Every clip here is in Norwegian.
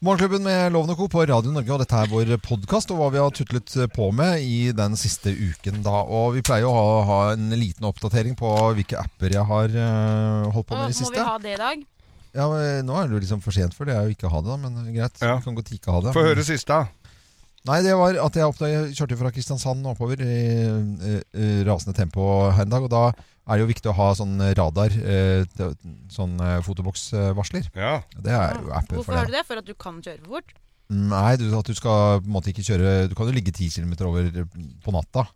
Morgenklubben med Loven og Co. på Radio Norge, og dette er vår podkast og hva vi har tutlet på med i den siste uken. da. Og Vi pleier å ha, ha en liten oppdatering på hvilke apper jeg har eh, holdt på Å, med i det må siste. vi ha det i dag? Ja, men Nå er det jo liksom for sent for det, er jo ikke å ha det, da, men greit. Ja. Vi Kan godt ikke ha det. Få høre siste. da. Nei, det var at jeg, oppdaget, jeg kjørte fra Kristiansand oppover i eh, eh, rasende tempo her en dag. Og da er det jo viktig å ha sånn radar, eh, t- sånn eh, fotoboksvarsler. Ja. Det er jo apper Hvorfor for har det. du det? For at du kan kjøre for fort? Nei, du, at du skal på en måte ikke kjøre Du kan jo ligge 10 km over på natta.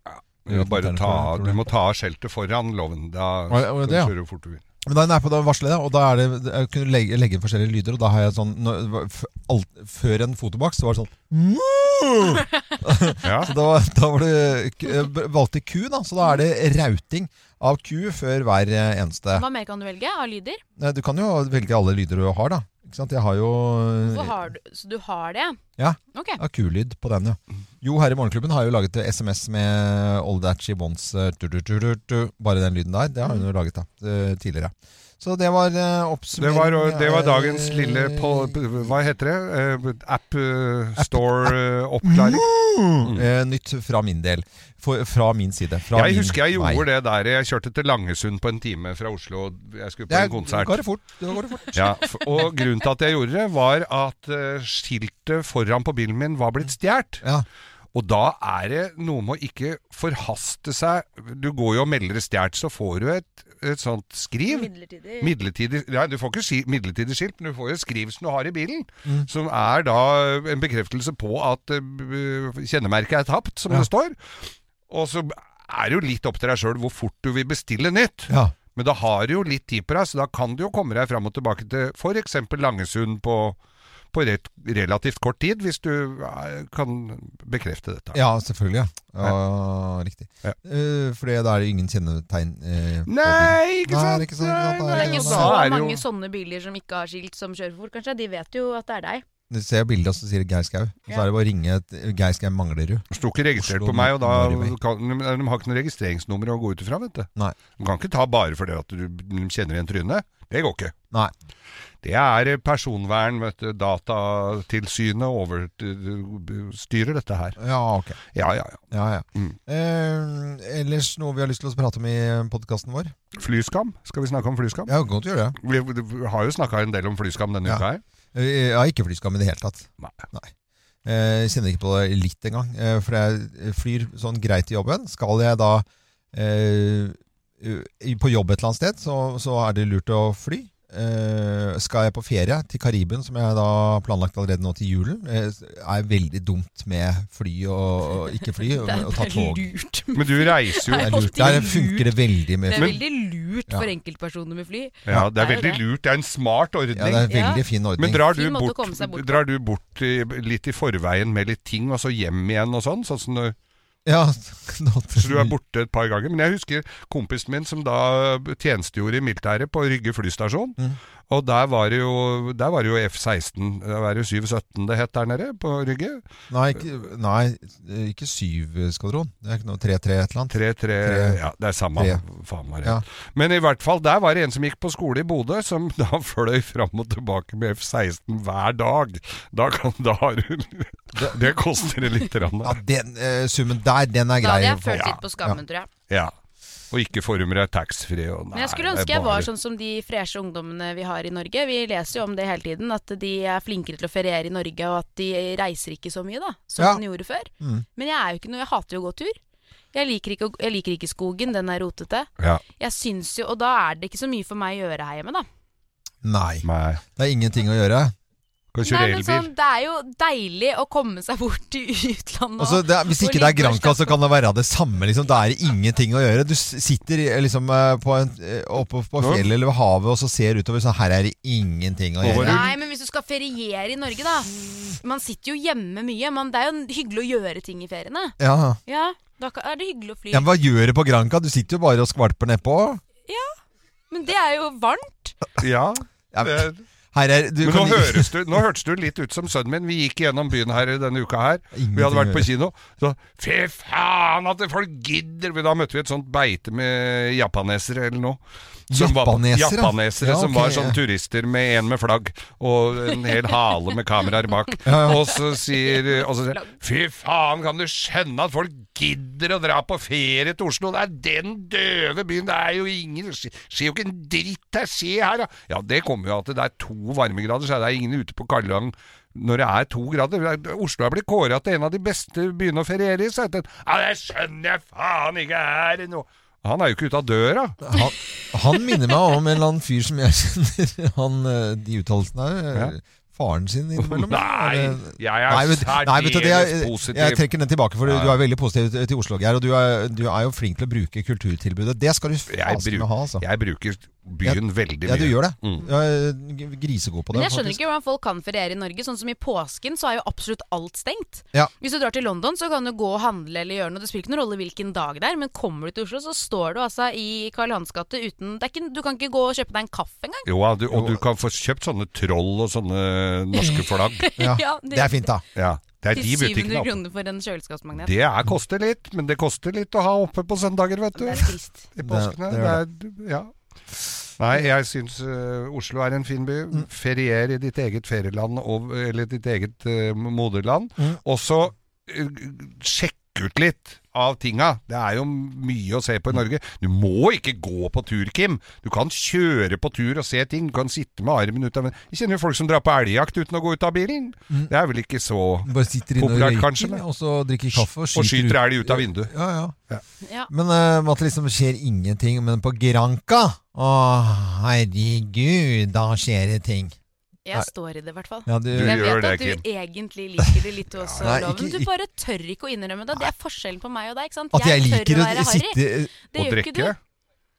Du, må bare ta, av- du må ta av skjeltet foran loven. Da Å, ja, kan å, du det, ja. kjøre hvor fort du vil. Men da er jeg på det varselet, og da er det, jeg kunne legge, legge inn forskjellige lyder, og da har jeg sånn når, det var f- alt, Før en fotobaks så var det sånn «Moo!» Ja. Så da, var- da var det k- jeg valgte ku, da. Så da er det rauting av ku før hver eh, eneste. Hva mer kan du velge av lyder? Nei, Du kan jo velge alle lyder du har, da. Ikke sant? Jeg har jo Hvorfor har du, så du har det? Ja. Ok. ja, kulyd på den, ja. Jo, her i Morgenklubben har jeg jo laget SMS med All That She Wants eh, tu, tu, tu, tu, tu. Bare den lyden der. Det har hun jo laget da, eh, tidligere. Så det var eh, Det oppsummering var, det var dagens eh, lille på, Hva heter det? Eh, App eh, Store-oppklaring. Mm. Eh, nytt fra min del. For, fra min side. Fra Jeg min husker jeg gjorde det der jeg kjørte til Langesund på en time fra Oslo. og Jeg skulle på Jeg, en konsert. går det fort. Det går det fort. Ja, f- og grunnen til at jeg gjorde det, var at eh, skiltet foran på bilen min var blitt stjålet. Ja. Og da er det noe med å ikke forhaste seg. Du går jo og melder det stjålet, så får du et, et sånt skriv. Midlertidig. Midlertidig, ja, du får ikke ski, midlertidig skilt, men du får jo et skriv som du har i bilen. Mm. Som er da eh, en bekreftelse på at eh, b- kjennemerket er tapt, som Ja. det står. Og så er det jo litt opp til deg sjøl hvor fort du vil bestille nytt. Ja. Men da har du jo litt tid på deg, så da kan du jo komme deg fram og tilbake til f.eks. Langesund på, på rett, relativt kort tid, hvis du eh, kan bekrefte dette. ja, selvfølgelig. Ja. Ja, Riktig. Ja. Eh, for da er det ingen kjennetegn eh, på bilen. Nei, ikke Nei, sant? det er ikke sant. Det Det er er ikke Ja, så Da er det jo- mange sånne biler som ikke har skilt som kjører for fort, kanskje. De vet jo at det er deg. Du ser bildet, og så sier det Geir Skau. Og Så Ja. er det bare å ringe et Geir Skau Manglerud. Sto ikke registrert Oslo, på meg, og da Norway. kan, de, de har ikke noe registreringsnummer å gå ut ifra, vet du. Nei. De kan ikke ta bare fordi at du de kjenner igjen trynet. Det går ikke. Nei. Det er eh, personvern, vet du. Datatilsynet overstyrer dette her. Ja, ok. Ja, ja, ja. Ja, ja. Mm. Eh, ellers noe vi har lyst til å prate om i podkasten vår? Flyskam. Skal vi snakke om flyskam? Ja, godt å gjøre det. Vi vi har jo snakka en del om flyskam denne Ja. uka her. Eh, Jeg har ikke flyskam i det hele tatt. Nei. Eh, kjenner ikke på det litt engang. Eh, for jeg flyr sånn greit til jobben. Skal jeg da eh, i- på jobb et eller annet sted, så, så er det lurt å fly. Eh, skal jeg på ferie til Kariben, som jeg da har planlagt allerede nå til julen, eh, er veldig dumt med fly og, og ikke fly, og, og ta tog. Det lurt. Men du reiser jo Nei. er lurt. Der funker det veldig Det med er fly. veldig lurt Ja. for enkeltpersoner med fly. Ja, det er Det er jo veldig det. lurt. Det er en smart ordning. Ja, det er en Ja. veldig fin Men ordning. drar du, Fin måte å bort, komme seg bort på. drar du bort i, litt i forveien med litt ting, og så hjem igjen og sånn? sånn som du, Ja, så du er borte et par ganger. Men jeg husker kompisen min som da tjenestegjorde i militæret på Rygge flystasjon. Mm. Og der var det jo, der var det jo F-16, det var jo 717 det het der nede på Rygge. Nei, ikke, nei, ikke syv skvadron. Det er ikke noe 3-3 et eller annet. 3-3 Tre. Ja, det er samme. Tre. Faen var det. Ja. Men i hvert fall, der var det en som gikk på skole i Bodø, som da fløy fram og tilbake med F-16 hver dag. Da kan da har hun Det koster det litt. Rann, Ja, den eh, summen der, den Da er grei. hadde jeg følt Ja. litt på skammen, tror jeg. ja. Og ikke forummer er taxfree. og Men jeg nei, skulle det Sånn er ønske jeg bare- var sånn som de freshe ungdommene vi har i Norge. Vi leser jo om det hele tiden, at de er flinkere til å feriere i Norge, og at de reiser ikke så mye, da, som Ja. de gjorde før. Mm. Men jeg er jo ikke noe Jeg hater jo å gå tur. Jeg liker ikke, å- jeg liker ikke skogen, den er rotete. Ja. Jeg syns jo Og da er det ikke så mye for meg å gjøre her hjemme, da. Nei, Nei. det er ingenting å gjøre. Kan kjøre Nei, men elbil. sånn, det er jo deilig å komme seg bort til utlandet. Og så Altså, det, er- hvis ikke det er Granca, så kan det være det samme. Liksom. Da er det ingenting å gjøre. Du s- sitter eh, liksom, eh, på en, eh, oppe på Ja. fjellet eller ved havet og så ser utover, så her er det ingenting å Nå var gjøre. det- Nei, men hvis du skal feriere i Norge, da. Man sitter jo hjemme mye. Man, det er jo hyggelig å gjøre ting i feriene. Ja. Ja, da kan- er det hyggelig å fly. ja, men Hva gjør du på Granca? Du sitter jo bare og skvalper nedpå. Men det er jo varmt. Ja. Ja, det- her er, du Men nå, kan- høres du, nå hørtes du litt ut som sønnen min. Vi gikk gjennom byen her i denne uka her. Ingenting Vi hadde vært å på kino. Så fy faen at folk gidder! Men Da møtte vi et sånt beite med japanesere eller noe. Som var- Japanesere? japanesere Ja, som ok, var sånn ja. turister med en med flagg og en hel hale med kameraer bak. Ja, ja. Og så sier og så, sier jeg, Fy faen, kan du skjønne at folk gidder å dra på ferie til Oslo? Det er den døve byen, det er jo ingen det Skjer jo ikke en dritt her, se her, da! Ja, det kommer jo av at det er to varmegrader, så er det ingen ute på Karljohan når det er to grader. Oslo er blitt kåra til en av de beste byene å feriere i, sa jeg til ham. Ja, det skjønner jeg faen ikke her nå! Han er jo ikke ute av døra. Han, han minner meg om en eller annen fyr som jeg kjenner. Han, eh, de uttalelsene her. eh, Faren sin innimellom. Nei, Er det- jeg er Nei, vet, nei, vet du, det, særdeles jeg, positiv. jeg trekker den tilbake, for du, Ja, ja. du er veldig positiv til- til Oslo, Geir. Og du er, du er jo flink til å bruke kulturtilbudet. Det skal du Jeg, fasen meg bruk, ha, altså. jeg bruker byen veldig mye. Ja, du gjør det. Mm. Du er grisegod på det. Men jeg skjønner faktisk. ikke hvordan folk kan feriere i Norge. Sånn som i påsken så er jo absolutt alt stengt. Ja. Hvis du drar til London, så kan du gå og handle eller gjøre noe. Det spiller ikke noen rolle hvilken dag det er, men kommer du til Oslo, så står du altså i Karl Johans gate uten det er ikke, Du kan ikke gå og kjøpe deg en kaffe engang. Jo, ja, du, og du kan få kjøpt sånne troll og sånne norske flagg. Ja, det, Det er fint, da. Ja, det er Til de 700 butikkene. kroner for en kjøleskapsmagnet. Det er, koster litt, men det koster litt å ha oppe på søndager, vet du. Det er trist. I påskene. Det- det Det er, ja. Nei, jeg syns eh, Oslo er en fin by. Mm. Ferier i ditt eget ferieland, og, eller ditt eget eh, moderland. Mm. Og så eh, sjekk ut litt av tinga. Det er jo mye å se Mm. på i Norge. Du må ikke gå på tur, Kim. Du kan kjøre på tur og se ting. Du kan sitte med armen ut av Jeg kjenner jo folk som drar på elgjakt uten å gå ut av bilen. Mm. Det er vel ikke så Bare sitter inne og Populært, røyker, kanskje, men- og så drikker kaffe og Og skyter, skyter elg ut av vinduet. Ja, ja. Ja. Men eh, at det liksom skjer ingenting. Men på Granca Å, herregud, da skjer det ting. Nei. Jeg står i det, i hvert fall. Ja, du, Du- Jeg gjør vet at det, du egentlig liker det litt også, Nei, Loven. ikke- Du bare tør ikke å innrømme det. Det er forskjellen på meg og deg. ikke sant? at jeg liker å harry. sitte Det Og gjør ikke du. drikke.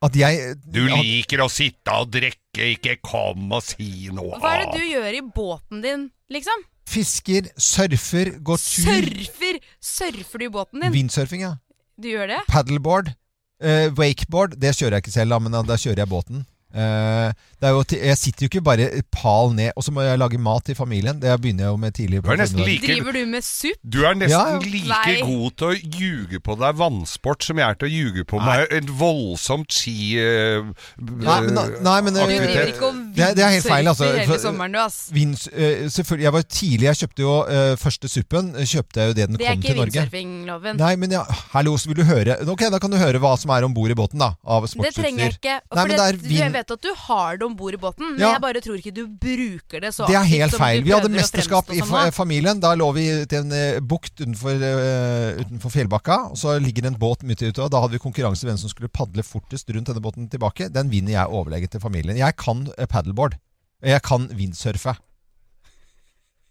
At jeg Du at, liker å sitte og drikke, ikke kom og si noe. Hva er det du gjør i båten din, liksom? Fisker, surfer, går tur. Surfer! Surfer du i båten din? Windsurfing, ja. Du gjør det? Paddleboard. eh, wakeboard, det kjører jeg ikke selv, da, men da, da kjører jeg båten. Eh, det er jo, til- jeg sitter jo ikke bare pal ned, og så må jeg lage mat til familien. Det begynner jeg jo med tidlig. på Du er nesten formiddagen. like- Ikke- Driver du med supp? Du er nesten Ja, ja. like Nei. god til å ljuge på deg vannsport som jeg er til å ljuge på meg et voldsomt ski... eh, Nei, men da- nei, men, Du eh, aktivitet. driver ikke og Det er- det er helt feil, altså, vindsurfer hele for- sommeren, du, ass. Vinds, eh, selvfølgelig, Jeg var tidlig, jeg kjøpte jo eh, første suppen. eh, Kjøpte jeg jo det den Det er ikke kom til Norge. vindsurfingloven. Nei, men ja, hallo, så vil du høre Ok, da kan du høre hva som er om bord i båten, da. Av Det trenger jeg sportsutstyr. ikke. Nei, For men det, det er vind- Jeg vet at du har det om bord i båten, men Ja. jeg bare tror ikke du bruker det så Det er aktivt helt som du feil. Vi hadde prøver å mesterskap fremstå i som fa nå. familien. Da lå vi ute i en eh, bukt utenfor, eh, utenfor fjellbakka, og så ligger det en båt midt ute. Og da hadde vi konkurranse om hvem som skulle padle fortest rundt denne båten tilbake. Den vinner jeg overlegget til familien. Jeg kan eh, paddleboard. Og Jeg kan windsurfe.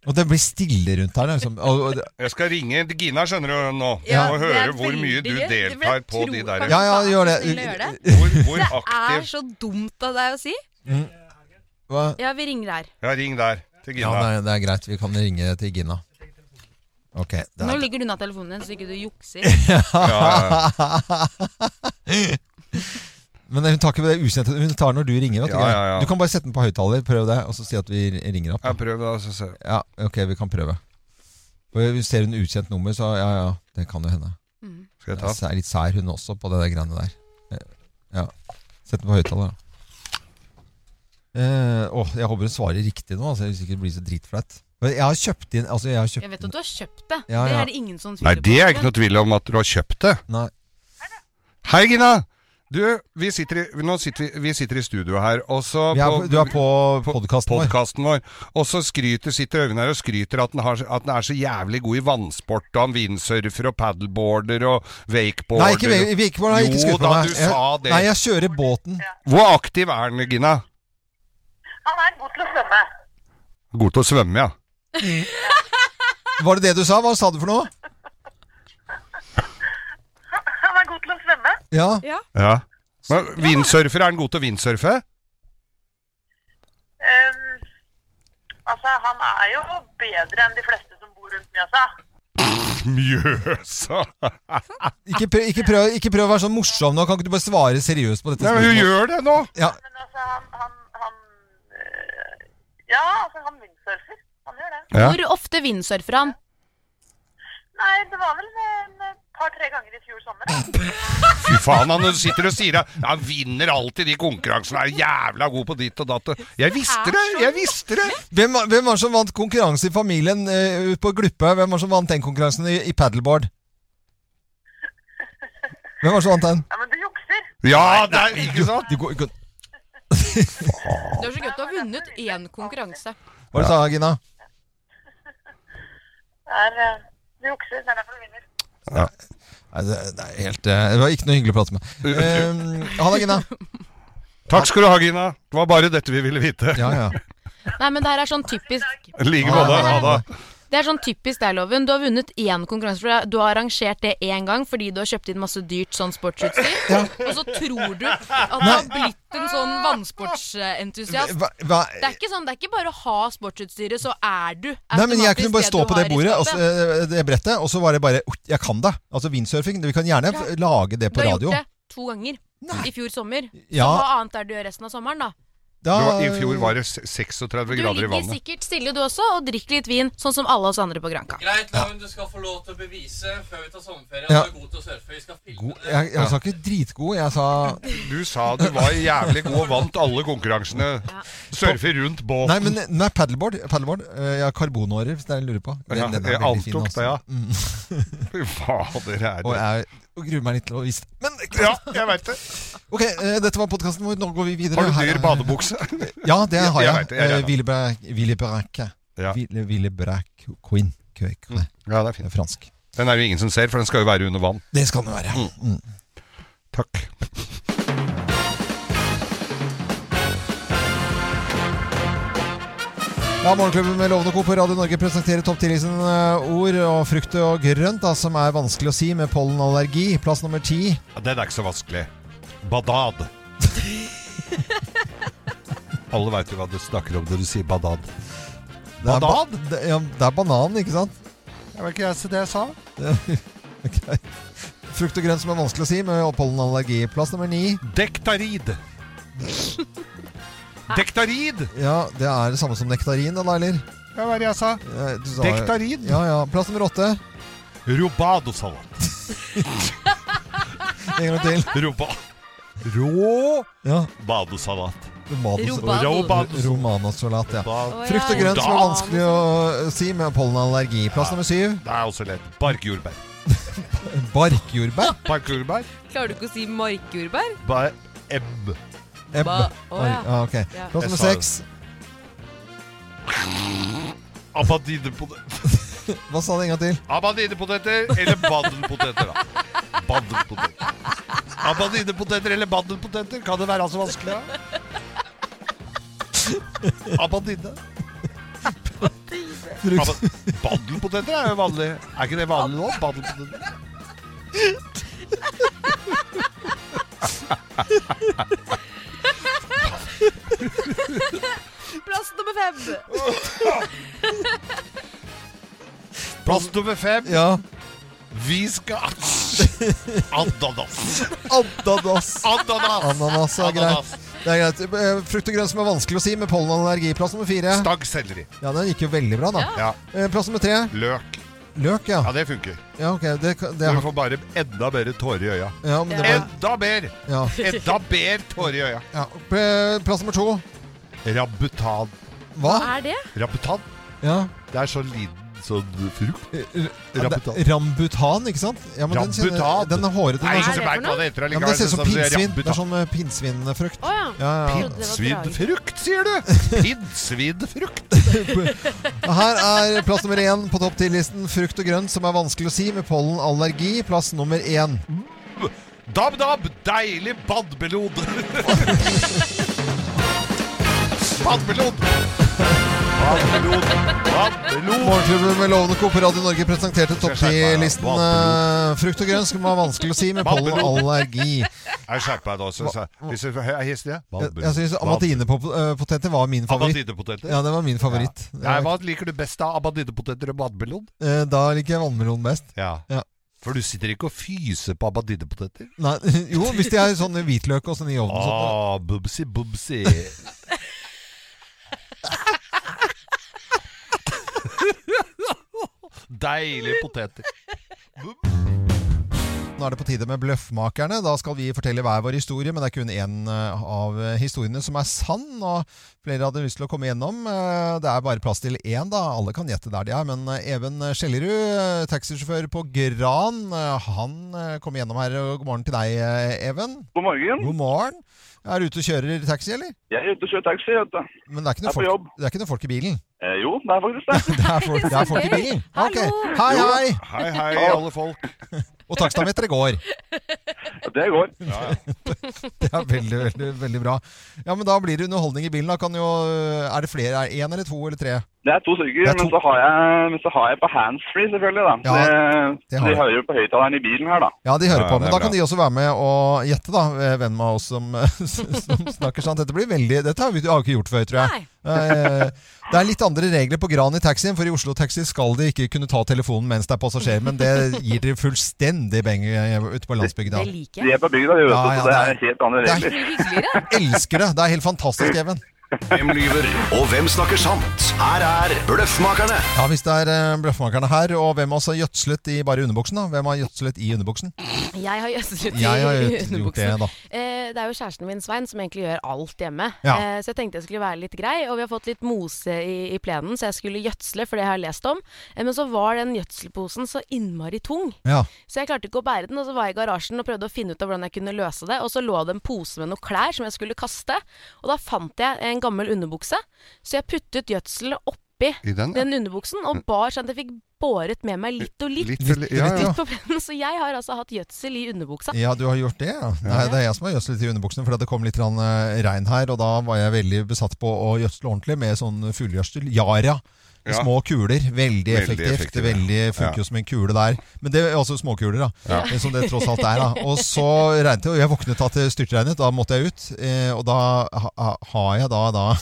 Og det blir stille rundt her. Liksom. Og, og, Jeg skal ringe Gina, skjønner du, nå, Ja, og det er høre hvor mye du veldig- det vil deltar jeg på tro de kan der Ja, ja, være gjør det. så snill å gjøre det. Hvor, hvor Det er aktiv så dumt av deg å si. hva? Ja, vi ringer her. Ja, ring der til Ja, Gina. det er, det er greit. Vi kan ringe til Gina. Ok. Det Nå er. ligger du unna telefonen din, så ikke du jukser. Ja, ja, Men hun tar ikke det ukjente. Hun tar når du ringer. Vet du, Ja, Geir. ja, ja. du kan bare sette den på høyttaler, prøv det, og så si at vi ringer opp. ja. Prøv, da. Så ser. Ja, ok, vi kan prøve. Og vi ser hun ukjent nummer, så ja, ja, det kan jo hende. Mm. Skal jeg Det er ta? sær- litt sær hun også på det der greiene der. Eh, Ja. Sett den på høyttaler, da. Eh, åh, jeg håper hun svarer riktig nå, altså, hvis ikke det blir så dritflaut. Men Jeg har kjøpt inn altså, jeg har kjøpt Jeg vet at du har kjøpt det. Ja, Det ja. er det ingen som Nei, tviler på. det er ikke noe tvil om at du har kjøpt det. Nei. Hei, Gina! Du, vi sitter i, nå sitter vi, vi sitter i studio her, og så Vi er, på- du er på på- podkasten vår. podkasten vår. Og så skryter, sitter Øyvind her og skryter at den, har, at den er så jævlig god i vannsport, og han windsurfer og paddleboarder og wakeboarder. Nei, ikke, vi, vi, ikke, nei, Jo ikke skryt på da, meg. du Jeg- sa det. Nei, jeg kjører båten. Hvor aktiv er han, Gina? Han er god til å svømme. God til å svømme, ja. Mm. Var det det du sa? Hva sa du for noe? Han er god til å svømme. Ja, Ja. ja. Men Windsurfer, er han god til å windsurfe? Ehm, altså, han er jo bedre enn de fleste som bor rundt Mjøsa. Mjøsa! ikke prøv, ikke, prøv, ikke prøv å være sånn morsom nå. Kan ikke du bare svare seriøst på dette Nei, men hun gjør det nå! Ja, Men altså, han, han, han øh, Ja, altså, han vindsurfer. Han gjør det. Ja. Hvor ofte vindsurfer han? Nei, det var vel en et par-tre ganger i fjor sommer. da. Fy faen, han sitter og sier at han vinner alltid de konkurransene. Er jævla god på ditt og datt. Jeg visste det! Jeg visste det! Hvem, var- hvem var det som vant konkurranse i familien eh, ute på Gluppe? Hvem var det som vant den konkurransen i, i paddleboard? Hvem var det som vant den? Nei, men du jukser. Ja, det er ikke sant? Du går- går- Det er så gøy at du har vunnet én konkurranse. Hva er det du sa Gina? Det er, eh, du jukser. Det er derfor du vinner. Nei, det, det er helt eh, Det var ikke noe hyggelig å prate med. Eh, ha det, Gina. Takk skal du ha, Gina. Det var bare dette vi ville vite. Ja, Ah, ja. Nei, men det her er sånn typisk I like måte. Ha det. Det er sånn typisk deg, Loven. Du har vunnet én konkurranse. for deg. Du har arrangert det én gang fordi du har kjøpt inn masse dyrt sånn sportsutstyr. Og så tror du at du har Ah. blitt en sånn vannsportsentusiast. Hva, hva? Det er ikke sånn, det er ikke bare å ha sportsutstyret, så er du Nei, men jeg kunne automatisk bare stå du på det har i bordet, og skapet. så, eh, det brettet, og så var det bare "Oi, Jeg kan det. Altså windsurfing. Vi kan gjerne f- lage det Du på har radio. gjort det to ganger Nei. i fjor sommer. Ja. Så hva annet er det du gjør resten av sommeren, da? Da, Det var, I fjor var det 36 Du grader ligger i vannet. sikkert stille du også, og drikker litt vin, sånn som alle oss andre på Granka. Greit, Loven, du skal få lov til å bevise før vi tar sommerferie at Ja. du er god til å surfe. Vi skal filme God, det. jeg, jeg sa ikke dritgod, jeg sa Du sa du var jævlig god og vant alle konkurransene. Surfe rundt båten. Nei, men nei, paddleboard. paddleboard. Eh, Jeg har karbonårer, hvis det er det jeg lurer på. Ja, Den, den jeg er veldig fin. altså. antok det, Også. ja. Fy fader, er Og det jeg og gruer meg litt til å vise det. Men Ja, jeg veit det. ok, eh, dette var podkasten vår. Nå går vi videre. Har du Her er- dyr badebukse? Ja, det Ja, har jeg jeg. vet det, jeg regner. Eh, Willy Brack- Willy Brack. Ja. Willy Willy Brack Queen. Quake. Nei, Ja, det er det er fint. fransk. Den er jo ingen som ser, for den skal jo være under vann. Det skal den være. Mm. Takk. Ja, Morgenklubben med Lovende Co. på Radio Norge presenterer topp 10-listen eh, ord og frukt og grønt, da, som er vanskelig å si med pollenallergi. Plass nummer ti. Ja, Den er ikke så vanskelig. Badad. Alle veit jo hva du snakker om når du sier badad. Det er ba- Banan? Det, ja, det er banan, ikke sant? Det var ikke jeg, det jeg sa. Ok. Frukt og grønt som er vanskelig å si med pollenallergi. Plass nummer ni. Dektarid. Dektarid! Ja, det er det samme som nektarin, da, eller? Ja, hva er det jeg sa? Eh, du sa- Dektarid. Ja, ja. Plass nummer åtte. Robadosalat. En gang til. Roba... Rå Ja. badosalat. Romanos, Robado. Robado- romanosolat, ja. Bad- Å, Frukt og grønt som er Rodan. vanskelig å eh, si med pollenallergi. Plass nummer syv. Det er også lett. Barkjordbær. Barkjordbær. Barkjordbær. Klarer du ikke å si markjordbær? Ba ebb. Ebb. Ba- Å, Oi, ja. ja, ok. Ja. Plass Jeg nummer sa det. seks. Abadinepoteter. Hva sa du en gang til? Abadinepoteter eller badenpoteter, da. Badenpoteter. Abadinepoteter eller badenpoteter, kan det være så vanskelig, da? Abadine. Frukt, Abad badenpoteter er jo vanlig. Er ikke det vanlig nå? Badenpoteter. Plass nummer fem. Plass nummer fem. ja. Vi skal Ananas. Ananas. Ananas. Ananas er greit. Ananas. Det er greit. Eh, Frukt og grønt som er vanskelig å si med pollenallergi. Plass nummer fire. Stagg selleri. Ja, den gikk jo veldig bra, da. Ja. Eh, Plass nummer tre. Løk. Løk, ja. Ja, det funker. Ja, ok. Det, kan- det, Du har- får bare enda bedre tårer i øya. ja, men det var, Enda mer! ja, Enda mer tårer i øya. ja. Eh, Plass nummer to. Rabutan. Hva? Er det? Rabutan? Ja. Det er sånn liten sånn frukt. Eh, eh, Rambutan. det- Rambutan, ikke sant? Ja, men den, kjenner, Rambutan. den er hårete. Den Nei, er det så sånn, for merker jeg hva det heter ja, men allikevel. det ser ut som sånn sier pinnsvin. Det er rabutan. sånn eh, pinnsvinfrukt. Å ja. Ja, ja. Trodde det var Pinnsvidd drage. frukt, sier du! Pinnsvidd frukt. Her er plass nummer én på topp 10-listen. Frukt og grønt som er vanskelig å si med pollenallergi. Plass nummer én. Dab-dab, deilig badmelon. Badmelon. Badmelon. Badmelon. Morgenklubben med Lovende Co. på Radio Norge presenterte topp Skal jeg skjerpe meg, da? 10-listen Valpelot. eh, Frukt og grønt som er vanskelig å si med Valpelot. pollenallergi. Jeg skjerper meg nå. så- så- Hvis jeg er hissig, Jeg, jeg syns amatinepoteter var min favoritt. Abadinepoteter. Ja, det var min favoritt. Nei, hva liker du best av abadinepoteter og badmelon? Eh, Da liker jeg vannmelon best. Ja. Ja. For du sitter ikke og fyser på abadinepoteter? Nei, jo, hvis de er sånn hvitløk og sånn i ovnen. Sånn. Ah, bubsi, bubsi. Deilige poteter. nå er det på tide med Bløffmakerne. Da skal vi fortelle hver vår historie, men det er kun én eh, av historiene som er sann. Og flere hadde lyst til å komme gjennom. Eh, Det er bare plass til én, da. Alle kan gjette der de er. Men eh, Even Skjellerud, eh, taxisjåfør på Gran, eh, han eh, kommer gjennom her. Og God morgen til deg, eh, Even. God morgen. God morgen. Er du ute og kjører taxi, eller? Jeg er ute og kjører taxi. Vet du. Men det er Jeg ikke noe er på folk, jobb. det er ikke noe folk i bilen? Eh, jo, det er faktisk det. Det er folk, det er folk i bilen? Ok. Hei, hei! Hei, hei, alle folk. Og takstameteret går. Det går. Det er veldig, veldig, veldig bra. Ja, men da blir det underholdning i bilen. Da kan jo eh, Er det flere? Er det én eller to eller tre? Det er to stykker, Det er to. Men, så har jeg, men så har jeg på handsfree, selvfølgelig. da. Ja, det, det så har de jeg. hører jo på høyttaleren i bilen her, da. Ja, de hører Ja, på. det Men er da kan bra. de også være med og gjette, da. Hvem av oss som, eh, som snakker sant. Dette blir veldig Dette har vi har vi ikke gjort før, tror jeg. Nei. Eh, Det er litt andre regler på Gran i taxien, for i Oslo Taxi skal de ikke kunne ta telefonen mens det er passasjer, men det gir dere fullstendig beng eh, ute på landsbygda. Det liker De jeg. er på bygda, de, vet du, Ja, ja, så det det er helt andre det er- regler. Det blir hyggeligere. Elsker det! Det er helt fantastisk, Even. Hvem lyver, og hvem snakker sant? Her er Bløffmakerne. Ja, hvis det er eh, bløffmakerne her, og hvem av oss har gjødslet i bare underbuksen, da? Hvem har gjødslet i underbuksen? Jeg har gjødslet i Jeg har i gjødslet- gjort det, underbuksen. da. Eh, Det er jo kjæresten min Svein som egentlig gjør alt hjemme. Ja. Eh, Så jeg tenkte jeg skulle være litt grei, og vi har fått litt mose i, i plenen, så jeg skulle gjødsle, for det har jeg lest om. Eh, Men så var den gjødselposen så innmari tung, Ja. så jeg klarte ikke å bære den. Og så var jeg i garasjen og prøvde å finne ut av hvordan jeg kunne løse det, og så lå det en pose med noen klær som jeg skulle kaste, og da fant jeg en gammel underbukse, så jeg puttet gjødselet oppi I den, ja. den underbuksen og bar sånn at jeg fikk båret med meg litt og litt. Litt, ja, ja. på plenen, Så jeg har altså hatt gjødsel i underbuksa. ja, du har gjort det, ja. Nei, det er jeg som har gjødslet i underbuksen, for det kom litt grann, eh, regn her, og da var jeg veldig besatt på å gjødsle ordentlig med sånn fuglegjødsel. Yara. i Ja. Små kuler. Veldig, effektivt. effektive. Det veldig funker jo som en kule der. Men det er også småkuler, da. eh, Som det tross alt er. da. Og så regnet det, og jeg våknet at det styrtregnet. Da måtte jeg ut. eh, Og da ha- ha- har jeg da, da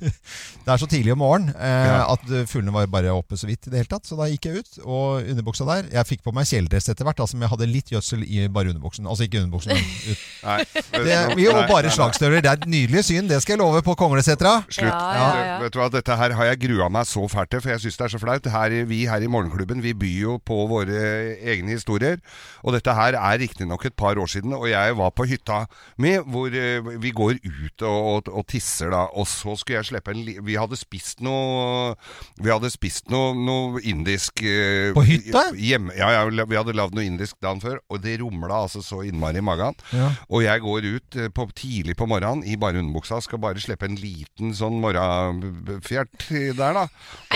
Det er så tidlig om morgenen eh, Ja. at eh, fuglene var bare oppe så vidt i det hele tatt. Så da gikk jeg ut, og underbuksa der Jeg fikk på meg kjeledress etter hvert, altså, men jeg hadde litt gjødsel i bare underbuksen. Altså ikke underbuksen, men ut. Nei, Det, vet du jo, hva? og bare Nei, slagstøvler. Det er et nydelig syn, det skal jeg love på Konglesetra. Slutt. Ja, ja, ja. Vet du hva, dette her har jeg grua meg så fælt til, for jeg syns det er så flaut. Her, i- vi her i Morgenklubben vi byr jo på våre egne historier. Og dette her er riktignok et par år siden, og jeg var på hytta med hvor eh, vi går ut og, og, og tisser, da. Og så skulle jeg slippe en li... Vi hadde spist noe Vi hadde spist noe, noe indisk eh, På hytta? Hjemme. Ja, ja, vi hadde lagd noe indisk dagen før, og det rumla altså så innmari i magen. Ja. Og jeg går ut eh, på, tidlig på morgenen i bare underbuksa, skal bare slippe en liten sånn morgenfjert der, da.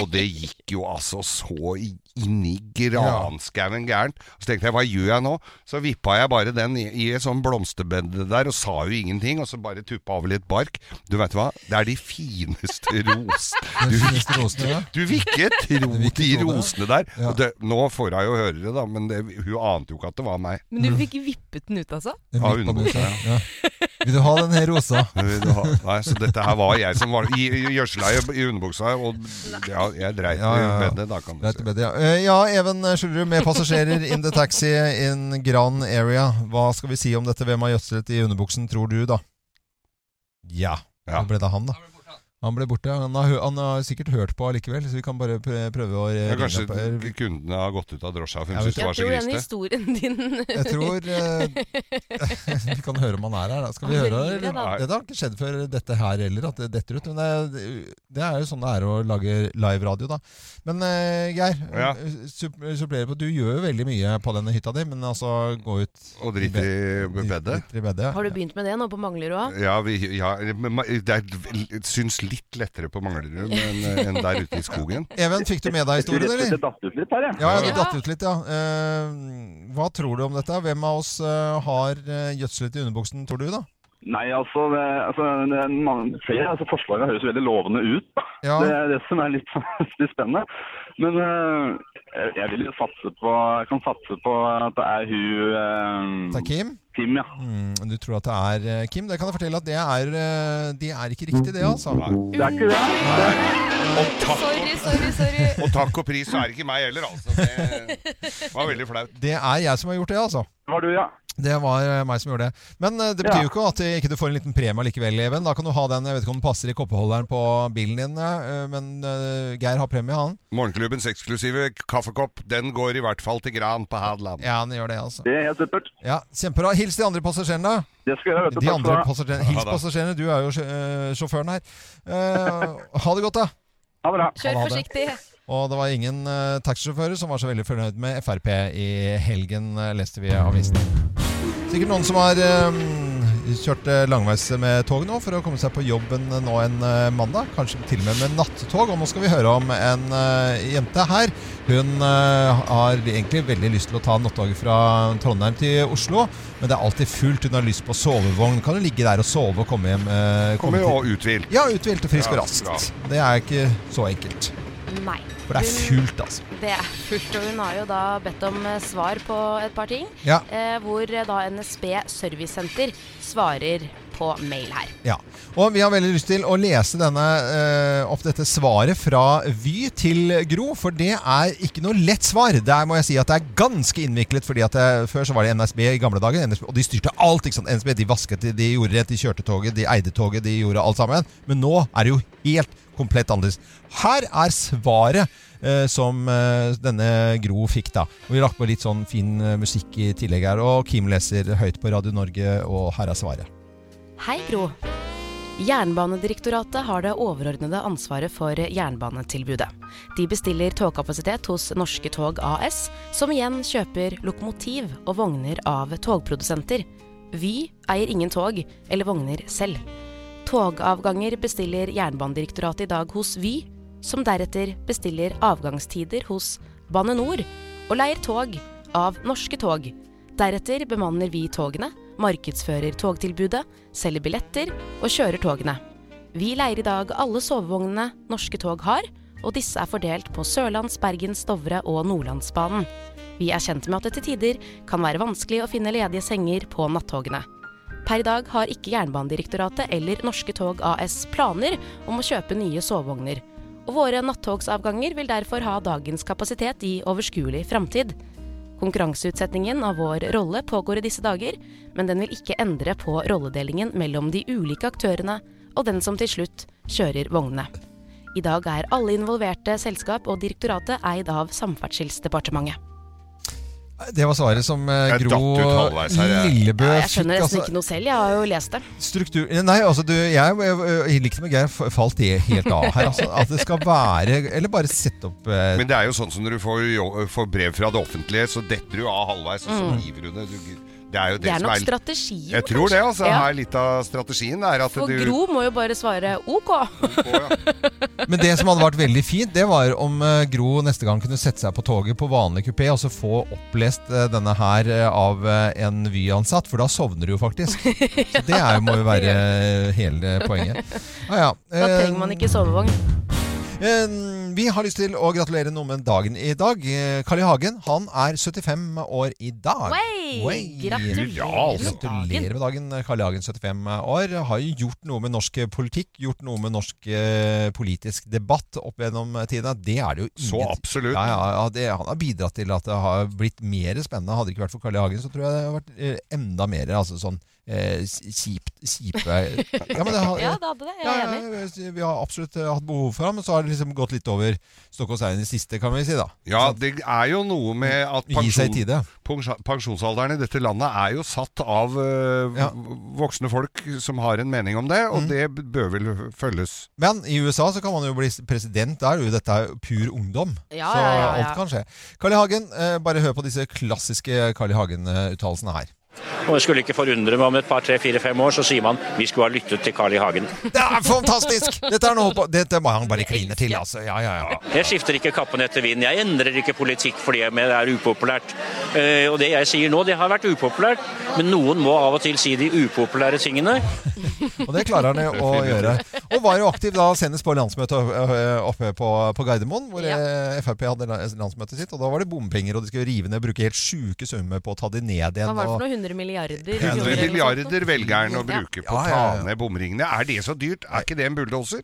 Og det gikk jo altså så i- inn i granskauen gærent. Så tenkte jeg, hva gjør jeg nå? Så vippa jeg bare den i, i et sånn blomsterbed der, og sa jo ingenting, og så bare tuppa over litt bark. Du veit hva, det er de fineste rosene Den du fineste rosen, ja. du vil ikke tro vil ikke de tro det. rosene der. Ja. Og det, nå får hun jo høre det, da, men det, hun ante jo ikke at det var meg. Men du fikk vippet den ut, altså? Den Ja, Mm. midt på underbuksa, bussen, ja. Vil du ha den her rosa? Nei, så dette her var jeg som var i, i gjødsla i, i underbuksa, og ja, jeg dreit Ja, ja, i ja. bedet, da, kan du Greit og si. bedre, ja. Eh, ja, Even Skjulrud med passasjerer in the taxi in Gran area. Hva skal vi si om dette? Hvem har gjødslet i underbuksen, tror du, da? Ja. Ja. Nå ble det han, da. Han ble borte. Han har, hø- han har sikkert hørt på allikevel, så vi kan bare prø- prøve å eh, Ja, ringe opp. kanskje her. kundene har gått ut av drosja og funnet Jeg ut det Jeg var så tror den grisete. historien din Jeg tror eh, Vi kan høre om han er her, da. Skal vi Han høre? ringer, eller? da. Dette har ikke skjedd før dette her heller, at det detter ut. Men det, det er jo sånn det er å lage liveradio, da. Men eh, Geir, Ja. supp- supplere på. Du gjør jo veldig mye på denne hytta di, men altså gå ut Og dritt i bedet. Dritt i bedet. Har du begynt med det nå på Manglerud òg? Ja, vi, ja, men ma- det er- syns litt lettere på Manglerud enn enn der ute i skogen. Even, fikk du med deg Jeg tror historien, rett og eller? slett datt ut litt her, jeg. Ja, ja, det Ja. datt ut litt, ja. Eh, hva tror du om dette? Hvem av oss eh, har eh, gjødslet i underbuksen, tror du, da? Nei, altså, det, altså, det er mange, flere, altså Forslagene høres veldig lovende ut. da. Ja. Det er det som er litt, litt spennende. Men eh, jeg- jeg vil jo satse på Jeg kan satse på at det er hun Det er Kim. Tim, ja. Mm, du tror at det er eh, Kim? Det kan jeg fortelle at det er, eh, det er ikke riktig, det, altså. Det er ikke det. Og takk, Sorry, sorry, sorry. og takk og pris, så er det ikke meg heller, altså. Det var veldig flaut. Det er jeg som har gjort det, altså. Det var du, ja. Det var eh, meg som gjorde det. Men eh, det betyr jo ikke at eh, ikke du får en liten premie likevel, Even. Da kan du ha den, jeg vet ikke om den passer i koppeholderen på bilen din, eh, men eh, Geir har premie, han. Morgenklubbens eksklusive kaffekopp, den går i hvert fall til Gran på Hadeland. Ja, han gjør det, altså. Det er helt supert. Ja, Kjempebra. Hils de andre passasjerene. Det skal jeg gjøre. vet du. Takk De skal du andre ha. passasjerene. Ja Hils da. passasjerene, du er jo sj- eh, sjåføren her. Eh, ha det godt, da. Ha det bra. Kjør Ha det. forsiktig. Og det var ingen uh, taxisjåfører som var så veldig fornøyd med Frp i helgen, eh, leste vi i avisen. Sikkert noen som har eh, kjørt eh, langveis med tog nå for å komme seg på jobben nå en eh, mandag. Kanskje til og med med nattog. Og nå skal vi høre om en eh, jente her. Hun eh, har egentlig veldig lyst til å ta nattoget fra Trondheim til Oslo, men det er alltid fullt. Hun har lyst på sovevogn. Kan du ligge der og sove og komme hjem? eh, Kommer til- jo uthvilt. Ja, uthvilt og frisk Ja, og raskt. bra. Det er ikke så enkelt. Nei. For det er Hun- fullt, altså. Det er fullt, og hun har jo da bedt om eh, svar på et par ting. Ja. Eh, hvor eh, da NSB Servicesenter svarer på mail her. Ja, og vi har veldig lyst til å lese denne, eh, opp dette svaret fra Vy til Gro, for det er ikke noe lett svar. Der må jeg si at det er ganske innviklet, fordi at det, før så var det NSB i gamle dager, NSB, og de styrte alt, ikke sant? NSB, de vasket, de gjorde rett, de kjørte toget, de eide toget, de gjorde alt sammen. Men nå er det jo helt komplett annerledes. Her er svaret eh, som eh, denne Gro fikk da. Og vi har lagt på litt sånn fin eh, musikk i tillegg her, og Kim leser høyt på Radio Norge, og her er svaret. Hei, Gro. Jernbanedirektoratet har det overordnede ansvaret for jernbanetilbudet. De bestiller togkapasitet hos Norske Tog AS, som igjen kjøper lokomotiv og vogner av togprodusenter. Vy eier ingen tog eller vogner selv. Togavganger bestiller Jernbanedirektoratet i dag hos Vy, som deretter bestiller avgangstider hos Bane Nor og leier tog av Norske tog. Deretter bemanner vi togene, markedsfører togtilbudet, selger billetter og kjører togene. Vi leier i dag alle sovevognene Norske tog har, og disse er fordelt på Sørlands-, Bergens-, Dovre- og Nordlandsbanen. Vi er kjent med at det til tider kan være vanskelig å finne ledige senger på nattogene. Per i dag har ikke Jernbanedirektoratet eller Norske Tog AS planer om å kjøpe nye sovevogner, og våre nattogsavganger vil derfor ha dagens kapasitet i overskuelig framtid. Konkurranseutsettingen av vår rolle pågår i disse dager, men den vil ikke endre på rolledelingen mellom de ulike aktørene og den som til slutt kjører vognene. I dag er alle involverte selskap og direktoratet eid av Samferdselsdepartementet. Det var svaret som eh, Jeg Gro datt ut halvveis her, jeg. Lillebø Ja, jeg fikk. skjønner nesten Altså, ikke noe selv, jeg har jo lest det. struktur Nei, altså, du, jeg, jeg, jeg likte med Geir, f- falt det helt av her. Altså, at det skal være Eller bare sette opp eh, Men det er jo sånn som når du får, jo- får brev fra det offentlige, så detter du av halvveis, og Mm. så river du det. Du, det er jo det, Det er som nok er strategien, Jeg tror det, altså. Ja. Her er litt av strategien er at For du Gro må jo bare svare OK. Å, ja. Men det som hadde vært veldig fint, det var om eh, Gro neste gang kunne sette seg på toget på vanlig kupé og så få opplest eh, denne her eh, av eh, en Vy-ansatt, for da sovner du jo faktisk. Så det er, jo- må jo være eh, hele poenget. Ja, ja. Da Eh, trenger man ikke sovevogn. Eh, Vi har lyst til å gratulere noe med dagen i dag. Eh, Carl I. Hagen han er 75 år i dag. Wey! Wey! Gratulerer Ja, med altså. dagen. Gratulerer med dagen, Carl I. Hagen, 75 år. Har jo gjort noe med norsk eh, politikk, gjort noe med norsk eh, politisk debatt opp gjennom tida. Det er det jo Så ingen absolutt. ja, ja, ja, det, Han har bidratt til at det har blitt mer spennende. Hadde det ikke vært for Carl I. Hagen, så tror jeg det hadde vært eh, enda mer altså, sånn eh, kjipt Kjipe ja, men det har, Ja, det hadde det. Jeg ja, er ja, enig. ja, vi har absolutt eh, hatt behov for ham, men så har det liksom gått litt over Stokkåshaugen i siste, kan vi si, da. ja, det er jo noe med at Gi seg i pensjon, tide. pensjon- pensjonsalderen i dette landet er jo satt av eh, Ja. Mm. voksne folk som har en mening om det, og det bør vel følges. Men i USA så kan man jo bli president. Da er jo dette pur ungdom. Ja, så ja, ja, ja. alt kan skje. Carl I. Hagen, eh, bare hør på disse klassiske Carl I. Hagen-uttalelsene her. Og det skulle ikke forundre meg om et par, tre, fire, fem år så sier man vi skulle ha lyttet til Carl I. Hagen. Det er fantastisk! Dette er noe å holde på Dette må han bare kline til, altså. Ja, ja, ja. Jeg skifter ikke kappen etter vinden. Jeg endrer ikke politikk fordi jeg mener det er upopulært. Eh, Og det jeg sier nå, det har vært upopulært, men noen må av og til si de upopulære tingene. Og det klarer han jo å gjøre. Og var jo aktiv da senest på landsmøtet ø, ø, oppe på, på Gardermoen, hvor Ja. eh, Frp hadde la- landsmøtet sitt. Og da var det bompenger, og de skulle rive ned, bruke helt sjuke summer på å ta de ned Hva igjen. var det og- for noe? 100 milliarder? kroner eller 100 noe sånt, milliarder velger han å Ja. bruke på Ja, å ja, Mm. ja. ta ned bomringene. Er det så dyrt? Er ikke det en bulldoser?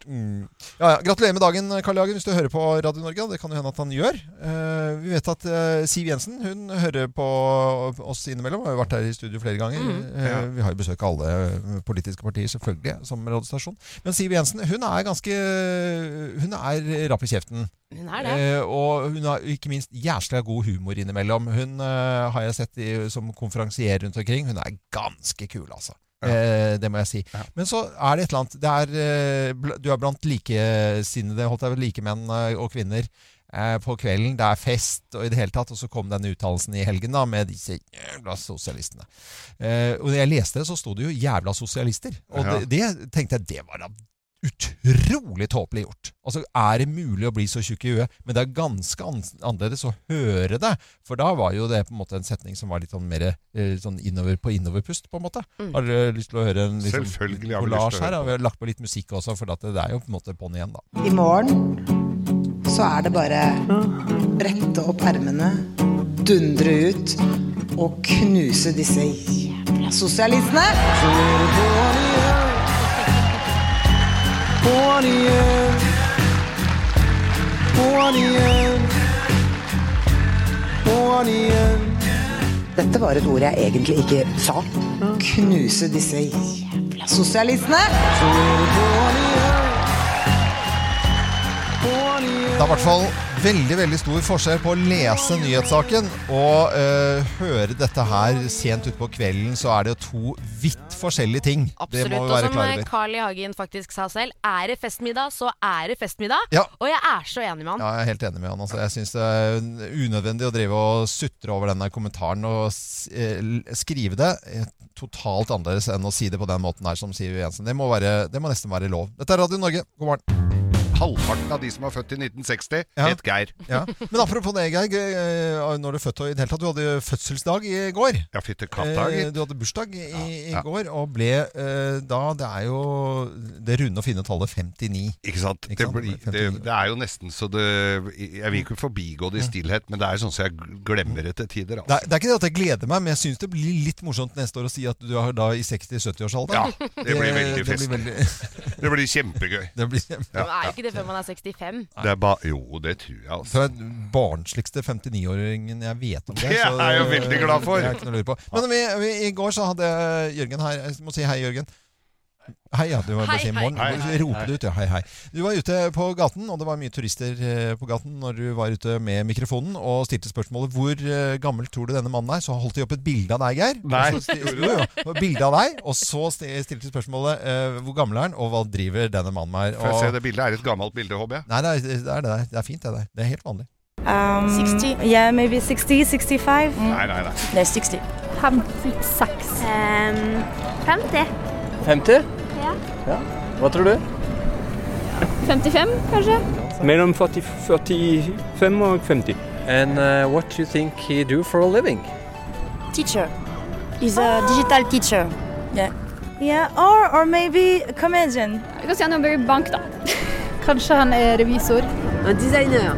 Ja, ja. Gratulerer med dagen, Karl Jagen, hvis du hører på Radio Norge. og Det kan jo hende at han gjør. Eh, vi vet at eh, Siv Jensen hun hører eh, på oss innimellom. Vi har jo vært her i studio flere ganger. Mm. Eh, Ja. Vi har jo besøk av alle eh, politiske partier, selvfølgelig, som radiostasjon. Men Siv Jensen hun er ganske Hun er rapp i kjeften. Hun er det. Eh, og hun har ikke minst jævla god humor innimellom. Hun eh, har jeg sett i, som konferansier rundt omkring. Hun er ganske kul, altså. Eh, det må jeg si. Men så er det et eller annet det er, eh, bl- Du er blant likesinnede, holdt jeg vel, likemenn eh, og kvinner. eh, På kvelden, det er fest og i det hele tatt, og så kom denne uttalelsen i helgen da, med disse jævla sosialistene. Eh, og når jeg leste det, så sto det jo 'jævla sosialister'. Og Ja. det, det tenkte jeg, det var da utrolig tåpelig gjort. Altså, er det mulig å bli så tjukk i huet? Men det er ganske an annerledes å høre det, for da var jo det på en måte en setning som var litt sånn mer eh, sånn innover på innoverpust, på en måte. Har dere lyst til å høre en liksom, Selvfølgelig har vi lyst til å høre collage her? på. Og vi har lagt på litt musikk også, for at det er jo på en måte på'n igjen, da. I morgen så er det bare brette opp ermene, dundre ut og knuse disse jævla sosialistene. Dette var et ord jeg egentlig ikke sa. Knuse disse jævla sosialistene. Det er i hvert fall veldig veldig stor forskjell på å lese nyhetssaken og eh, høre dette her sent utpå kvelden, så er det jo to vidt forskjellige ting. Absolutt. Det må Og vi være som klar eh, over. Carl I. Hagen faktisk sa selv, er det festmiddag, så er det festmiddag. Ja. Og jeg er så enig med han. Ja, jeg er helt enig med han. Altså. Jeg syns det er unødvendig å drive og sutre over denne kommentaren og s- eh, l- skrive det eh, totalt annerledes enn å si det på den måten her som Siv Jensen. Det må, være, det må nesten være lov. Dette er Radio Norge, god morgen. Halvparten av de som er født i 1960, Ja. het Geir. Ja. Men apropos det, Geir. eh, Når du er født og i det hele tatt, du hadde jo fødselsdag i går. Ja, fytte katta, Eh, gitt. Du hadde bursdag i, i Ja. går, og ble eh, da Det er jo det runde og fine tallet 59. Ikke sant? Det, Ikke sant? blir, det, det er jo nesten så det Jeg vil ikke forbigå det i stillhet, men det er sånn som jeg glemmer det til tider. Det Altså. er, det er ikke det at jeg gleder meg, men jeg syns det blir litt morsomt neste år å si at du er da i 60-70-årsalderen. Ja, det blir veldig det fest. blir veldig- Det blir kjempegøy. Det blir kjempe. Man er jo ikke det før man er 65. Det er ba jo, det tror jeg, altså. Så er den barnsligste 59-åringen jeg vet om. Det så er jeg jo veldig glad for. Det er ikke noe å lure på. Men vi, vi, i går så hadde Jørgen her Jeg må si hei, Jørgen. Hei, ja. Du må bare Hei, si hei. morgen. Hei, Du roper det Eh, ut, ja. Hei, hei. Du var ute på gaten, og det var mye turister eh, på gaten når du var ute med mikrofonen og stilte spørsmålet 'Hvor eh, gammel tror du denne mannen er?' Så holdt de opp et bilde av deg, Geir. Nei. Og så sti- jo, jo, og et bilde av deg, og så sti- stilte de spørsmålet eh, 'Hvor gammel er han?' og 'Hva driver denne mannen med?' Får jeg se Og, det bildet? Er det et gammelt bilde, håper jeg? nei, det er det, er, det der. det er fint, det der. Det er helt vanlig. Um, 60? Yeah, maybe 60, 65. Nei, nei, nei. Nei, 60. 56. Ehm, 50. 50? Ja. Hva tror du? 55, kanskje? Mellom 40, 45 og 50. And uh, what do you think he do for a living? Teacher. He's a digital teacher. Yeah. Yeah, or, or maybe a comedian. Kanskje han jobber i bank, da. kanskje han er revisor. Designer!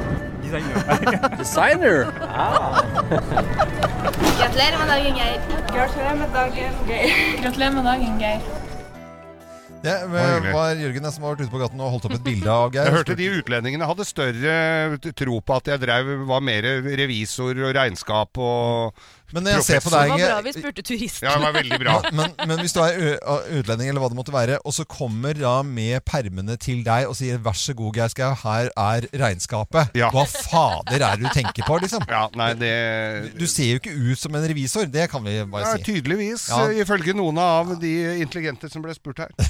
Gratulerer med dagen, Geir. Gratulerer med dagen, Geir. Gratulerer med dagen, Geir. Det var, hyggelig. var Jørgen som har vært ute på gaten og holdt opp et bilde av Geir. Jeg hørte de utlendingene hadde større t- tro på at jeg drev, var mer revisor og regnskap og Men jeg ser på Det deg, var bra vi Inge, spurte turisten. Ja, det var veldig bra. men, men hvis du er ø- ø- utlending eller hva det måtte være, og så kommer da med permene til deg og sier 'vær så god, Geir Skau, her er regnskapet'. Ja. Hva fader er det du tenker på, liksom? Ja, nei, det Du ser jo ikke ut som en revisor, det kan vi ja, bare si. Tydeligvis, Ja. eh, ifølge noen av de intelligente som ble spurt her.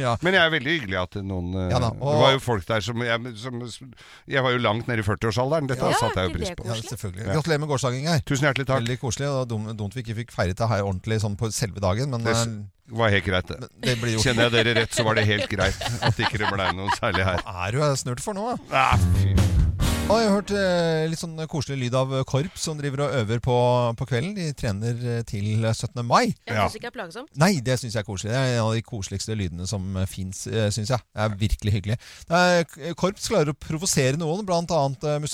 Ja. Men jeg er veldig hyggelig at noen eh, Ja da, og- Det var jo folk der som Jeg, som, jeg var jo langt nede i 40-årsalderen. Dette Ja, satte jeg jo ikke pris det på. Ja, koselig? selvfølgelig. Gratulerer med gårsdagen, Geir. Tusen hjertelig takk. Veldig koselig. og dum- Dumt vi ikke fikk feiret det her ordentlig sånn på selve dagen, men Det s- eh, var helt greit, det. det blir jo Kjenner jeg dere rett, så var det helt greit at ikke det ble noe særlig her. Er du snurt for nå, da? Ah, fy. Og jeg har hørt eh, litt sånn koselig lyd av korps som driver og øver på, på kvelden. De trener eh, til 17. mai. Jeg Ja. syns ikke det er plagsomt. Nei, det syns jeg er koselig. Det er en av de koseligste lydene som fins, syns jeg. Det er virkelig hyggelig. Det er, korps klarer å provosere noen, bl.a.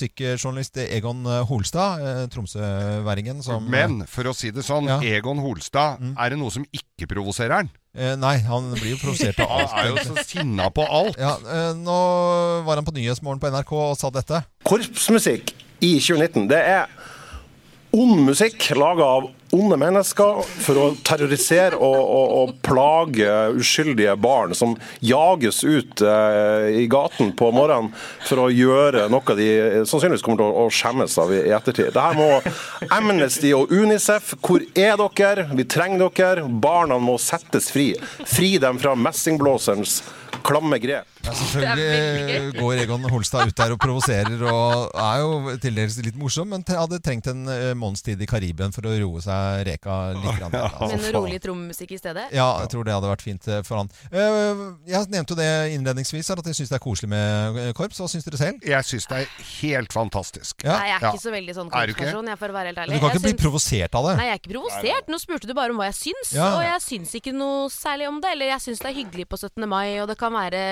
musikkjournalist Egon Holstad, eh, tromsøværingen, som eh, Men for å si det sånn, Ja. Mm. Egon Holstad, er det noe som ikke provoserer han? eh, Nei, han blir jo provosert av Han er jo alt. så sinna på alt. Ja, eh, nå var han på Nyhetsmorgen på NRK og sa dette. Korpsmusikk i 2019, det er ond musikk laga av onde mennesker for å terrorisere og, og, og plage uskyldige barn som jages ut eh, i gaten på morgenen for å gjøre noe de sannsynligvis kommer til å, å skjemmes av i i ettertid. Det her må Amnesty og Unicef, hvor er dere? Vi trenger dere. Barna må settes fri. Fri dem fra messingblåserens klamme grep. Ja, selvfølgelig går Egon Holstad ut der og provoserer, og er jo til dels litt morsom, men te- hadde trengt en eh, månedstid i Karibien for å roe seg reka litt. Grann, der, altså. Men rolig trommemusikk i stedet? Ja, jeg tror det hadde vært fint eh, for han. Eh, Jeg nevnte jo det innledningsvis, her, at jeg syns det er koselig med eh, korps. Hva syns dere selv? Jeg syns det er helt fantastisk. Nei, jeg er ikke så veldig sånn Er du ikke? konspirasjon, jeg, for å være helt Men ærlig. du kan Jeg ikke bli syns- provosert av det. Nei, jeg er ikke provosert. Nå spurte du bare om hva jeg syns, Ja. og jeg syns ikke noe særlig om det. Eller jeg syns det er hyggelig på 17. mai, og det kan være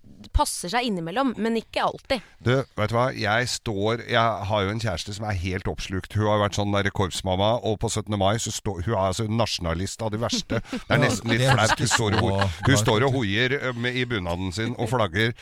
det passer seg innimellom, men ikke alltid. Du, vet du hva? Jeg står Jeg har jo en kjæreste som er helt oppslukt. Hun har vært sånn der korpsmamma, og på 17. mai så står Hun er altså nasjonalist av de verste. Det er Ja, nesten litt det er flaut. Hun, faktisk står og- så hun flaut, står og hoier ø, med- i bunaden sin og flagger.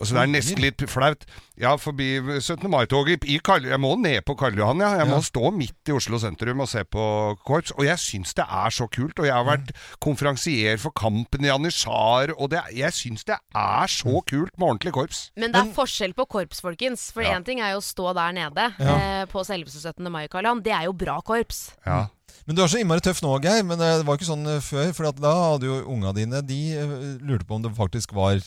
Og så det er nesten litt flaut. Ja, forbi 17. mai-toget i Karl... Jeg må ned på Karl Johan, ja. Jeg må stå midt i Oslo sentrum og se på korps. Og jeg syns det er så kult. Og jeg har vært konferansier for Kampen i Anishar, og det, jeg syns det er så kult med ordentlig korps. Men det er forskjell på korps, folkens. For Ja. én ting er jo å stå der nede Ja. eh, på selveste 17. mai, Karl Johan. Det er jo bra korps. Men du er så innmari tøff nå, Geir. Men det var ikke sånn eh, før. For da hadde jo unga dine De eh, lurte på om det faktisk var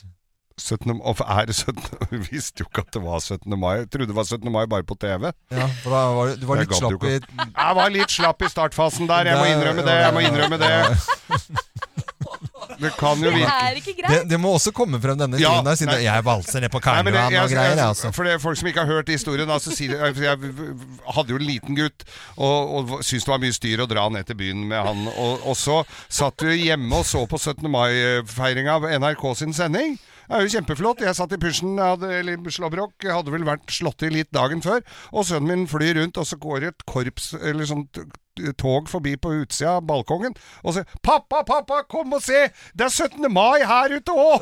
17. Og er det 17. Vi visste jo ikke at det var 17. mai. Jeg trodde det var 17. mai bare på TV. Ja, for da var du- du var Jeg litt gadd jo slapp i- ikke. Jeg var litt slapp i startfasen der. Jeg må Der innrømme var det. Jeg må det, ja. innrømme det. Det kan jo virke ikke det, det må også komme frem denne Ja, tiden der, siden nei. det- jeg valser ned på Nei, men det- Karnevan jeg- og greier. jeg- Altså. For det er folk som ikke har hørt historien da, så sier de- for Jeg hadde jo en liten gutt og, og syntes det var mye styr å dra ned til byen med han. Og, og så satt vi hjemme og så på 17. mai-feiringa av NRK sin sending. Det er jo kjempeflott. Jeg satt i pysjen, jeg hadde- eller slåbrok, jeg hadde vel vært slått i litt dagen før. Og sønnen min flyr rundt, og så går det et korps, eller sånn t- t- tog forbi på utsida av balkongen, og så 'Pappa, pappa, kom og se! Det er 17. mai her ute òg!'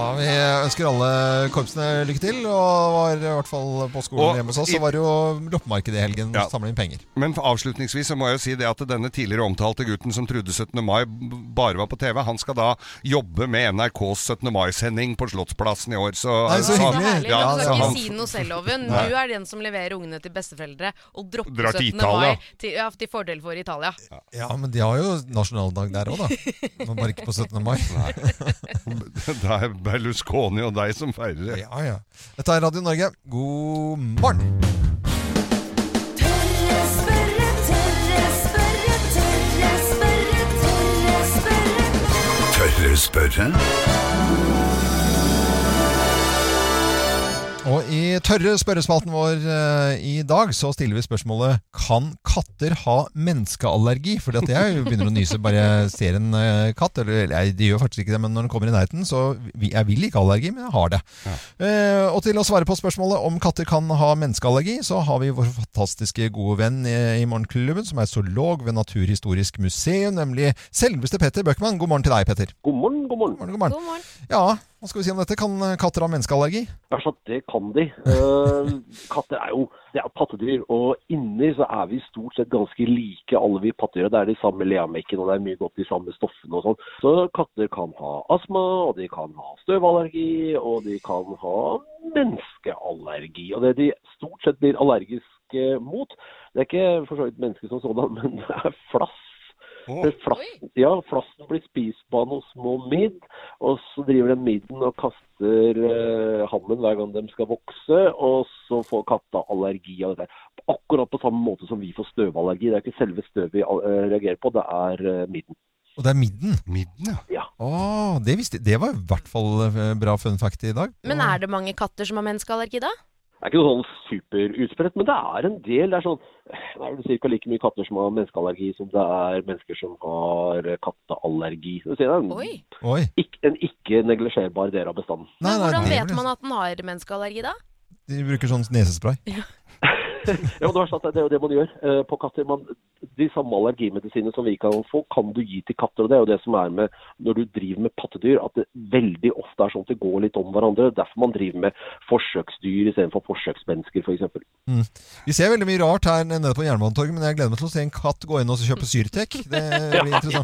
Ja, vi ønsker alle korpsene lykke til. Og var i hvert fall på skolen Og hjemme hos oss, i- så var det jo loppemarked i helgen. Ja. og Samle inn penger. Men for avslutningsvis så må jeg jo si det at denne tidligere omtalte gutten som trodde 17. mai b- bare var på TV, han skal da jobbe med NRKs 17. mai-sending på Slottsplassen i år. Så, Nei, så han- Herlig, men hyggelig. du så skal ikke han- si noe selv, Oven. Nei. Du er den som leverer ungene til besteforeldre og dropper Drar til 17. Italia. mai til, ja, til fordel for Italia. Ja, men de har jo nasjonaldag der òg, da. Men bare ikke på 17. mai. det er Berlusconi og deg som feirer det. Ja, ja. Dette er Radio Norge. God morgen! Tørre spørre? Og i tørre spørrespalten vår eh, i dag så stiller vi spørsmålet Kan katter ha menneskeallergi? Fordi at jeg begynner å nyse bare jeg ser en eh, katt. Eller nei, de gjør faktisk ikke det, men når den kommer i nærheten, så vi, Jeg vil ikke ha allergi, men jeg har det. Eh, og til å svare på spørsmålet om katter kan ha menneskeallergi, så har vi vår fantastiske gode venn eh, i, i Morgenklubben, som er zoolog ved Naturhistorisk museum, nemlig selveste Petter Bøckmann. God morgen til deg, Petter. God morgen, god morgen. God morgen. Ja, hva skal vi si om dette? Kan katter ha menneskeallergi? Altså, det kan de. Eh, katter er jo det er pattedyr, og inni så er vi stort sett ganske like alle vi pattedyr. Det er de samme leamekkene, og det er mye godt de samme stoffene og sånn. Så katter kan ha astma, og de kan ha støvallergi, og de kan ha menneskeallergi. Og det de stort sett blir allergiske mot, det er ikke for så vidt mennesker som sådan, men det er flass. Det er Flassen, ja, flassen blir spist på av noen små midd, og så driver den midden og kaster eh, hammen hver gang de skal vokse, og så får katta allergi av det. der. Akkurat på samme måte som vi får støvallergi. Det er ikke selve støvet vi eh, reagerer på, det er eh, midden. Og det er midden? Midden, ja. Å, Ah, det, visste, det var i hvert fall eh, bra fun fact i dag. Men er det mange katter som har menneskeallergi da? Det er ikke noe sånn superutbredt, men det er en del. Det er sånn, det er vel ca. like mye katter som har menneskeallergi som det er mennesker som har eh, katteallergi. Så Det er en, Oi. Ikk, en ikke neglisjerbar del av bestanden. Nei, nei, Hvordan det vet blir- man at den har menneskeallergi da? De bruker sånn nesespray. ja, men det, verste er at det er jo det man gjør eh, på katter. Man, de samme allergimedisinene som vi kan få, kan du gi til katter. og Det er jo det som er med når du driver med pattedyr, at det veldig ofte er sånn at det går litt om hverandre. Derfor man driver med forsøksdyr istedenfor forsøksmennesker, f.eks. eksempel. Mm. Vi ser veldig mye rart her nede på Jernbanetorget, men jeg gleder meg til å se en katt gå inn og kjøpe Syrtek. Det Ja, blir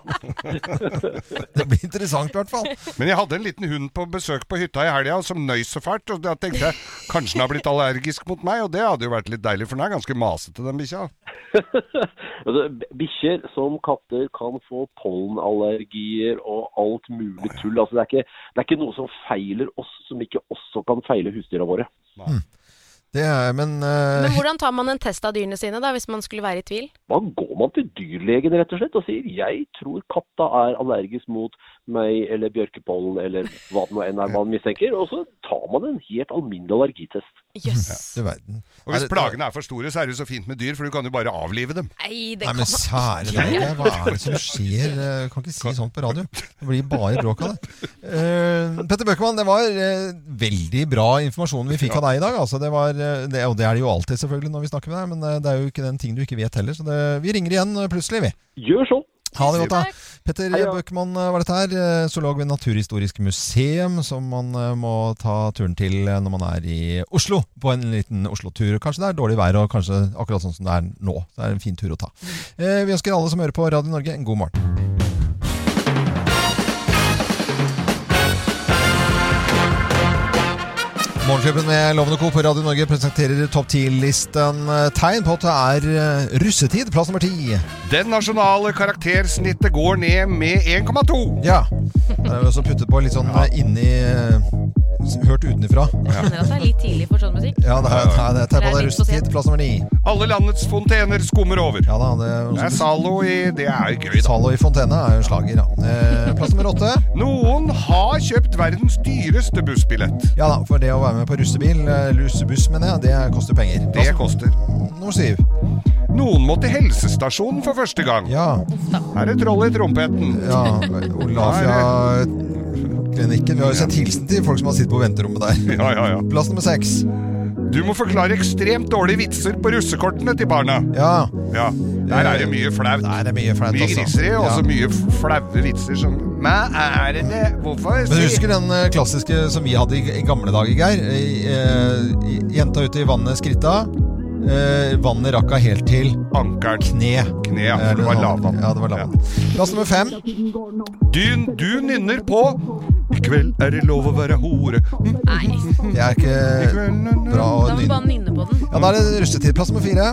interessant. det blir interessant i hvert fall. Men jeg hadde en liten hund på besøk på hytta i helga som nøys så fælt. Og da tenkte jeg kanskje den har blitt allergisk mot meg, og det hadde jo vært litt deilig, for den er ganske masete, den bikkja. Altså, b- Bikkjer som katter kan få pollenallergier og alt mulig tull. Altså, det, er ikke, det er ikke noe som feiler oss, som ikke også kan feile husdyra våre. Mm. Det er, men eh, Men hvordan tar man en test av dyrene sine, da, hvis man skulle være i tvil? Da går man til dyrlegen rett og slett og sier jeg tror katta er allergisk mot meg eller bjørkepollen eller hva det nå enn er man mistenker. Og så tar man en helt alminnelig allergitest. Ja. Og hvis plagene er for store, så er det jo så fint med dyr, for du kan jo bare avlive dem. Nei, Nei, men sære deg, det er- hva er det som skjer? Eh, Kan ikke si sånt på radio. Det blir bare bråk av det. Eh, Petter Bøckmann, det var eh, veldig bra informasjon vi fikk av deg i dag. Altså, det var, eh, det, og det er det jo alltid selvfølgelig når vi snakker med deg, men eh, det er jo ikke den ting du ikke vet heller. Så det, vi ringer igjen eh, plutselig, vi. Gjør så. Ha det godt, da. Petter Bøckmann eh, var dette her, eh, zoolog ved Naturhistorisk museum, som man eh, må ta turen til eh, når man er i Oslo, på en liten Oslo-tur. Kanskje det er dårlig vær, og kanskje akkurat sånn som det er nå. Så det er en fin tur å ta. Eh, Vi ønsker alle som hører på Radio Norge, en god morgen. Morgenklubben med Lovende Co. på Radio Norge presenterer topp 10-listen eh, tegn på at det er eh, russetid. Plass nummer ti. Den nasjonale karaktersnittet går ned med 1,2. Ja. Der har vi også puttet på litt sånn eh, inni eh, Hørt utenifra. Jeg skjønner at det er litt tidlig for sånn musikk. Ja, det er, det er, det er tegn på at det Det er er litt for sent. russetid. Plass nummer ni. Alle landets fontener skummer over. Ja da, det, det er Zalo i Det er jo gøy, da. Zalo i fontene er jo en slager, ja. Eh, Plass nummer åtte. Noen har kjøpt verdens dyreste bussbillett. Ja da, for det å være med på russebil, eh, russebuss mener jeg, det koster penger. Altså, Det koster. Nummer syv. Noen må til helsestasjonen for første gang. Ja. Her er trollet i trompeten. Ja, Olafia-klinikken. Vi har jo sett hilsen til folk som har sittet på venterommet der. Ja, ja, ja. Plass nummer seks. Du må forklare ekstremt dårlige vitser på russekortene til barna. Ja. Ja, Der er det mye flaut. Eh, Der er det mye flaut, altså. griseri og også Ja. mye f- flaue vitser som Hva er det det Hvorfor Men du husker den eh, klassiske som vi hadde i, i gamle dager, Geir? I, eh, i- jenta ute i vannet skritta. Eh, vannet rakka helt til Ankeren. Kne. Kne, ja, for det var lavvann. Ja, det var lavvann. Plass nummer fem. Du, du nynner på I kveld er det lov å være hore. Nei. Det er ikke bra å Da må vi nynne. bare nynne på den. Ja, Da er det russetid. Plass nummer fire.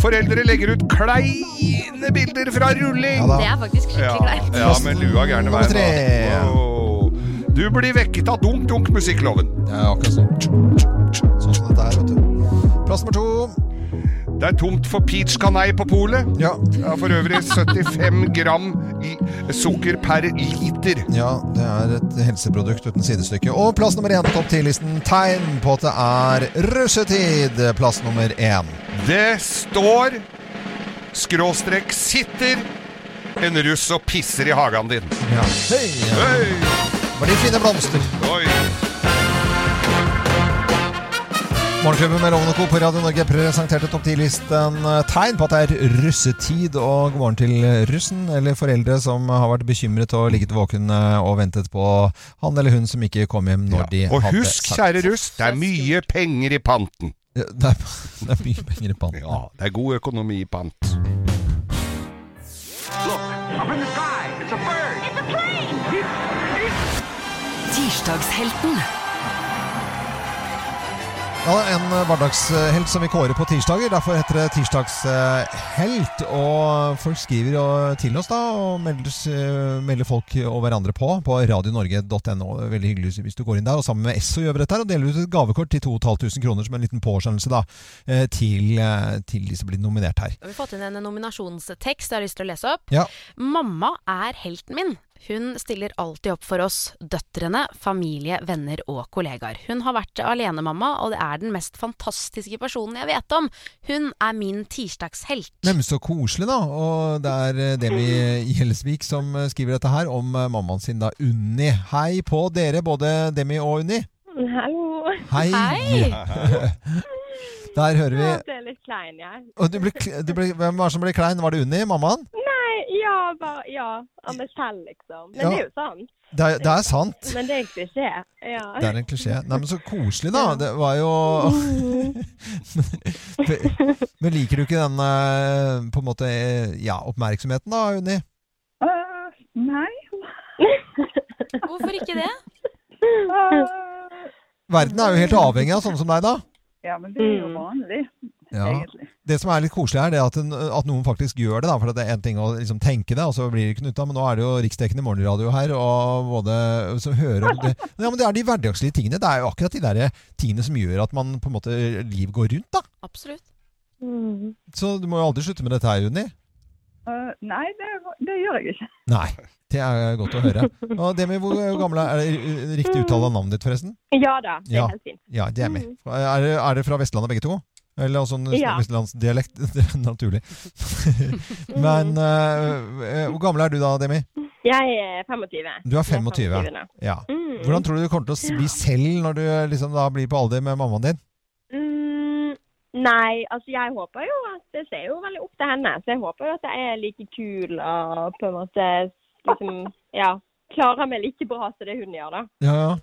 Foreldre legger ut kleine bilder fra rulling. Ja da. Det er faktisk skikkelig kleint. Ja, med lua gærne Nummer veien. tre. da. Åh. Du blir vekket av dunk-dunk-musikkloven. Det er akkurat sånn. Sånn som dette er, vet du. Plass nummer to. Det er tomt for peach canai på polet. Ja. Ja, for øvrig 75 gram i- sukker per liter. Ja, det er et helseprodukt uten sidestykke. Og plass nummer én på topp ti-listen. Tegn på at det er russetid. Plass nummer én. Det står skråstrek sitter en russ og pisser i hagen din. Ja. Hei! Var de fine blomster? Oi. Morgenklubben med Lovende Co. på Radio Norge presenterte topp 10-listen tegn på at det er russetid. Og god morgen til russen, eller foreldre som har vært bekymret og ligget våkne og ventet på han eller hun som ikke kom hjem når de Og hadde husk, sagt- kjære russ, det er mye penger i panten. Ja, Det er, det er mye penger i panten. Ja, det er god økonomi i pant. Tirsdagshelten. Ja, det er en eh, hverdagshelt som vi kårer på tirsdager. Derfor heter det Tirsdagshelt. Og folk skriver jo til oss da, og melder, eh, melder folk og hverandre på på radionorge.no. Veldig hyggelig hvis du går inn der. Og sammen med SO gjør vi dette her, og deler ut et gavekort til 2500 kroner som en liten påskjønnelse da, eh, til, eh, til de som blir nominert her. Vi har fått inn en nominasjonstekst jeg har lyst til å lese opp. Ja. Mamma er helten min. Hun stiller alltid opp for oss, døtrene, familie, venner og kollegaer. Hun har vært alenemamma, og det er den mest fantastiske personen jeg vet om. Hun er min tirsdagshelt. Neimen, så koselig, da. Og det er eh, Demi Gjelsvik som eh, skriver dette her om eh, mammaen sin, da. Unni. Hei på dere, både Demi og Unni. Hallo. Hei. Der hører vi Jeg ble litt klein, jeg. og du ble, kl- du ble, Hvem var det som ble klein? Var det Unni? Mammaen? Nei, ja, bare Ja. Av meg selv, liksom. Men Ja. det er jo sant. Det er, det er sant. Men det er en klisjé. Ja. Det er en klisjé. Nei, men så koselig, da. Det var jo Men liker du ikke den eh, på en måte, eh, ja, oppmerksomheten, da, Unni? Eh, nei. Hvorfor ikke det? Eh, Verden er jo helt avhengig av sånne som deg, da. ja, men det er Mm. jo vanlig. Ja. Det som er litt koselig her, det er at, en, at noen faktisk gjør det. Da, for at det er en ting å liksom, tenke det, og så blir det ikke noe ut av Men nå er det jo riksdekkende morgenradio her, og både som hører om det Ja, men det er de hverdagslige tingene. Det er jo akkurat de der tingene som gjør at man på en måte liv går rundt, da. Absolutt. Så du må jo aldri slutte med dette her, Unni. Eh, nei, det, det gjør jeg ikke. Nei. Det er godt å høre. Og det med hvor gammel er Er det riktig uttale av navnet ditt, forresten? Ja da, det er Ja. helt fint. Mm. Ja, det er med. Er, det- er det fra Vestlandet begge to? Eller også en Ja. vestlandsdialekt? Det er Naturlig. Men eh, eh, hvor gammel er du da, Demi? Jeg er 25. Du er Mm. Jeg 25. nå. Ja. Mm. Hvordan tror du du kommer til å bli selv når du liksom da blir på alder med mammaen din? Mm, nei, altså jeg håper jo at Jeg ser jo veldig opp til henne, så jeg håper jo at jeg er like kul og på en måte liksom Ja. Klarer meg like bra som det hun gjør, da. Ja, ja.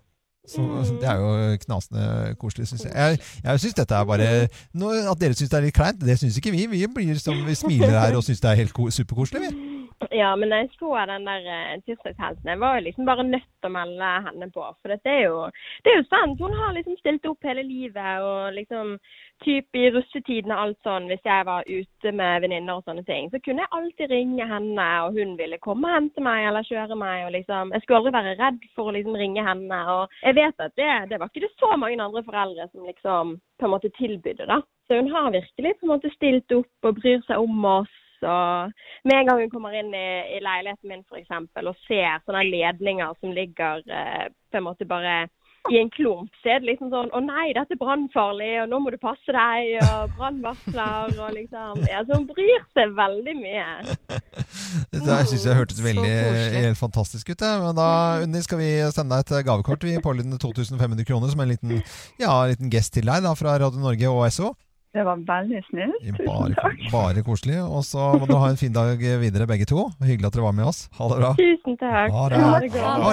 Så, altså, Det er jo eh, knasende koselig, syns jeg. Jeg, jeg syns dette er bare Mm. nå, At dere syns det er litt kleint, det syns ikke vi. Vi blir som vi smiler her og syns det er helt ko superkoselig, vi. Ja, men når jeg så den der eh, tirsdagshelsen, jeg var jo liksom bare nødt til å melde henne på. For dette er jo, det er jo sant. Hun har liksom stilt opp hele livet og liksom typ i russetiden og alt sånn. Hvis jeg var ute med venninner og sånne ting, så kunne jeg alltid ringe henne, og hun ville komme og hente meg eller kjøre meg. og liksom, Jeg skulle aldri være redd for å liksom ringe henne. og Jeg vet at det, det var ikke det så mange andre foreldre som liksom på en måte tilbydde, da. Så hun har virkelig på en måte stilt opp og bryr seg om oss. og med en gang hun kommer inn i, i leiligheten min for eksempel, og ser sånne ledninger som ligger eh, på en måte bare i en klump, så er det liksom sånn Å nei, dette er brannfarlig, og nå må du passe deg, og brannvarsler, og liksom Ja, så hun bryr seg veldig mye. Dette her synes jeg Mm. hørtes veldig helt fantastisk ut. jeg. Men da, Unni, skal vi sende deg et eh, gavekort. Vi pålydende 2500 kroner som en liten, ja, en liten gest til deg da, fra Radio Norge og SO. Det var veldig snilt. Tusen Bare, takk. bare koselig. Og så må dere ha en fin dag videre, begge to. Hyggelig at dere var med oss. Ha det bra. Tusen takk. Ha det. Ha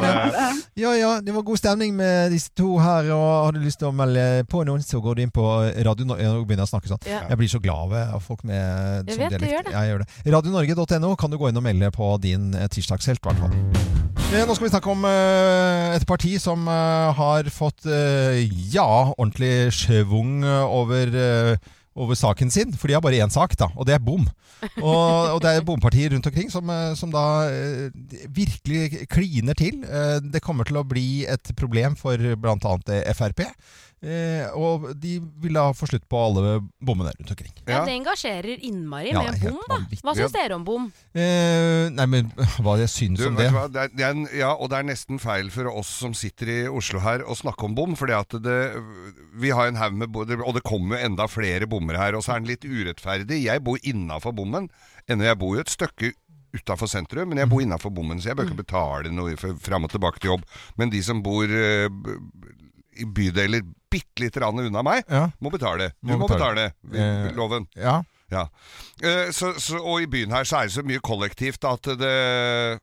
det. Ja, ja, det var god stemning med disse to her. Og har du lyst til å melde på noen, så går du inn på Radio Norge og begynner jeg å snakke sånn. Ja. Jeg blir så glad ved folk med Jeg sånn vet, du gjør det. Ja, jeg gjør det. RadioNorge.no kan du gå inn og melde på din eh, tirsdagshelt, i hvert fall. Eh, Nå skal vi snakke om eh, et parti som eh, har fått eh, ja, ordentlig schwung over eh, over saken sin, for de har bare én sak, da, og det er bom. Og, og det er bompartier rundt omkring som, eh, som da eh, virkelig kliner til. Eh, Det kommer til å bli et problem for bl.a. Frp. eh, Og de vil da få slutt på alle bommene rundt omkring. Ja, det engasjerer innmari Ja, med helt bom, da. vanvittig. Hva syns Ja. dere om bom? Eh, nei, men hva jeg syns Du, om vet det du hva, det er, det er, en- ja, og det er nesten feil for oss som sitter i Oslo her å snakke om bom, fordi at det, vi har en haug med bo- det- Og det kommer jo enda flere bommer her, og så er den litt urettferdig. Jeg bor innafor bommen, ennå jeg bor jo et stykke utafor sentrum, men jeg Mhm. bor innafor bommen, så jeg bør ikke betale noe for fram og tilbake til jobb. Men de som bor eh, b- i bydeler bitte lite grann unna meg, må betale. Du Må må betale. betale, Eh, loven. Ja. Ja. Eh, så, så, og i byen her så er det så mye kollektivt at det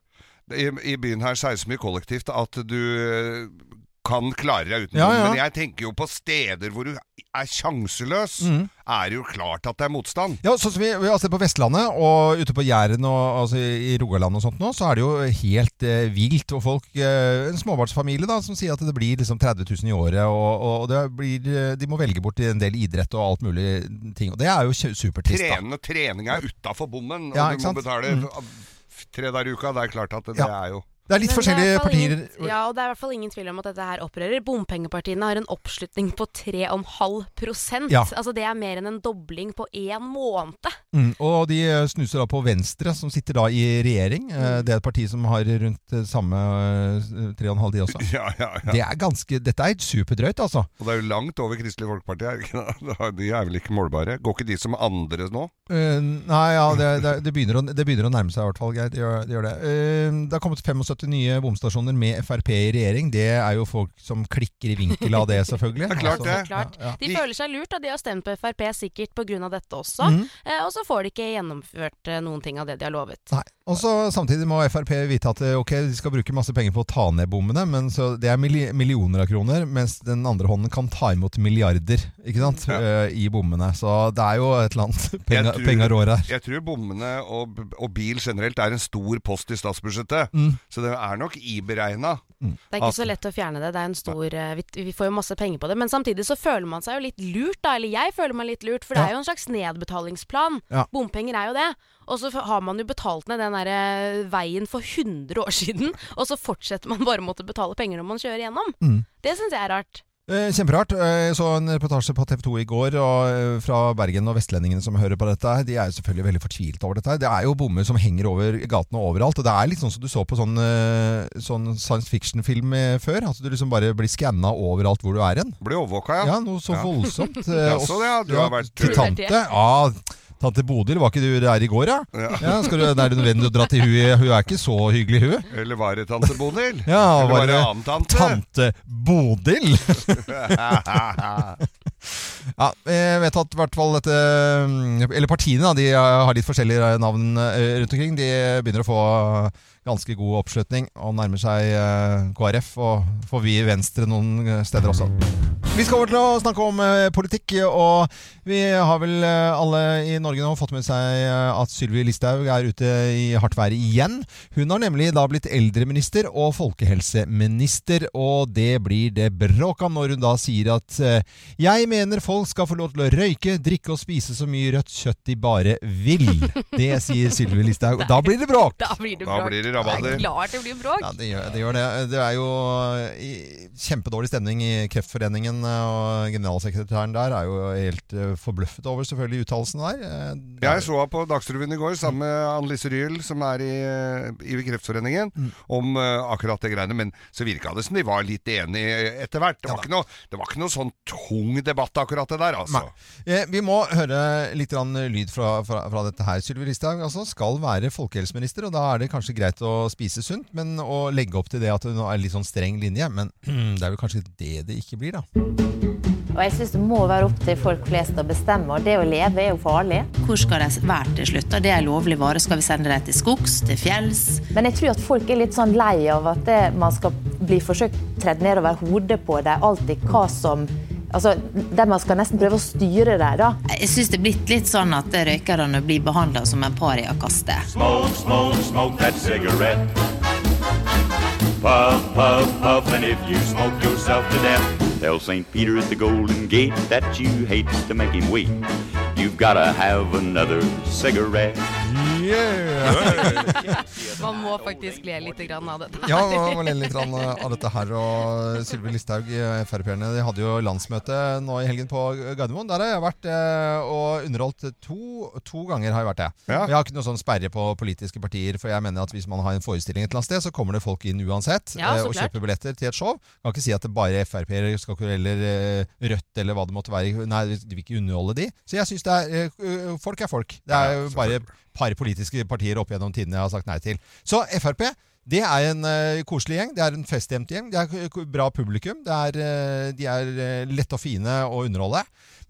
i, I byen her så er det så mye kollektivt at du eh, kan klare deg uten Ja, bom. ja. Men jeg tenker jo på steder hvor du er sjanseløs, Mhm. er det jo klart at det er motstand. Ja, sånn som vi, vi har sett på Vestlandet og ute på Jæren og altså, i Rogaland og sånt nå, så er det jo helt eh, vilt. Og folk, eh, en småbarnsfamilie da, som sier at det blir liksom 30 000 i året, og, og, og det blir, eh, de må velge bort en del idrett og alt mulig ting. Og det er jo kjø- supertrist da. Trening, trening er utafor bommen, og Ja, du ikke må sant? betale Mhm. f- tre dager i uka. Det er klart at det, Ja. er jo Det er Men litt forskjellige det er i hvert fall partier. Ingen, ja, og det er i hvert fall ingen tvil om at dette her opprører. Bompengepartiene har en oppslutning på 3,5 Ja. Altså Det er mer enn en dobling på én måned. Mm, og de eh, snuser da på Venstre, som sitter da i regjering. Eh, Det er et parti som har rundt eh, samme eh, tre og en halv de også. Ja, ja, ja. Det er ganske, dette er superdrøyt, altså. Og det er jo langt over Kristelig Folkeparti. Er det ikke det? De er vel ikke målbare? Går ikke de som andre nå? Eh, nei, ja, det, det, det, begynner å, det begynner å nærme seg i hvert fall, Geir. Det gjør det. Gjør det. Eh, det har kommet 75 75 nye bomstasjoner med Frp i regjering, det er jo folk som klikker i vinkel av det, selvfølgelig. Det er klart det. Altså, ja, ja. De føler seg lurt, og de har stemt på Frp sikkert pga. dette også. Mhm. Eh, og så får de ikke gjennomført eh, noen ting av det de har lovet. Nei. Og så Samtidig må Frp vite at eh, ok, de skal bruke masse penger på å ta ned bommene, men så det er milli- millioner av kroner, mens den andre hånden kan ta imot milliarder ikke sant, eh, i bommene. Så det er jo et eller annet Jeg penga- tror- pengarår her. Jeg tror bommene og, og bil generelt er en stor post i statsbudsjettet. Mm. Så det er nok iberegna. Det er ikke så lett å fjerne det. Det er en stor eh, vi, vi får jo masse penger på det. Men samtidig så føler man seg jo litt lurt, da. Eller jeg føler meg litt lurt, for det Ja. er jo en slags nedbetalingsplan. Ja. Bompenger er jo det. Og så f- har man jo betalt ned den der eh, veien for 100 år siden, og så fortsetter man bare å måtte betale penger når man kjører gjennom. Mm. Det syns jeg er rart. Eh, Kjemperart. Eh, Jeg så en reportasje på TV 2 i går og eh, fra Bergen og vestlendingene som hører på dette. her, De er jo selvfølgelig veldig fortvilt over dette. her. Det er jo bommer som henger over gatene overalt. og Det er litt sånn som du så på sånn, eh, sånn science fiction-film eh, før. At du liksom bare blir skanna overalt hvor du er hen. Blir overvåka, ja. Ja, noe så voldsomt. eh, Ja, så det, ja. Du ja, har vært Til tante. Ja, tante Bodil, var ikke du der i går, ja? Ja. ja skal du, det er det nødvendig å dra til hun? Hun er ikke så hyggelig, hun. Eller var det tante Bodil? Ja, Eller var var det det annen tante? Tante Bodil! ja, jeg vet at i hvert fall dette Eller partiene, da. De har litt forskjellige navn eh, rundt omkring. De begynner å få ganske god oppslutning og nærmer seg eh, KrF. Og får vi i Venstre noen eh, steder også. Vi skal over til å snakke om eh, politikk, og vi har vel eh, alle i Norge nå fått med seg eh, at Sylvi Listhaug er ute i hardt vær igjen. Hun har nemlig da blitt eldreminister og folkehelseminister, og det blir det bråk av når hun da sier at eh, jeg mener folk skal få lov til å røyke, drikke og spise så mye rødt kjøtt de bare vil. Det sier Sylvi Listhaug. og Da blir det bråk! Da blir det bråk. Det er klart det blir bråk. Ja, det gjør, det gjør det. Det er jo eh, i- kjempedårlig stemning i Kreftforeningen, eh, og generalsekretæren der er jo helt eh, forbløffet over selvfølgelig uttalelsen der. Eh, Jeg så henne på Dagsrevyen i går sammen med Anne-Lise Ryel, som er i, eh, i Kreftforeningen, Mm. om eh, akkurat det greiene. Men så virka det som de var litt enige etter hvert. Det, var ikke noe- det var ikke noe sånn tung debatt, akkurat det der, altså. Eh, Vi må høre litt grann lyd fra, fra, fra dette her. Sylvi Listhaug altså, skal være folkehelseminister, og da er det kanskje greit å spise sunt, men å legge opp til det at hun er litt sånn streng linje. Men det er vel kanskje det det ikke blir, da. Og jeg syns det må være opp til folk flest å bestemme, og det å leve er jo farlig. Hvor skal de være til slutt? Det er lovlig vare. Skal vi sende dem til skogs, til fjells? Men jeg tror at folk er litt sånn lei av at det, man skal bli forsøkt tredd nedover hodet på dem, alltid hva som Altså, der man skal nesten prøve å styre dem, da. Jeg syns det er blitt litt sånn at røykerne blir behandla som en pariakaste. Smoke, smoke, smoke that cigarette. Puff, puff, puff, and if you smoke yourself to death, tell St. Peter at the Golden Gate that you hate to make him wait. You've gotta have another cigarette. Yeah. Man må faktisk le litt grann av dette. her. Ja, man må le litt grann av dette her. Og Sylvi Listhaug, Frp-erne, de hadde jo landsmøte nå i helgen på Gardermoen. Der har jeg vært eh, og underholdt to, to ganger. har Jeg vært det. Jeg har ikke noe sånn sperre på politiske partier, for jeg mener at hvis man har en forestilling et eller annet sted, så kommer det folk inn uansett Ja, så eh, og klart. kjøper billetter til et show. Kan ikke si at det bare er Frp-er skal ikke- eller eh, Rødt eller hva det måtte være. Nei, de vil ikke underholde de. Så jeg syns det er eh, eh, Folk er folk. Det er jo bare par politiske partier opp gjennom tidene jeg har sagt nei til. Så Frp det er en eh, koselig gjeng, det er en feststemt gjeng, det er k- bra publikum. Det er, eh, de er eh, lette og fine å underholde.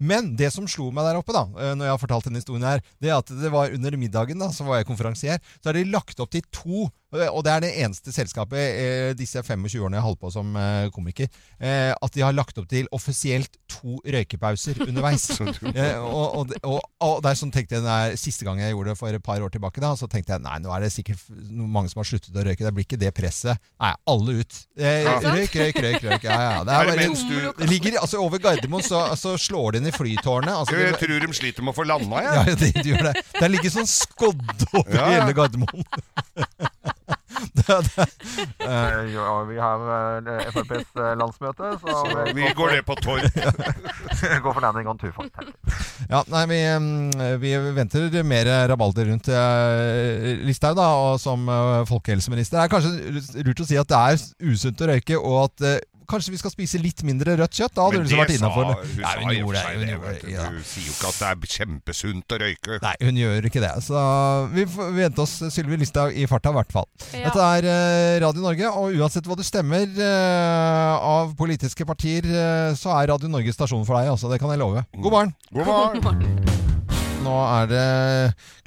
Men det som slo meg der oppe, da, eh, når jeg har fortalt denne historien her, det er at det var under middagen, da, så var jeg konferansier, så er de lagt opp til to eh, og det er det eneste selskapet eh, disse 25 årene jeg holdt på som eh, komiker, eh, at de har lagt opp til offisielt to røykepauser underveis. eh, og, og, det- og, og det er sånn tenkte jeg nei, Siste gang jeg gjorde det for et par år tilbake, da, så tenkte jeg nei, nå er det sikkert f- noen- mange som har sluttet å røyke. Det blir ikke det presset. Nei, alle ut. Eh, Ja. Røyk, røyk, røyk. røyk. Ja, ja. Det Er er det bare, mens du- det ligger, altså, over Gardermoen så, så slår det inn i flytårnet. Altså, jeg det, tror de sliter med å få landa, jeg. ja, det, det gjør det. Det ligger sånn skodd Ja, over ja. hele Gardermoen. det, det. Eh, vi har eh, FrPs landsmøte, Så vi går ned på Torp. Går for landing on two, Ja, nei, vi, mm, vi venter mer rabalder rundt eh, Listhaug, da, og som eh, folkehelseminister. Det er kanskje lurt å si at det er usunt å røyke, og at eh, kanskje vi skal spise litt mindre rødt kjøtt? Da Men hadde hun liksom vært det sa- innafor. Hun Nei, sa hun i og for gjorde seg det. Hun det, gjorde vet det. du. Hun sier jo ikke at det er kjempesunt å røyke. Nei, hun gjør ikke det. Så vi får vi vente oss Sylvi Listhaug i farta, i hvert fall. Ja. Dette er eh, Radio Norge, og uansett hva du stemmer eh, av politiske partier, eh, så er Radio Norge stasjonen for deg, altså. Det kan jeg love. God morgen! God morgen! Nå er det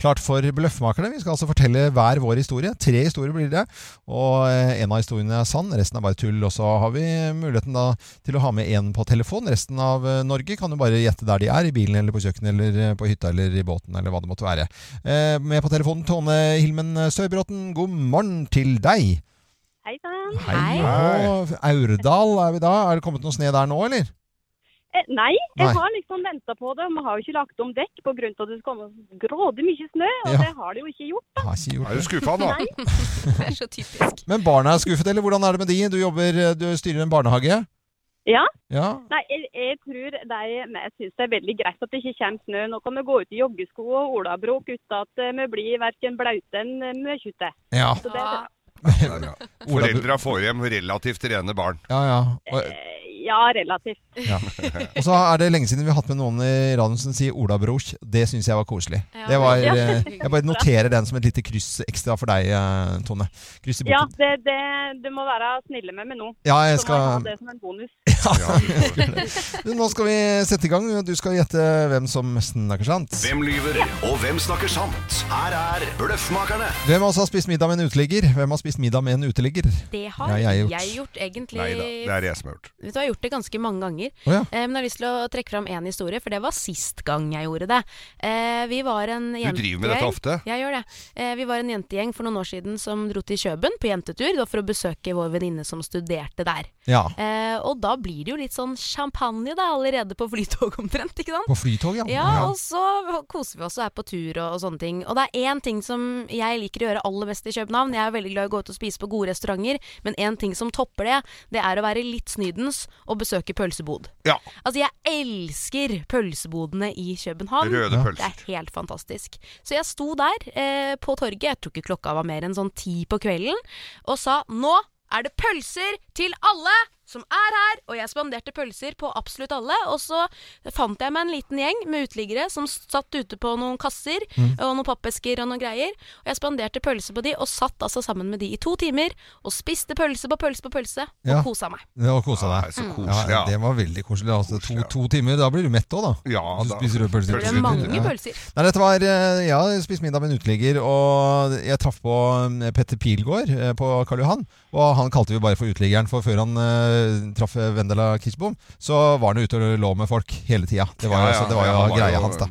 klart for Bløffmakerne. Vi skal altså fortelle hver vår historie. Tre historier blir det. Og eh, en av historiene er sann, resten er bare tull. Og så har vi muligheten da til å ha med en på telefon. Resten av eh, Norge kan jo bare gjette der de er. I bilen eller på kjøkkenet eller eh, på hytta eller i båten eller hva det måtte være. Eh, Med på telefonen Tone Hilmen Søybråten, god morgen til deg. Hei sann. Hei. Og Aurdal er vi da. Er det kommet noe sne der nå, eller? Eh, Nei, jeg Nei. har liksom venta på det. Vi har jo ikke lagt om dekk pga. at det skal komme grådig mye snø, og Ja. det har det jo ikke gjort. Har ikke Er gjort du det. skuffa nå? Det er så typisk. Men barna er skuffet, eller hvordan er det med de? Du jobber, eh, du styrer en barnehage? Ja. Ja, Nei, jeg, jeg tror de jeg synes det er veldig greit at det ikke kommer snø. Nå kan vi gå ut i joggesko og olabrok uten at eh, vi blir verken blaute enn møkjute. Ja. Så det er bra. Foreldra får hjem relativt rene barn. Ja, ja. Og, Ja, relativt. ja. og så er det lenge siden vi har hatt med noen i radioen som sier Ola Broch. Det syns jeg var koselig. Ja. Det var, Ja. eh, jeg bare noterer den som et lite kryss ekstra for deg, eh, Tone. Kryss i Ja, boken. det, det, du må være snille med meg nå. Ja, jeg Så må skal- ha det som en bonus. Du, Nå skal vi sette i gang. Du skal gjette hvem som snakker sant. Hvem lyver, og hvem snakker sant? Her er Bløffmakerne. Hvem av oss har spist middag med en uteligger? Hvem har spist middag med en uteligger? Det har Ja, jeg, jeg gjort. gjort. egentlig jeg som har gjort. Vet du, Jeg har gjort det ganske mange ganger, Å, ja. Eh, men jeg har lyst til å trekke fram én historie, for det var sist gang jeg gjorde det. Eh, vi var en jentegjeng driver med dette ofte? Jeg gjør det. Eh, vi var en jentegjeng for noen år siden som dro til Kjøben på jentetur da, for å besøke vår venninne som studerte der. Ja. Eh, og da blir det jo litt sånn champagne da, allerede på flytoget omtrent, ikke sant? På flytog, ja. Ja, og så koser vi oss og er på tur og, og sånne ting. Og det er én ting som jeg liker å gjøre aller best i København. Jeg er veldig glad i å gå ut og spise på gode restauranter, men én ting som topper det, det er å være litt snydens og besøke pølsebod. Ja. Altså, jeg elsker pølsebodene i København. Røde Ja. pølser. Det er helt fantastisk. Så jeg sto der eh, på torget, jeg tror ikke klokka var mer enn sånn ti på kvelden, og sa nå er det pølser til alle som er her, og jeg spanderte pølser på absolutt alle. Og så fant jeg meg en liten gjeng med uteliggere som satt ute på noen kasser Mm. og noen pappesker og noen greier. Og jeg spanderte pølser på de, og satt altså sammen med de i to timer og spiste pølse på pølse på pølse, og Ja. kosa meg. Det var kosa deg. Mm. så koselig, ja, det var veldig koselig. Altså, to, to timer, da blir du mett òg, da. Ja, du da- spiser røde pølser. Det er mange Ja. pølser. Nei, dette var eh, Ja, jeg spiste middag med en uteligger, og jeg traff på eh, Petter Pilgaard eh, på Karl Johan. Og han kalte vi bare for uteliggeren, for før han eh, traff Vendela Kirchbom, så var han jo ute og lå med folk hele tida. Det var, Ja, jo- ja, så det var jo ja, han var greia jo- hans, da.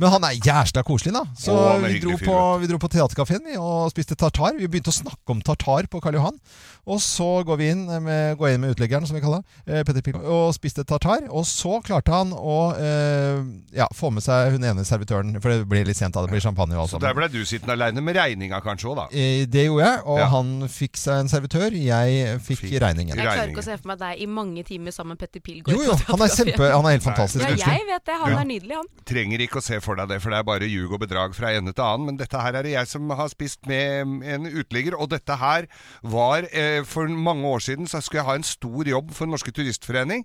Men han er jævla koselig, da. Så Å, han er vi, hyggelig dro fyr, på, vi dro på teaterkafeen vi, og spiste tartar. Vi begynte å snakke om tartar på Karl Johan. Og så går vi inn med, går jeg inn med utleggeren, som vi kaller det, eh, Petter Pilgaard, og spiste tartar. Og så klarte han å eh, ja, få med seg hun ene servitøren, for det blir litt sent da. Det blir champagne og alt Så sammen. der ble du sittende aleine med regninga kanskje òg, da. Eh, Det gjorde jeg, og Ja. han fikk seg en servitør. Jeg fikk regningen. Jeg klarer ikke å se for meg deg i mange timer sammen med Petter Pilgaard. Jo, jo, på han er teaterkafé. kjempe- han er helt fantastisk, Ja, virkelig. jeg vet det. Han Ja. er nydelig, han. Trenger ikke å se for deg det, for det er bare ljug og bedrag fra ende til annen. Men dette her er det jeg som har spist med mm, en uteligger. Og dette her var eh, For mange år siden så skulle jeg ha en stor jobb for Norske Turistforening.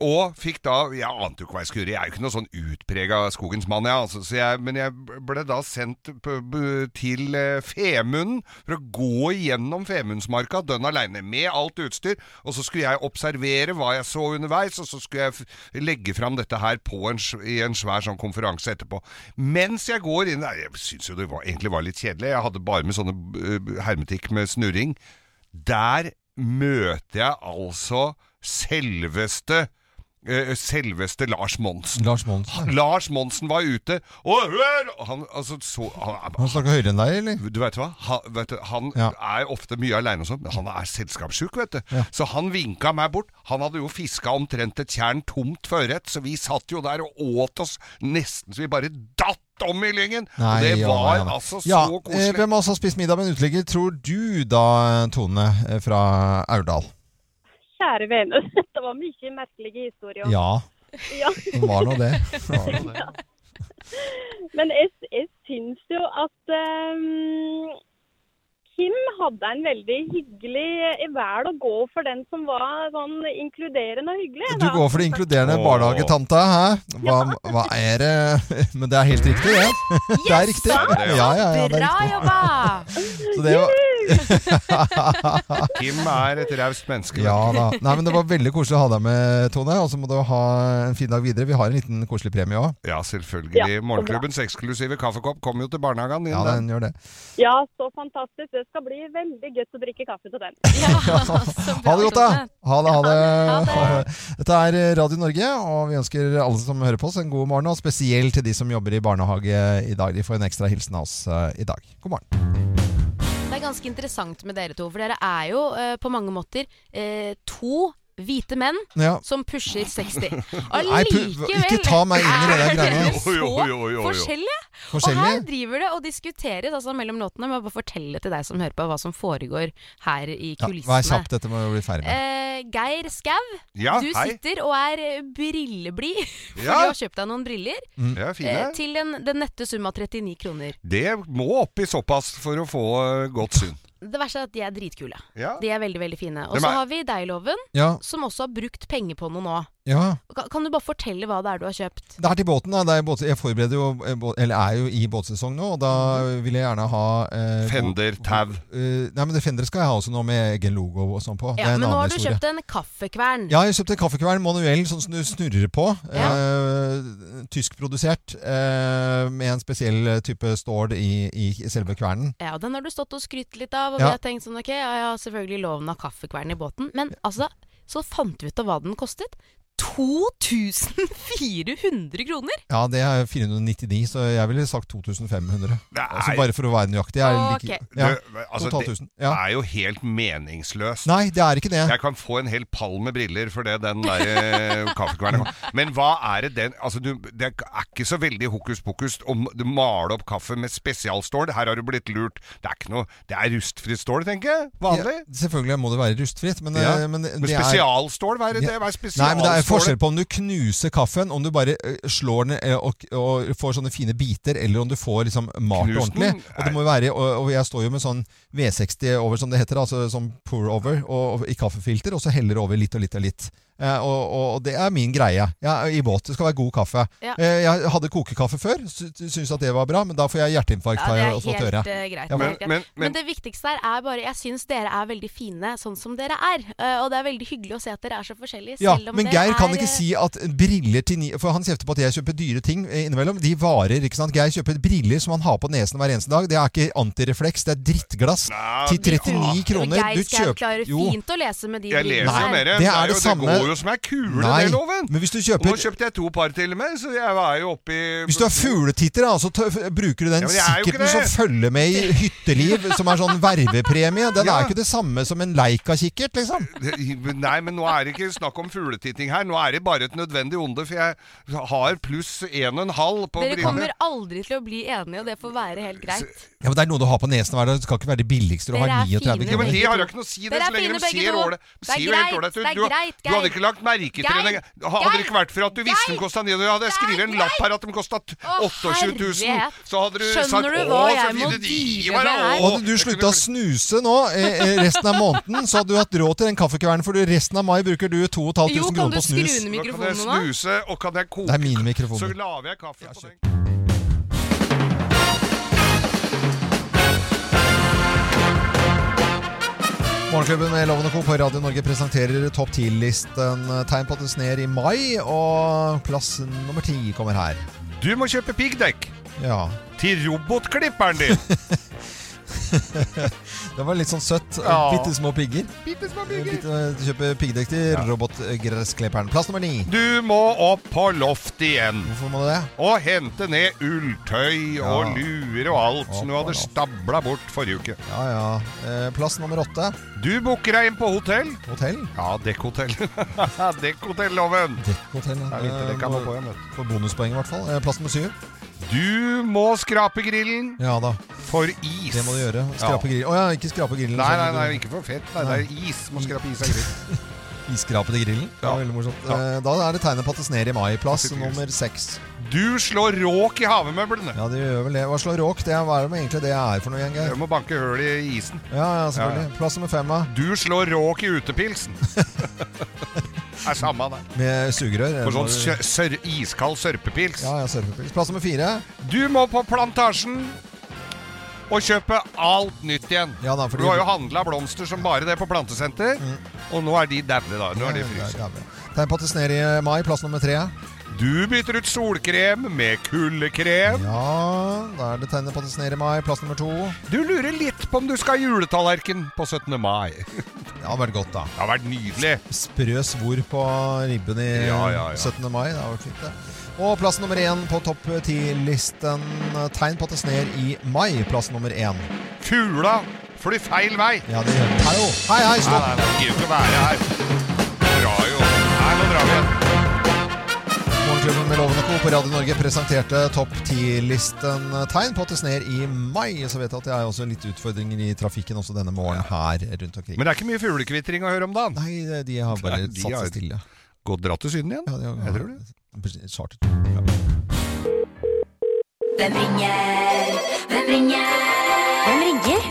Og fikk da Jeg ante jo ikke hva jeg skulle gjøre. Jeg er jo ikke noe sånn utprega skogens mann, jeg, altså. Så jeg, men jeg ble da sendt p- b- til eh, Femunden for å gå gjennom Femundsmarka dønn aleine med alt utstyr. Og så skulle jeg observere hva jeg så underveis, og så skulle jeg f legge fram dette her på en, sv- i en svær sånn konferanse etterpå. Mens jeg går inn Nei, Jeg syns jo det var, egentlig var litt kjedelig. Jeg hadde bare med sånne eh, hermetikk med snurring. Der møter jeg altså selveste eh, Selveste Lars Monsen. Lars Monsen. Lars Monsen var ute og hør! Han, altså, så, han, Han snakker høyere enn deg, eller? du vet hva? Han, vet du, han Ja. er ofte mye aleine og sånn, men han er selskapssjuk, vet du. Så han vinka meg bort. Han hadde jo fiska omtrent et tjern tomt førrett, så vi satt jo der og åt oss nesten så vi bare datt om i lyngen. og det ja, var nei, nei. altså så ja, eh, koselig. Hvem av oss har spist middag med en uteligger, tror du da, Tone eh, fra Aurdal? Kjære vene, det var mye merkelige historier. Ja. Ja. Det var nå det. Det var nå det. Ja. Men jeg, jeg syns jo at um, ehm, Kim hadde en veldig hyggelig vel å gå for den som var sånn inkluderende og hyggelig. Du går for det inkluderende Åh. barnehagetanta, hæ? Hva, hva er det Men det er helt riktig, ja. Det er riktig. Ja, det er det. Ja, ja, ja, det er Bra riktig. jobba! Så det var Kim er et raust menneske. eh, Ja da. Nei, men Det var veldig koselig å ha deg med, Tone. Og så må du ha en fin dag videre. Vi har en liten koselig premie òg. Ja, selvfølgelig. Morgenklubbens eksklusive kaffekopp kommer jo til barnehagen din. Ja, den gjør det. Ja, så fantastisk. Det skal bli veldig godt å drikke kaffe til den. Ha det godt, da! Ha det, ha det. Ha det. Dette er Radio Norge, og vi ønsker alle som hører på oss, en god morgen. Og spesielt til de som jobber i barnehage i dag. De får en ekstra hilsen av oss eh, i dag. God morgen. Det er ganske interessant med dere to, for dere er jo eh, på mange måter eh, to hvite menn Ja. som pusher 60. Nei, pu- ikke ta meg inn i det der er dere greiene. så Jo, jo, jo, jo, jo. forskjellige. Og Forskjellige? her driver det og diskuteres altså, mellom låtene. Jeg må bare fortelle til deg som hører på, hva som foregår her i Ja, kulissene. vær kjapp, dette må vi bli ferdig med. Eh, Geir Skau, Ja, du hei. sitter og er eh, brilleblid. For Ja. du har kjøpt deg noen briller Mm. Ja, fine. eh, til den, den nette sum av 39 kroner. Det må oppi såpass for å få eh, godt syn. Det verste er at de er dritkule. Ja. De er veldig veldig fine. Og Dem så er- har vi deg, Loven, Ja. som også har brukt penger på noe nå. Ja. Ka- Kan du bare fortelle hva det er du har kjøpt? Det er til båten, da. Det er båt, jeg forbereder jo, eh, bå- eller er jo i båtsesong nå, og da vil jeg gjerne ha eh, Fender, tau. Eh, nei, men det Fender skal jeg ha også nå, med egen logo og sånn på. Ja, det er en men nå annen har du historie. kjøpt en kaffekvern. Ja, jeg kjøpte en kaffekvern, manuell, sånn som du snurrer på. Eh, Tyskprodusert, eh, med en spesiell type stål i, i selve kvernen. Ja, den har du stått og skrytt litt av, og vi Ja. har tenkt sånn ok, ja, ja, selvfølgelig loven av kaffekvern i båten, men altså, så fant vi ut av hva den kostet. 2400 kroner! Ja, det er 499, så jeg ville sagt 2500. Altså er- bare for å være nøyaktig. Jeg er like, Ok. ja, Du, altså, totalt det 1000. er jo helt meningsløst. Nei, det er ikke det. Jeg kan få en hel pall med briller for det den der eh, kaffekvernen Men hva er det den Altså, du, det er ikke så veldig hokus pokus å m- du male opp kaffe med spesialstål. Her har du blitt lurt. Det er ikke noe Det er rustfritt stål, tenker jeg. Vanlig. Ja, selvfølgelig må det være rustfritt, men, Ja. eh, men, Men det er- spesialstål, hva er det det? Hva er Nei, men det er spesialstålet? forskjell på om du knuser kaffen, om du bare eh, slår den eh, og, og får sånne fine biter, eller om du får liksom malt Knus den? ordentlig. Og det må jo være, og, og jeg står jo med sånn V60 over, som det heter, altså sånn pour over og, og, i kaffefilter, og så heller over litt og litt og litt. Eh, og, og, og det er min greie. Jeg er i båt. Det skal være god kaffe. Ja. Eh, jeg hadde kokekaffe før, sy- syns at det var bra, men da får jeg hjerteinfarkt, har jeg også fått høre. eh, greit. Ja, men, men, men, det viktigste her er bare Jeg syns dere er veldig fine sånn som dere er. eh, Og det er veldig hyggelig å se at dere er så forskjellige. Ja, selv om men det Geir kan er, ikke eh, si at briller til ni... For han kjefter på at jeg kjøper dyre ting eh, innimellom. De varer, ikke sant. Geir kjøper briller som han har på nesen hver eneste dag. Det er ikke antirefleks, det er drittglass. Til 39 men kroner. Geir Du skal kjøper klare Jo. fint å lese med de Jeg leser jo brillene mer. her. det Det, er er jo, det det, samme. går jo som ei kule, Nei, det, Loven. men hvis du kjøper- Nå kjøpte jeg to par til og med, så jeg var jo oppi Hvis du har fugletitter, da, så tø- f- bruker du den Ja, men jeg er jo ikke sikkerten som det. følger med i hytteliv, som er sånn vervepremie. Den Ja. er jo ikke det samme som en Leica-kikkert, liksom. Nei, men nå er det ikke snakk om fugletitting her. Nå er det bare et nødvendig onde, for jeg har pluss en og en halv på Dere kommer brillene. aldri til å bli enige, og det får være helt greit. Ja, men Det er noe du har på nesen hver dag. Det skal ikke være det billigste Dere du er har. fine 39 Ja, men kroner. det har jo ikke noe å si, det, Dere er så lenge fine de begge ser to. ålet. Det de er ser jo helt greit, ålreit ut. det er Du, har- greit, du hadde Geir. ikke lagt merke Geir, til det. Hadde det ikke vært for at du visste den kosta 900, hadde jeg skrevet en lapp her at den kosta 28 000. herre. Så hadde du Skjønner sagt du å, hva så jeg må fine de drive var, med her? å». Og hadde du slutta å snuse nå eh, eh, resten av måneden, så hadde du hatt råd til den kaffekvernen, for du- resten av mai bruker du 2500 kroner på snus. Da kan jeg snuse, og kan jeg koke Det er mine mikrofoner. Så lager jeg kaffe på den. Morgenklubben med Loven og Co. på Radio Norge presenterer topp 10-listen Tegn på at det sner i mai, og plass nummer ti kommer her. Du må kjøpe piggdekk Ja. til robotklipperen din. Det var litt sånn søtt. Ja. Bitte små pigger. Bitte små pigger. Kjøpe piggdekk til robotgressklipperen. Plass nummer ni. Du må opp på loftet igjen. Hvorfor må du det? Og hente ned ulltøy og luer og alt som du hadde stabla bort forrige uke. Ja, ja. Eh, Plass nummer åtte. Du booker deg inn på hotell. Hotell? Ja, dekkhotell. Dekkhotelloven. Dekkhotell. Eh, Det er vinterdekka må på igjen, vet For bonuspoeng, i hvert fall. Eh, Plass nummer syv. du. Du må skrape grillen Ja da. for is. Det må du gjøre. Skrape Ja. grillen. Å ja, ikke skrape grillen. Nei, sånn nei, at nei, du- ikke for fett. Nei, det er is. Må skrape is av grillen. Iskrape til grillen. Det var veldig morsomt. Eh, Da er det tegnet på at det sner i mai. Plass nummer seks. Du slår råk i havemøblene. Ja, det gjør vel det. Hva slår råk? Det er, hva er det med egentlig det er for noe, gjeng? Du må banke høl i isen. Ja, ja, selvfølgelig. Plass nummer fem, da. Du slår råk i utepilsen. Det er samme det. Med sugerør. For sånn Bare- sø- sør iskald sørpepils. Ja, ja, surfepils. Plass nummer fire. Du må på Plantasjen og kjøpe alt nytt igjen. Ja, da, fordi- Mm. Du har jo handla blomster som bare det på plantesenter, og nå er de daue, da. Nå er de Ja, fryst. ja, ja. Tegn på at det sner i mai. Plass nummer tre. Du bytter ut solkrem med kuldekrem. Ja, da er det tegnet på at det sner i mai. Plass nummer to. Du lurer litt på om du skal ha juletallerken på 17. mai. Det har vært godt, da. Det har vært nydelig. Sprø svor på ribben i Ja, ja, ja. 17. mai. Det har vært fint, det. Og plass nummer én på topp ti-listen. Tegn på at det sner i mai. Plass nummer én. Kula flyr feil vei. Ja, det gjør det. Hallo! Hei, hei, stopp! Nei, nei, nei, gidder ikke å være her. Drar jo. Nei, nå drar vi igjen. Morgenklubben med Loven og Co. på Radio Norge presenterte topp ti-listen tegn på at det sner i mai. Så vet jeg at det er også litt utfordringer i trafikken også denne morgenen her rundt omkring. Men det er ikke mye fuglekvittring å høre om dagen. Nei, de har bare satt seg stille. Godt dratt til Syden igjen. jeg tror det. Charter. Hvem ringer? Hvem ringer? Hvem ringer?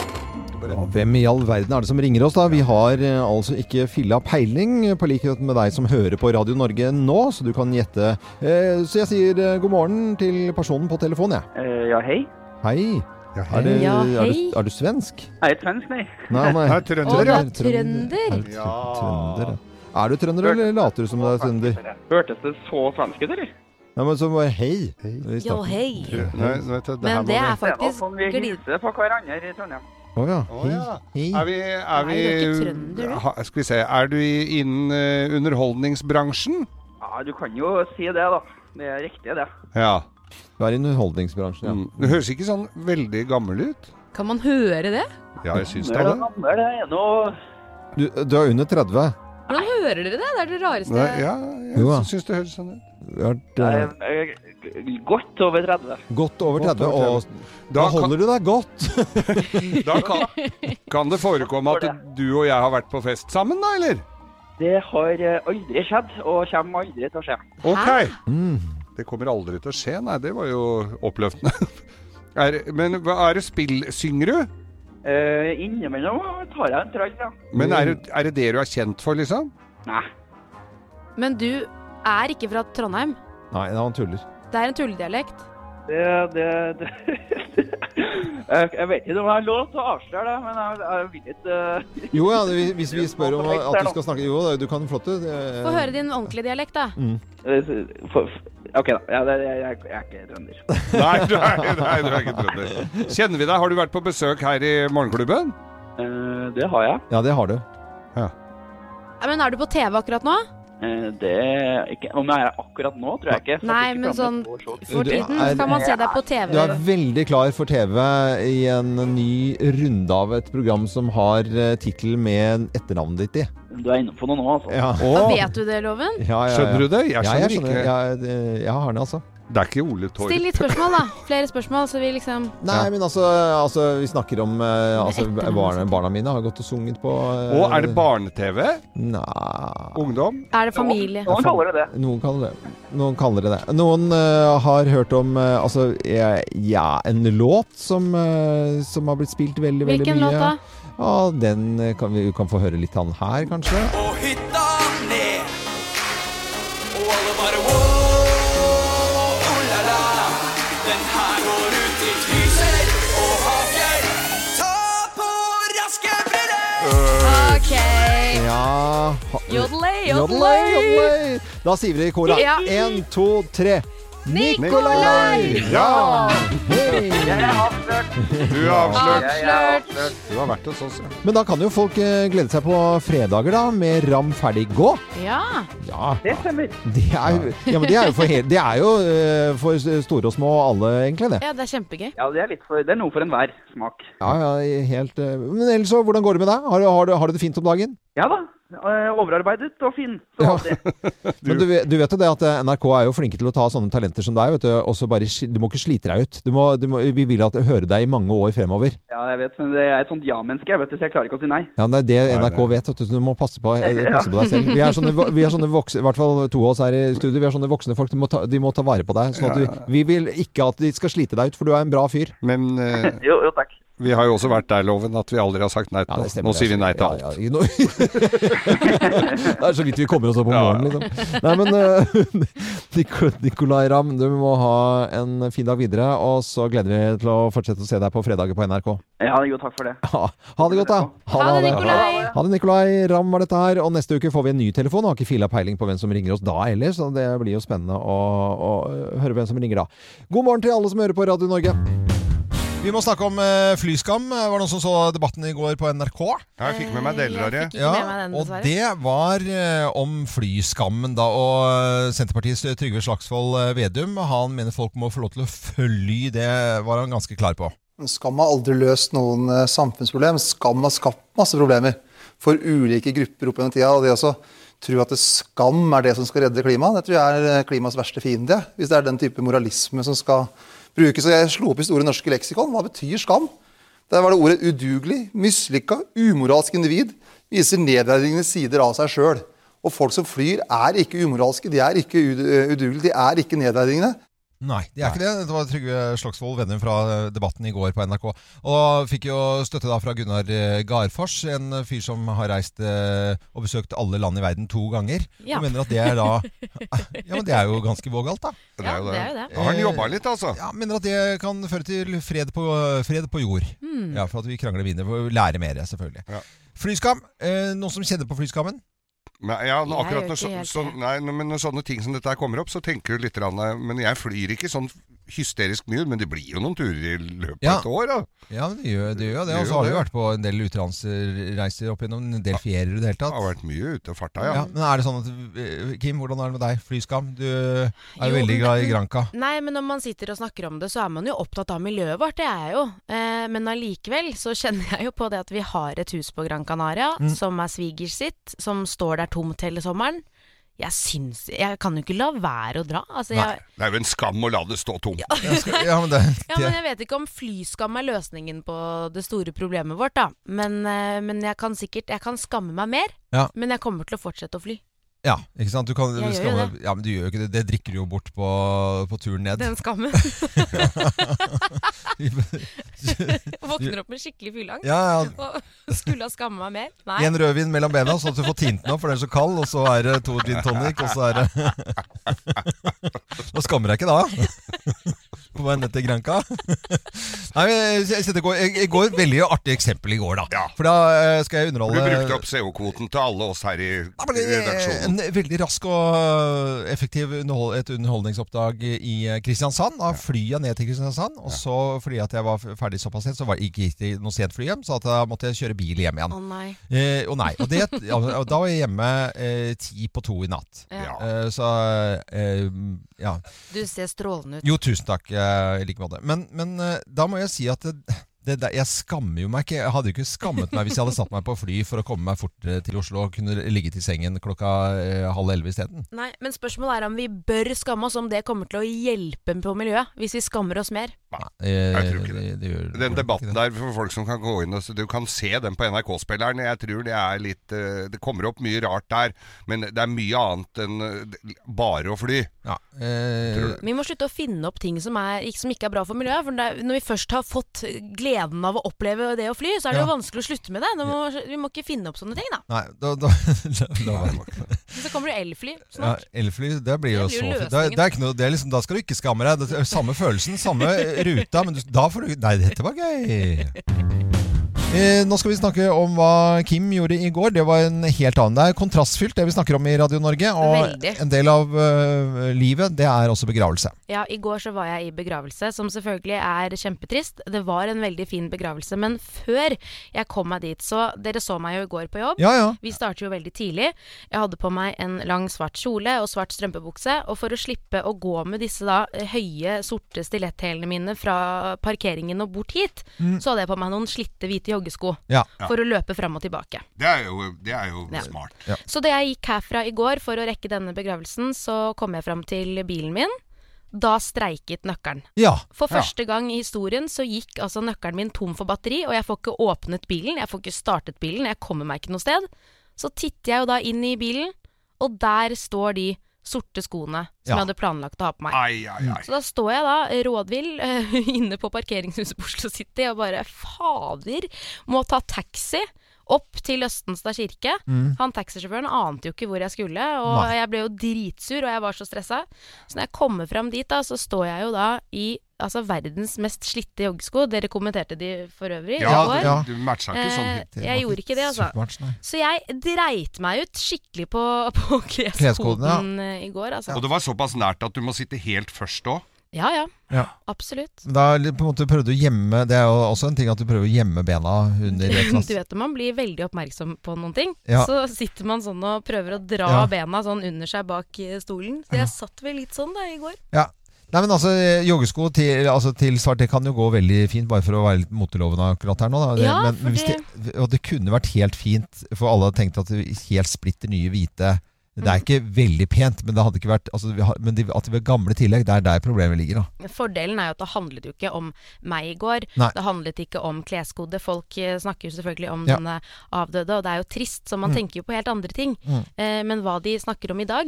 Ja, hvem i all verden er det som ringer oss, da? Vi har eh, altså ikke filla peiling, eh, på likhet med deg som hører på Radio Norge nå, så du kan gjette. Eh, Så jeg sier eh, god morgen til personen på telefonen, jeg. Eh, ja, hei. Hei. hei. Er, det, Ja, hei. er, du, er du svensk? Jeg er ikke svensk, nei. Nei, nei. Jeg er trønder, ja. Er du Trønder. Er du tr- trønder, ja. Er du trønder, eller later du som du er trønder? Hørtes det så svensk ut, eller? Nei, men så bare hei. i starten. Jo, hei. Nei, nå vet jeg, Men her det må vi- er faktisk- Sånn vi hilser på hverandre i Trondheim. Å ja. Å Hei. ja. Er vi, Nei, er vi du er ikke trønder, du. ha, Skal vi se. Er du i- innen eh, underholdningsbransjen? Ja, du kan jo si det, da. Det er riktig, det. Ja. Du er i underholdningsbransjen, ja. Du høres ikke sånn veldig gammel ut. Kan man høre det? Ja, jeg syns det da er det. gammel, det er nå Du, du er under 30? Hvordan hører dere det? Det er det rareste Nei, ja, Jeg Jo da. syns det høres sånn ut. Er det- Jeg er eh, godt over 30. Godt over 30, Godt over og da holder du deg godt. Da kan, kan det forekomme at du og jeg har vært på fest sammen, da, eller? Det har eh, aldri skjedd, og kommer aldri til å skje. Ok. Mm. Det kommer aldri til å skje. Nei, det var jo oppløftende. Er, men hva- er det spill... Synger du? Eh, innimellom tar jeg en trall, ja. Men er det, er det det du er kjent for, liksom? Nei. Men du er ikke fra Trondheim. Nei, han tuller. Det er en tulledialekt. Det, det, det. Eh, Jeg jeg vet ikke om jeg har lov til å avsløre det, men jeg, jeg vil ikke eh, Jo ja, det- hvis vi spør om at du skal snakke Jo, da, du kan flotte. eh. det- Få høre din ordentlige dialekt, da. Mm. OK, da. Ja, det, jeg, jeg, jeg er ikke trønder. Nei, du er, nei, du er ikke trønder. Kjenner vi deg? Har du vært på besøk her i Morgenklubben? Eh, det har jeg. Ja, det har du. Ja, Men er du på TV akkurat nå? Eh, Det er ikke, om jeg er akkurat nå, tror jeg ikke. for Nei, jeg fikk men fram sånn et år så- for tiden er- skal man se deg på TV. Du er veldig klar for TV i en ny runde av et program som har eh, tittel med etternavnet ditt i. Du er inne på noe nå, altså. Ja. Da vet du det, Loven? Ja, ja, ja. Skjønner du det? Jeg Ja, skjønner ikke. Jeg, jeg, jeg har den, altså. Det er ikke Ole Torp. Still litt spørsmål, da. Flere spørsmål, så vi liksom Nei, men altså, altså Vi snakker om eh, altså, barna, barna mine har gått og sunget på eh, Og er det barne-TV? Nei Ungdom? Er det familie? Noen kaller det det. Noen kaller det noen, kaller det, det. noen eh, har hørt om eh, altså, eh, ja, en låt som, eh, som har blitt spilt veldig, veldig Hvilken mye. låt da? Ja, Den eh, kan vi kan få høre litt av den her, kanskje. Og hytta ned. Og alle bare wow, oh la la. Den her går ut til Trysil og Aker. Ta på raske briller. OK. Ja ha- Jodelei, jodelei. jodelei. Da sier vi det i koret. Ja. Én, to, tre. Nikolai! Ja! Hei! Du er avslørt. Avslørt. Du har vært hos oss, ja. Men da kan jo folk eh, glede seg på fredager, da, med Ram ferdig gå. Ja. Ja. Det stemmer. Det er, jo- ja, men det er jo for, he- det er jo, eh, for store og små alle, egentlig, det. Ja, det er kjempegøy. Ja, det er, litt for, det er noe for enhver smak. Ja, ja, helt eh, Men ellers så, hvordan går det med deg? Har, du- har, du- har du det fint om dagen? Ja da, eh, overarbeidet og fin. Ja. Men du, vet- du vet jo det at eh, NRK er jo flinke til å ta sånne talenter som deg, vet du, og så bare sk- Du må ikke slite deg ut. Du må, du må, vi vil at høre deg i mange år fremover. Ja, jeg vet, men det er et sånt ja-menneske, jeg vet det, så jeg klarer ikke å si nei. Ja, men Det er det NRK vet, vet du, så du må passe på, eh, Ja. passe på deg selv. Vi er sånne, vo- vi er sånne voksne, i hvert fall to av oss her i studio, vi er sånne voksne folk. Du må ta, de må ta vare på deg. Sånn at du, vi vil ikke at de skal slite deg ut, for du er en bra fyr. Men eh, Jo, jo, takk. vi har jo også vært der, Loven, at vi aldri har sagt nei til det noe. Nå stemmer, det sier vi nei til alt. Det er så vidt vi kommer oss opp om morgenen, liksom. Nei, men eh, Nico- Nicolai Ramm, du må ha en fin dag videre, og så gleder vi til å fortsette å se deg på fredager på NRK. Ja, jo, takk for det. Ha, ha det godt, da. Ha det, Nikolai. Ha det, Nikolai. Ramm var dette her. Og neste uke får vi en ny telefon. Har ikke fila peiling på hvem som ringer oss da heller, så det blir jo spennende å, å høre hvem som ringer da. God morgen til alle som hører på Radio Norge. Vi må snakke om eh, flyskam. Eh, Var det noen som så debatten i går på NRK? Ja, jeg fikk med meg deler av det. Jeg fikk ikke Ja, med meg den, og dessverre. det var eh, om flyskammen, da. Og eh, Senterpartiets Trygve Slagsvold eh, Vedum, han mener folk må få lov til å fly. Det var han ganske klar på. Skam har aldri løst noen eh, samfunnsproblem. Skam har skapt masse problemer for ulike grupper opp gjennom tida. Og det også tro at det skam er det som skal redde klimaet, det tror jeg er eh, klimaets verste fiende. jeg, Hvis det er den type moralisme som skal brukes. Og jeg slo opp i Store norske leksikon. Hva betyr skam? Der var det ordet udugelig, mislykka, umoralsk individ. Viser nedverdigende sider av seg sjøl. Og folk som flyr, er ikke umoralske, de er ikke ud- eh, udugelige, de er ikke nedverdigende. Nei, det er ikke det. Det var Trygve Slagsvold Vedum fra eh, debatten i går på NRK. Og fikk jo støtte da fra Gunnar eh, Garfors, en fyr som har reist eh, og besøkt alle land i verden to ganger. Ja. Og mener at det er da Ja, men det er jo ganske vågalt, da. Ja, det er jo det. Da har han jobba litt, altså. Ja, mener at det kan føre til fred på, fred på jord. Mm. Ja, For at vi krangler mindre. For å lære mer, selvfølgelig. Flyskam. Eh, noen som kjenner på flyskammen? Nei, ja, nå, Jeg akkurat gjør når, så, ikke helt så, nei, nå- men når sånne ting som dette her kommer opp, så tenker du litt rann, Men jeg flyr ikke sånn hysterisk mye, men det blir jo noen turer i løpet av Ja. et år, da. Ja, men det gjør det. Gjør jo det. Gjør Og jo så har du det. vært på en del utenlandsreiser opp gjennom en del ferier i det hele tatt. Har vært mye ute og farta, ja. Ja, men er det sånn at eh, Kim, hvordan er det med deg? Flyskam? Du er jo, Jo, veldig glad i men- Granca. Nei, men når man sitter og snakker om det, så er man jo opptatt av miljøet vårt, det er jeg jo. Eh, men allikevel så kjenner jeg jo på det at vi har et hus på Gran Canaria Mm. som er svigers sitt, som står der tomt hele sommeren. Jeg syns Jeg kan jo ikke la være å dra. Altså, jeg, Det er jo en skam å la det stå tomt. Ja, men det, ja, men jeg vet ikke om flyskam er løsningen på det store problemet vårt, da. Men, eh, men jeg kan sikkert Jeg kan skamme meg mer, Ja. men jeg kommer til å fortsette å fly. Ja, ikke sant? Du kan, Jeg gjør jo skamme- Ja, men du gjør jo ikke det. Det drikker du jo bort på, på turen ned. Den skammen. Våkner opp med skikkelig fylleangst Ja, ja. og skulle ha skamma meg mer. Nei. En rødvin mellom bena, sånn at du får tint den opp, for den er så kald. Og så er det to gin tonic, og så er det Da skammer jeg ikke da. På vei ned til Granca. Nei, men jeg setter går, jeg, jeg går veldig artig eksempel i går, da. For da eh, skal jeg Du underholde brukte opp CO-kvoten til alle oss her i redaksjonen. Eh, En veldig rask og eh, effektiv underhold, et underholdningsoppdrag i eh, Kristiansand. Da flyr jeg ned til Kristiansand, og så fordi at jeg var ferdig såpass sent, så var jeg ikke til noe sent fly hjem, så at da måtte jeg kjøre bil hjem igjen. Å nei. Eh, og nei, og det, ja, og da var jeg hjemme eh, ti på to i natt. Ja. Eh, så eh, ja. Du ser strålende ut. Jo, tusen takk. eh, I like måte. Men, men eh, da må jeg si at det, det der, jeg skammer jo meg ikke. Jeg hadde jo ikke skammet meg hvis jeg hadde satt meg på fly for å komme meg fortere til Oslo og kunne ligge til sengen klokka eh, halv elleve isteden. Nei, men spørsmålet er om vi bør skamme oss, om det kommer til å hjelpe på miljøet, hvis vi skammer oss mer. Jeg tror ikke det. Den debatten der, for folk som kan gå inn og så- Du kan se den på NRK-spilleren. Jeg tror det er litt eh, Det kommer opp mye rart der, men det er mye annet enn eh, bare å fly. eh, Tror du? Vi må slutte å finne opp ting som, er, som ikke er bra for miljøet. For det, er- når vi først har fått gleden av å oppleve det å fly, så er det Ja. jo vanskelig å slutte med det. Nå må, vi må ikke finne opp sånne ting, da. Nei, da, da, da, da Men Så kommer det elfly ja, snart. Elfly, det blir jo Det blir så jo fint. Det, er- det er ikke noe, det er liksom, da skal du ikke skamme deg. Det er samme følelsen, samme eh, ruta, men du, da får du Nei, dette var gøy! Eh, nå skal vi snakke om hva Kim gjorde i går. Det var en helt annen. Det er kontrastfylt, det vi snakker om i Radio Norge. Og Veldig. en del av eh, livet, det er også begravelse. Ja, i går så var jeg i begravelse, som selvfølgelig er kjempetrist. Det var en veldig fin begravelse, men før jeg kom meg dit, så Dere så meg jo i går på jobb. Ja, ja. Vi starter jo veldig tidlig. Jeg hadde på meg en lang svart kjole og svart strømpebukse, og for å slippe å gå med disse da eh, høye, sorte stiletthælene mine fra parkeringen og bort hit, Mm. så hadde jeg på meg noen slitte hvite joggesko Ja. for å løpe fram og tilbake. Det er jo, det er jo Ja. smart. Så da jeg gikk herfra i går for å rekke denne begravelsen, så kom jeg fram til bilen min. Da streiket nøkkelen. Ja. For Ja. første gang i historien så gikk altså nøkkelen min tom for batteri, og jeg får ikke åpnet bilen, jeg får ikke startet bilen, jeg kommer meg ikke noe sted. Så titter jeg jo da inn i bilen, og der står de sorte skoene som Ja. jeg hadde planlagt å ha på meg. Ai, ai, ai. Så da står jeg da rådvill eh, inne på parkeringshuset på Oslo City og bare fader, må ta taxi opp til Østenstad kirke. Mm. Han taxisjåføren ante jo ikke hvor jeg skulle, og Nei. jeg ble jo dritsur, og jeg var så stressa. Så når jeg kommer fram dit, da, så står jeg jo da i altså, verdens mest slitte joggesko. Dere kommenterte de for øvrig. i Ja, går. du- ja. du matcha ikke sånn Eh, helt til- Jeg gjorde ikke det, supermatch, altså. nei. Så jeg dreit meg ut skikkelig på, på Kleskoden, ja. kleskoden eh, i går, altså. Og det var såpass nært at du må sitte helt først òg. Ja ja, Ja. absolutt. Men Da er det på en måte prøvde du å gjemme Det er jo også en ting at du prøver å gjemme bena under et Du glass. vet når man blir veldig oppmerksom på noen ting, Ja. så sitter man sånn og prøver å dra Ja. bena sånn under seg bak eh, stolen. Så Ja. jeg satt vel litt sånn da i går. Ja. Nei, men altså, Joggesko til, altså, til svart det kan jo gå veldig fint, bare for å være litt motelovende akkurat her nå. Da. Det, Ja, men, for men hvis det... og det kunne vært helt fint, for alle hadde tenkt at det helt splitter nye hvite Det Mm. er ikke veldig pent, men det hadde ikke vært altså, vi har- Men de, at det var gamle tillegg, det er der problemet ligger. da Fordelen er jo at det handlet jo ikke om meg i går. Nei. Det handlet ikke om kleskode. Folk eh, snakker jo selvfølgelig om Ja. denne avdøde, og det er jo trist, så man Mm. tenker jo på helt andre ting. Mm. Eh, men hva de snakker om i dag,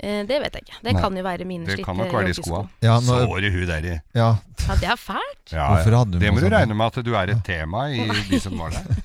eh, det vet jeg ikke. Det Nei. kan jo være mine Det slitte kan nok være de joggesko. skoa. Ja, nå- Såre hun deri. Ja. Ja, det er fælt. Ja, Hvorfor ja. hadde hun Det på må du sånn? regne med at du er et tema i de som var der.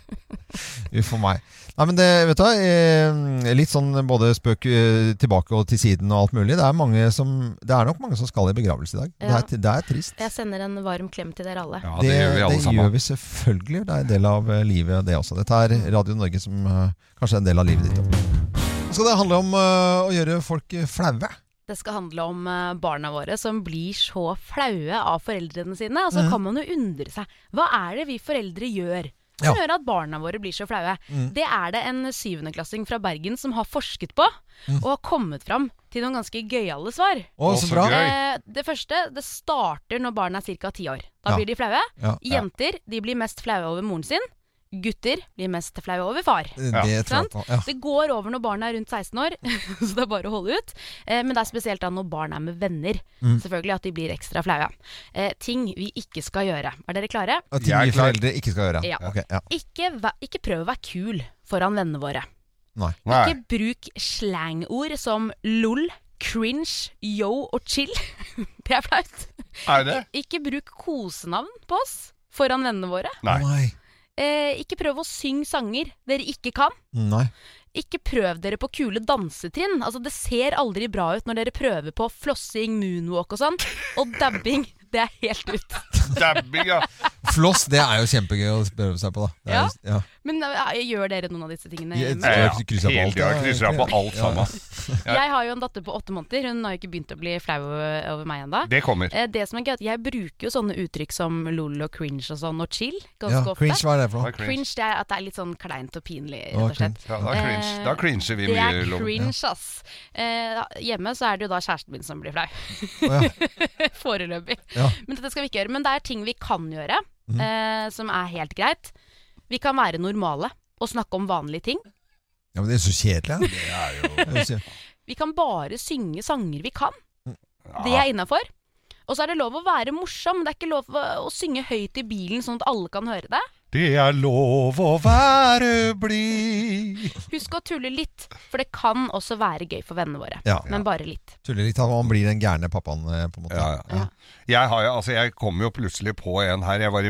Uff a meg. Nei, men det, vet du, hva, eh, litt sånn både spøk eh, tilbake og til siden og alt mulig. Det er, mange som, det er nok mange som skal i begravelse i dag. Ja. Det, er, det er trist. Jeg sender en varm klem til dere alle. det gjør vi alle det sammen. gjør vi selvfølgelig. Det er en del av eh, livet, det også. Dette er Radio Norge som eh, kanskje er en del av livet ditt. Nå skal det handle om eh, å gjøre folk eh, flaue. Det skal handle om eh, barna våre som blir så flaue av foreldrene sine. Og så Mhm. kan man jo undre seg. Hva er det vi foreldre gjør som Ja. gjør at barna våre blir så flaue? Mhm. Det er det en syvendeklassing fra Bergen som har forsket på, Mhm. og har kommet fram til noen ganske gøyale svar. Å, så bra. Eh, det første det starter når barna er ca. ti år. Da Ja. blir de flaue. Ja. Jenter de blir mest flaue over moren sin. Gutter blir mest flaue over far. Det tror jeg Sant? på, ja. Det går over når barna er rundt 16 år, så det er bare å holde ut. Eh, men det er spesielt da når barn er med venner, Mm. selvfølgelig at de blir ekstra flaue. Eh, ting vi ikke skal gjøre. Er dere klare? At de nye foreldre ikke skal gjøre. Ja. Ok, ja. Ikke, væ- ikke prøv å være kul foran vennene våre. Nei. Ikke bruk slangord som lol, cringe, yo og chill. det er flaut. Er det? Ikke bruk kosenavn på oss foran vennene våre. Nei. Eh, ikke prøv å synge sanger dere ikke kan. Nei. Ikke prøv dere på kule dansetrinn. Altså, det ser aldri bra ut når dere prøver på flossing, moonwalk og sånn. Og dabbing, det er helt ut. Dabbing, ja. Floss, det er jo kjempegøy å prøve seg på, da. Det er, Ja. jo- ja. Men eh, gjør dere noen av disse tingene? Jeg- hjemme? jeg krysser av Hele alt, tida ja, krysser jeg på egentlig. alt Ja. sammen. Jeg har jo en datter på åtte måneder. Hun har jo ikke begynt å bli flau over meg ennå. Det kommer. Det som er gøy, er at jeg bruker jo sånne uttrykk som lol og cringe og sånn, og chill. Ganske Ja, ofte. cringe, hva er det for noe? Hva er cringe? Cringe, det er at det er litt sånn kleint og pinlig, rett Å, og slett. cringe. Ja, da er cringe- Eh, da cringer vi det mye, er Loven. cringe, ass. Eh, hjemme så er det jo da kjæresten min som blir flau. Foreløpig. Ja. Men dette skal vi ikke gjøre. Men det er ting vi kan gjøre, Mhm. eh, som er helt greit. Vi kan være normale og snakke om vanlige ting. ja, men det er så kjedelig. Det er jo Vi kan bare synge sanger vi kan. Mm. Det er innafor. Og så er det lov å være morsom. Det er ikke lov å å synge høyt i bilen sånn at alle kan høre deg. Det er lov å være blid. Husk å tulle litt, for det kan også være gøy for vennene våre. Ja. Men bare litt. Tuller litt av han blir den gærne pappaen, eh, på en måte. Jeg, har, jo- altså, jeg kom jo plutselig på en her. Jeg var i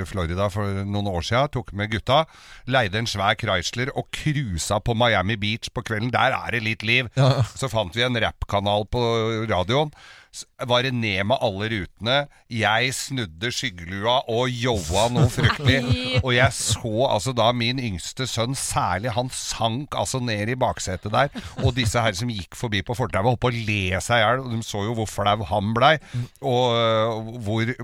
eh, Florida for noen år siden, tok med gutta. Leide en svær Chrysler og cruisa på Miami Beach på kvelden. Der er det litt liv. Så fant vi en rappkanal på radioen. S- Var det ned med alle rutene. Jeg snudde skyggelua og joa noe fryktelig. Og jeg så altså da min yngste sønn særlig, han sank altså ned i baksetet der. Og disse her som gikk forbi på fortauet, holdt på å le seg i hjel. Og de så jo hvor flau han blei, og øh, hvor,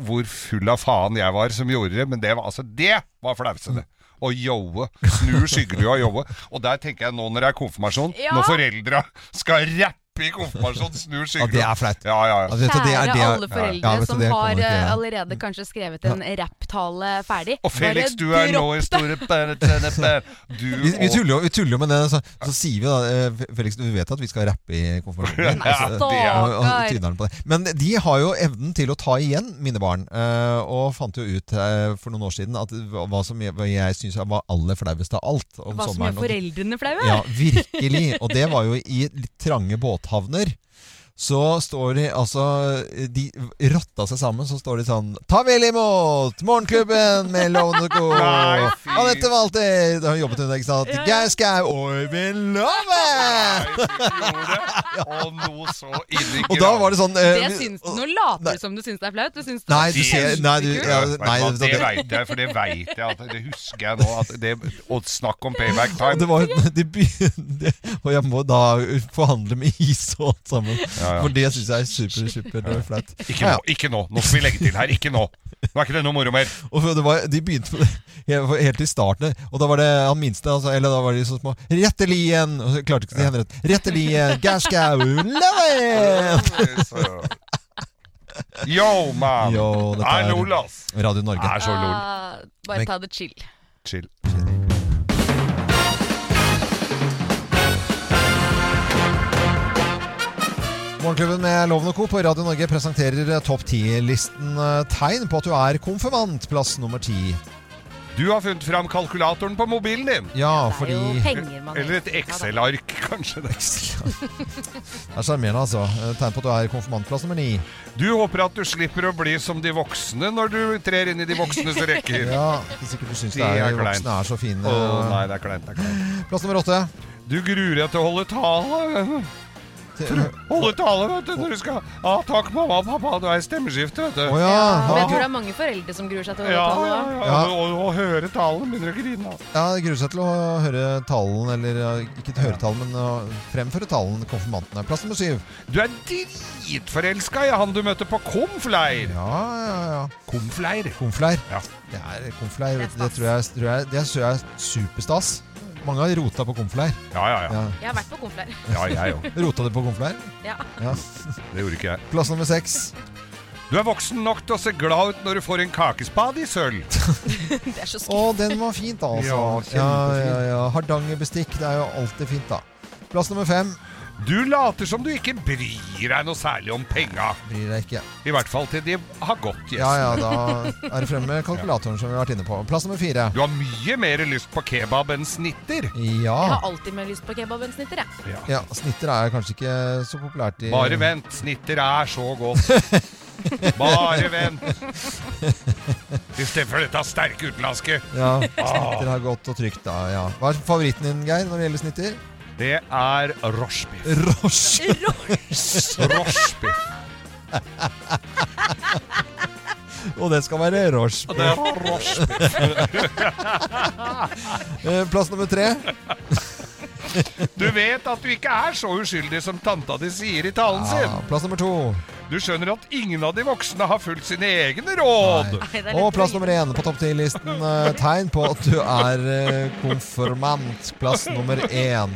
hvor full av faen jeg var som gjorde det. Men det var altså Det var flausete! Og joe. Snu skyggelua og joe. Og der tenker jeg nå når det er konfirmasjon, Ja. når foreldra skal rappe oppe i konfirmasjonen, snur Ja, skyggen det er flaut. Ja, ja. Ja, vet du, det er- Kjære det er- alle foreldre ja, vet du, som det kommer har ikke eh, jeg. allerede kanskje skrevet en rapptale ferdig. Og Felix, Bare du er nå dropp i det. store bære, tjene, bære. Du Vi, vi, og- tuller, jo- vi tuller jo med det, så, så sier vi da eh, Felix, du vet at vi skal rappe i konfirmasjonen? Ja, Og så- stakkar. og- og tyner han på det. Men de har jo evnen til å ta igjen mine barn, eh, og fant jo ut eh, for noen år siden at hva hva som jeg, hva jeg syns var aller flauest av alt om Hva som sommeren. gjør og- foreldrene flaue? Ja, virkelig. Og det var jo i litt trange båthavner. Så står de altså De rotta seg sammen, så står de sånn Ta vel imot Morgenklubben med Lovende Co. Nei, fy. Anette Walter! Da har hun jobbet under, ikke sant? Geir Skau og Øyvind Love! Og noe så inni Og da var det sånn eh, Det syns, nå later du som du syns det er flaut. Du syns det Nei, er du ser- kjempekult. nei, du- ja, Vet du nei, hva, det- det veit jeg, for det veit jeg. At, det husker jeg nå. At det, og snakk om payback time. Det var, de begynte, og jeg må da forhandle med is og alt sammen. Ja, ja. For det syns jeg er super, super flaut. Ikke Ja, ja. nå, ikke nå. Nå skal vi legge til her. Ikke nå. Nå er ikke det noe moro mer. Og for det var, de begynte med det helt i starten, og da var det han minste altså, Eller da var de så små Rettelien! Og så klarte ikke å si henrett. Rettelien! Gerskau! Loven! Yo, man! Yo, dette Nei, er lol, ass. Radio Norge. Er så lol. Ah, bare Men- ta det chill. Chill. Morgenklubben med Loven og Co. på Radio Norge presenterer eh, topp ti-listen eh, tegn på at du er konfirmant. Plass nummer ti. Du har funnet fram kalkulatoren på mobilen din. Ja, fordi Det Eller et Excel-ark, kanskje. er sjarmerende, altså. Eh, Tegn på at du er konfirmant. Plass nummer ni. Du håper at du slipper å bli som de voksne når du trer inn i de voksnes rekker. Ja, ikke sikkert du syns De det er er, kleint. voksne er så fine. Å, nei, det er kleint. Det er kleint. Plass nummer åtte. Du gruer deg til å holde tale. Holde tale, vet du, når du skal Ja, takk, mamma og pappa, du er i stemmeskifte, vet du. Å, ja. Men jeg tror det er mange foreldre som gruer seg til å Ja, holde ja, tale. ja. Ja. Og, og, og høre talen begynner å grine. altså. Ja, jeg gruer seg til å høre talen, eller ja, ikke høre talen, men å fremføre talen konfirmantene. Plass nummer syv. Du er dritforelska i han du møtte på Komfleir. Ja, ja, ja. Komfleir. Konfleir. Ja. Det er konfleir. Det, tror jeg, tror jeg, det tror jeg er superstas. Mange har rota på konfleir. Ja, ja, ja. Jeg har vært på konfleir. Ja, jeg òg. Rota du på konfleir? Ja. Ja. Det gjorde ikke jeg. Plass nummer seks. Du er voksen nok til å se glad ut når du får en kakespade i sølv. Det er så Å, den var fint, altså. Ja, kjempefint. ja, ja, ja. Hardangerbestikk, det er jo alltid fint, da. Plass nummer fem. Du later som du ikke bryr deg noe særlig om penga. Bryr deg ikke. I hvert fall til de har gått, gjesten. Ja, ja, da er det fremme med kalkulatoren som vi har vært inne på. Plass nummer fire. Du har mye mer lyst på kebab enn snitter. Jeg Ja. har alltid mer lyst på kebab enn snitter, jeg. Ja, Snitter er kanskje ikke så populært i Bare vent, snitter er så godt. Bare vent. Istedenfor dette sterke utenlandske. Ja, Ah, Snitter har gått og trygt, da. Ja. Hva er favoritten din, Geir, når det gjelder snitter? det er rochebiff. Roche. Rochebiff. Og det skal være Og det er roche. Eh, Plass nummer tre. Du vet at du ikke er så uskyldig som tanta di sier i talen Ja, sin. plass nummer to. Du skjønner at ingen av de voksne har fulgt sine egne råd. Og plass nummer én på topp ti-listen. eh, Tegn på at du er eh, konfirmant. Plass nummer én.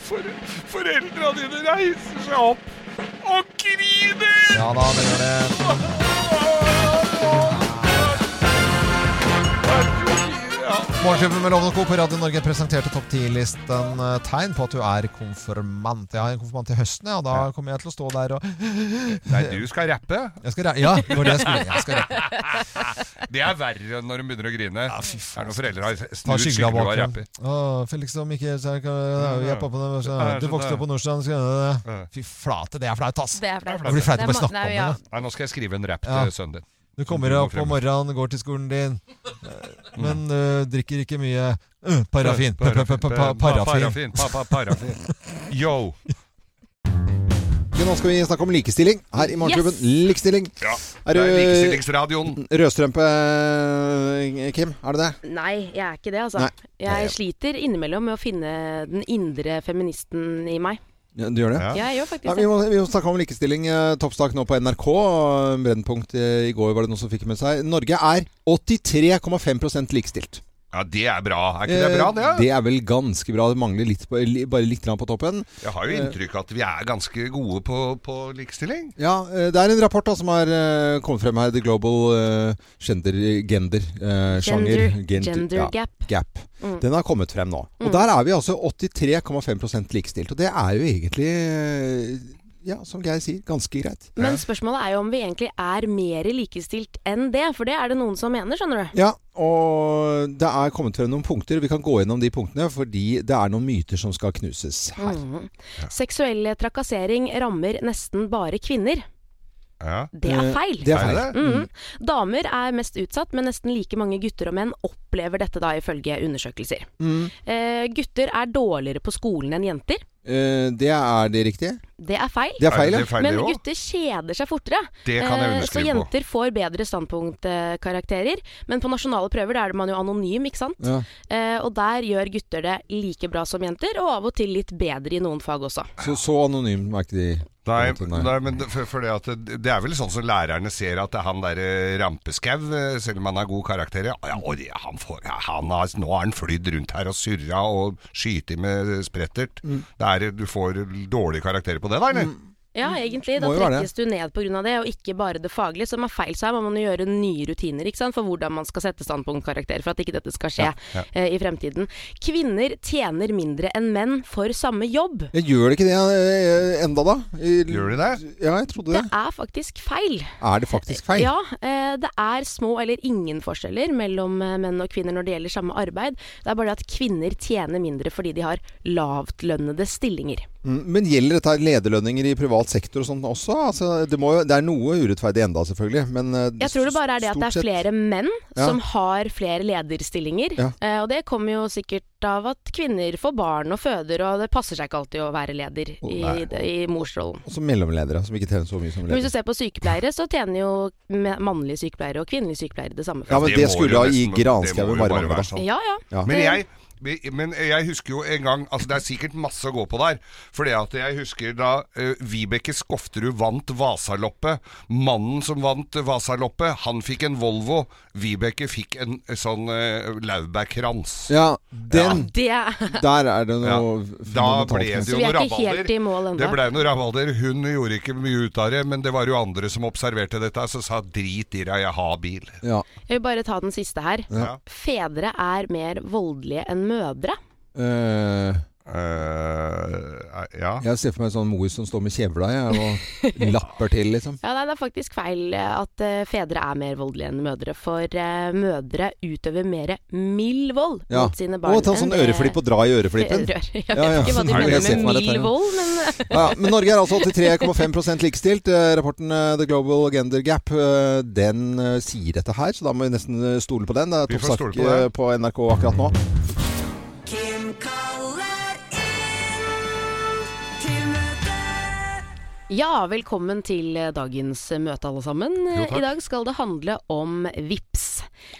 For, foreldra dine reiser seg opp og griner! Ja da, det gjør det. Morgenklubben med Loven og Co. på Radio Norge presenterte topp ti-listen eh, tegn på at du er konfirmant. Jeg har en konfirmant til høsten, ja, og da kommer jeg til å stå der og Nei, du skal rappe. Jeg skal ra- Ja, det var det jeg skulle. Jeg skal rappe. Det er verre enn når de begynner å grine. er når foreldre har altså. Ta snudd skyggen av skyggen og bakgrunnen. rapper. Å, Felix og Mikkel så jeg kan- jeg er jo hjelp opp med det, Ja, så- Du sånn vokste det. opp på Nordstrand. skal du det? Fy flate, det er flaut, ass! Det er flaut. Det blir flaut å Det er bare ma- snakke nei, om det. ja. da. Nei, nå skal jeg skrive en rap Ja. til sønnen din. Du kommer opp om morgenen, går til skolen din, eh, Mm. men eh, drikker ikke mye eh, paraffin. Pa- pa- pa- pa- pa- Paraffin. Pa- pa- Paraffin. Yo. Nå skal vi snakke om likestilling her i Morgenklubben. Likestilling. Ja. Det er likestillingsradioen. rødstrømpe, eh, Kim? Er det det? Nei, jeg er ikke det, altså. Nei. Jeg sliter innimellom med å finne den indre feministen i meg. du gjør det? Ja, jeg gjør faktisk Ja, det. vi, må, vi må snakke om likestilling. eh, Toppsak nå på NRK. og Brennpunkt eh, i går var det noen som fikk med seg. Norge er 83,5 likestilt. Ja, det er bra. Er ikke det bra, det? Eh, er vel ganske bra. Det mangler litt på, li- bare litt grann på toppen. Eh, Jeg har jo inntrykk av at vi er ganske gode på, på likestilling. Ja, eh, Det er en rapport da, som har eh, kommet frem her. The Global eh, Gender, gender, Gender- eh, Sjanger. gen- gender gap. gap. Mm. Den har kommet frem nå. Og Mm. Der er vi altså 83,5 likestilt. Og det er jo egentlig, eh, ja, som Geir sier, ganske greit. Men spørsmålet er jo om vi egentlig er mer likestilt enn det, for det er det noen som mener, skjønner du. Ja, og det er kommet frem noen punkter. Vi kan gå gjennom de punktene, fordi det er noen myter som skal knuses. Mhm. Seksuell trakassering rammer nesten bare kvinner. Det er Eh, feil. Det Mm. er feil. Mhm. Damer er mest utsatt, men nesten like mange gutter og menn opplever dette da, ifølge undersøkelser. Mm. Eh, gutter er dårligere på skolen enn jenter. Eh, det er det riktige. Det er feil. Det er feil, ja. Det er feil, det Men også. gutter kjeder seg fortere. Det kan jeg Eh, Så underskrive på. jenter får bedre standpunktkarakterer. Men på nasjonale prøver da er man jo anonym, ikke sant. Ja. Eh, og der gjør gutter det like bra som jenter, og av og til litt bedre i noen fag også. Så, så anonym var ikke de. Nei, nei men det, for, for det, at det, det er vel sånn som lærerne ser at han der eh, rampeskau, eh, selv om han har god karakter ja, ja, og det- han får, ja, han har, Nå har han flydd rundt her og surra og skyter med sprettert. Mm. Det er, du får dårlige karakterer på det, da, eller? Ja, egentlig. Da Må jo være trekkes du ned pga. det, og ikke bare det faglige, som er feil. Så her må man jo gjøre nye rutiner ikke sant? for hvordan man skal sette standpunktkarakter, for at ikke dette skal skje Ja, ja. eh, i fremtiden. Kvinner tjener mindre enn menn for samme jobb. Jeg gjør det ikke det eh, enda, da? Gjør de det? Ja, jeg trodde Det det. er faktisk feil. Er det faktisk feil? Ja, eh, det er små eller ingen forskjeller mellom eh, menn og kvinner når det gjelder samme arbeid. Det er bare det at kvinner tjener mindre fordi de har lavtlønnede stillinger. Mm, Men gjelder dette lederlønninger i privat sektor og sånt også? Altså, det, må jo, det er noe urettferdig enda, selvfølgelig. Men eh, Jeg tror det bare er det at det stort er sett- flere menn Ja. som har flere lederstillinger. Ja. Eh, Og det kommer jo sikkert av at kvinner får barn og føder, og det passer seg ikke alltid å være leder i, nei. i morsrollen. Også mellomledere, som ikke tjener så mye som Men hvis du ledere. ser på sykepleiere, så tjener jo me- mannlige sykepleiere og kvinnelige sykepleiere det samme. Ja, men Det det må skulle jo da i nesten- det må granskauen altså. jo bare bare mangle. være da. sånn. Ja, ja. Men jeg, men jeg husker jo en gang Altså Det er sikkert masse å gå på der. For det at jeg husker da eh, Vibeke Skofterud vant Vasaloppet. Mannen som vant Vasaloppet, han fikk en Volvo. Vibeke fikk en eh, sånn uh, laurbærkrans. Ja, den Det Der er det noe Da fundamentalt ble det messig. jo vi noe er ikke helt i mål rabalder. ennå. Det ble noe rabalder. Hun gjorde ikke mye ut av det, men det var jo andre som observerte dette, så sa drit i deg, jeg har bil. Jeg vil bare ta den siste her. Ja. Fedre er mer voldelige enn mødre. Eh, Eh, ja. Jeg ser for meg en sånn mor som står med kjevla jeg, og lapper til, liksom. Ja, nei, Det er faktisk feil eh, at eh, fedre er mer voldelige enn mødre. For eh, mødre utøver mer mild vold Ja. mot sine barn. Og ta enn sånn det- øreflipp og dra i øreflippen. Rør. Jeg vet Ja, ja. ikke hva de Nei, jeg ser mener for meg med dette, mild ja. vold, men Ja, men Norge er altså 83,5 likestilt. Eh, Rapporten eh, The Global Gender Gap eh, den eh, sier dette her, så da må vi nesten eh, stole på den. Det er Vi får toppsak stole på eh, det. på NRK akkurat nå. Ja, velkommen til eh, dagens eh, møte alle sammen. Jo, Eh, takk. I dag skal det handle om VIPS.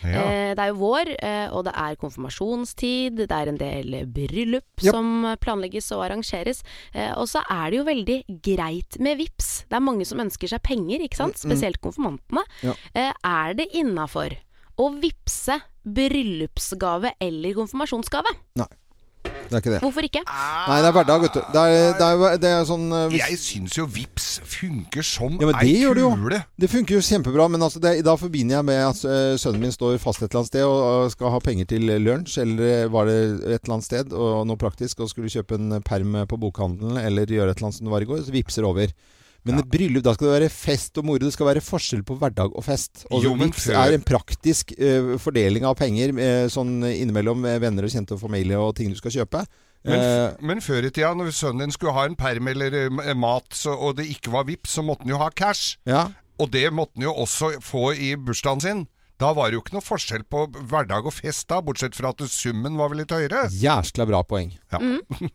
Ja. Eh, Det er jo vår, eh, og det er konfirmasjonstid, det er en del bryllup som eh, planlegges og arrangeres. Eh, Og så er det jo veldig greit med VIPS. Det er mange som ønsker seg penger, ikke sant? Mm, mm. Spesielt konfirmantene. Ja. Eh, Er det innafor å vippse bryllupsgave eller konfirmasjonsgave? Det er ikke det. Hvorfor ikke? Nei, det er hverdag, vet du. Det er, det er, det er sånn eh, Jeg syns jo Vips funker som Ja, men det ei gjør det jo. kule. Det funker jo kjempebra, men altså det, da forbinder jeg med at eh, sønnen min står fast et eller annet sted og, og skal ha penger til eh, lunsj, eller var det et eller annet sted og noe praktisk, og skulle kjøpe en perm eh, på bokhandelen eller gjøre et eller annet som det var i går, så vipser det over. Men et bryllup, da skal det være fest og moro. Det skal være forskjell på hverdag og fest. Og Jo, men vips før- er en praktisk eh, fordeling av penger eh, sånn innimellom eh, venner og kjente og familie og ting du skal kjøpe. Men, Eh, f- men før i tida, når sønnen din skulle ha en perm eller eh, mat, så, og det ikke var vips, så måtte han jo ha cash. Ja. Og det måtte han jo også få i bursdagen sin. Da var det jo ikke noe forskjell på hverdag og fest da, bortsett fra at summen var vel litt høyere. Mm. Jæskla bra poeng. Ja.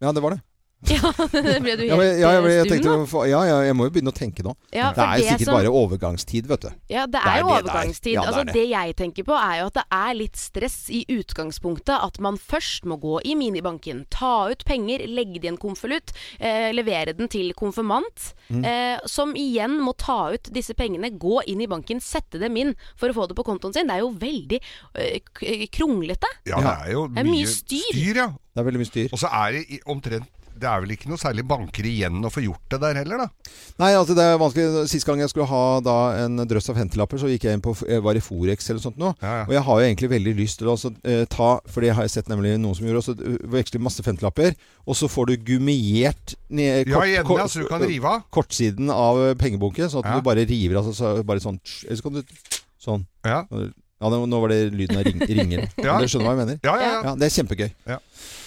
Ja, det var det. Ja, det ble du helt eh, Ja, men, ja, jeg, ble- jeg stum tenkte, nå. fa- ja, ja, jeg må jo begynne å tenke nå. Ja, det for er jo det sikkert som- bare overgangstid, vet du. Ja, det Det er er jo det det er. overgangstid. Ja, det er altså, det. det jeg tenker på, er jo at det er litt stress i utgangspunktet. At man først må gå i minibanken, ta ut penger, legge det i en konvolutt, eh, levere den til konfirmant, Mm. eh, som igjen må ta ut disse pengene, gå inn i banken, sette dem inn for å få det på kontoen sin. Det er jo veldig eh, k- kronglete. Ja, det er jo Det er mye styr. ja. Det er veldig mye styr. Og så er det i- omtrent Det er vel ikke noe særlig banker igjen å få gjort det der heller, da. Nei, altså det er vanskelig. Sist gang jeg skulle ha da en drøss av femtilapper, så gikk jeg inn på jeg var i Forex eller sånt noe. Og jeg har jo egentlig veldig lyst til å altså, eh, ta For det har jeg sett nemlig noen som gjorde. Og så eh, veksler de masse femtilapper, og så får du gummiert ned, eh, Ja, i enden, ja, så du kan rive av. kortsiden av eh, pengebunken, sånn at Ja. du bare river altså, så, bare sånn tsj, Eller så kan du sånn. Ja. nå- nå var det lyden av ring, ringer. Ja. Du skjønner hva jeg mener? Ja, ja, ja. det er kjempegøy.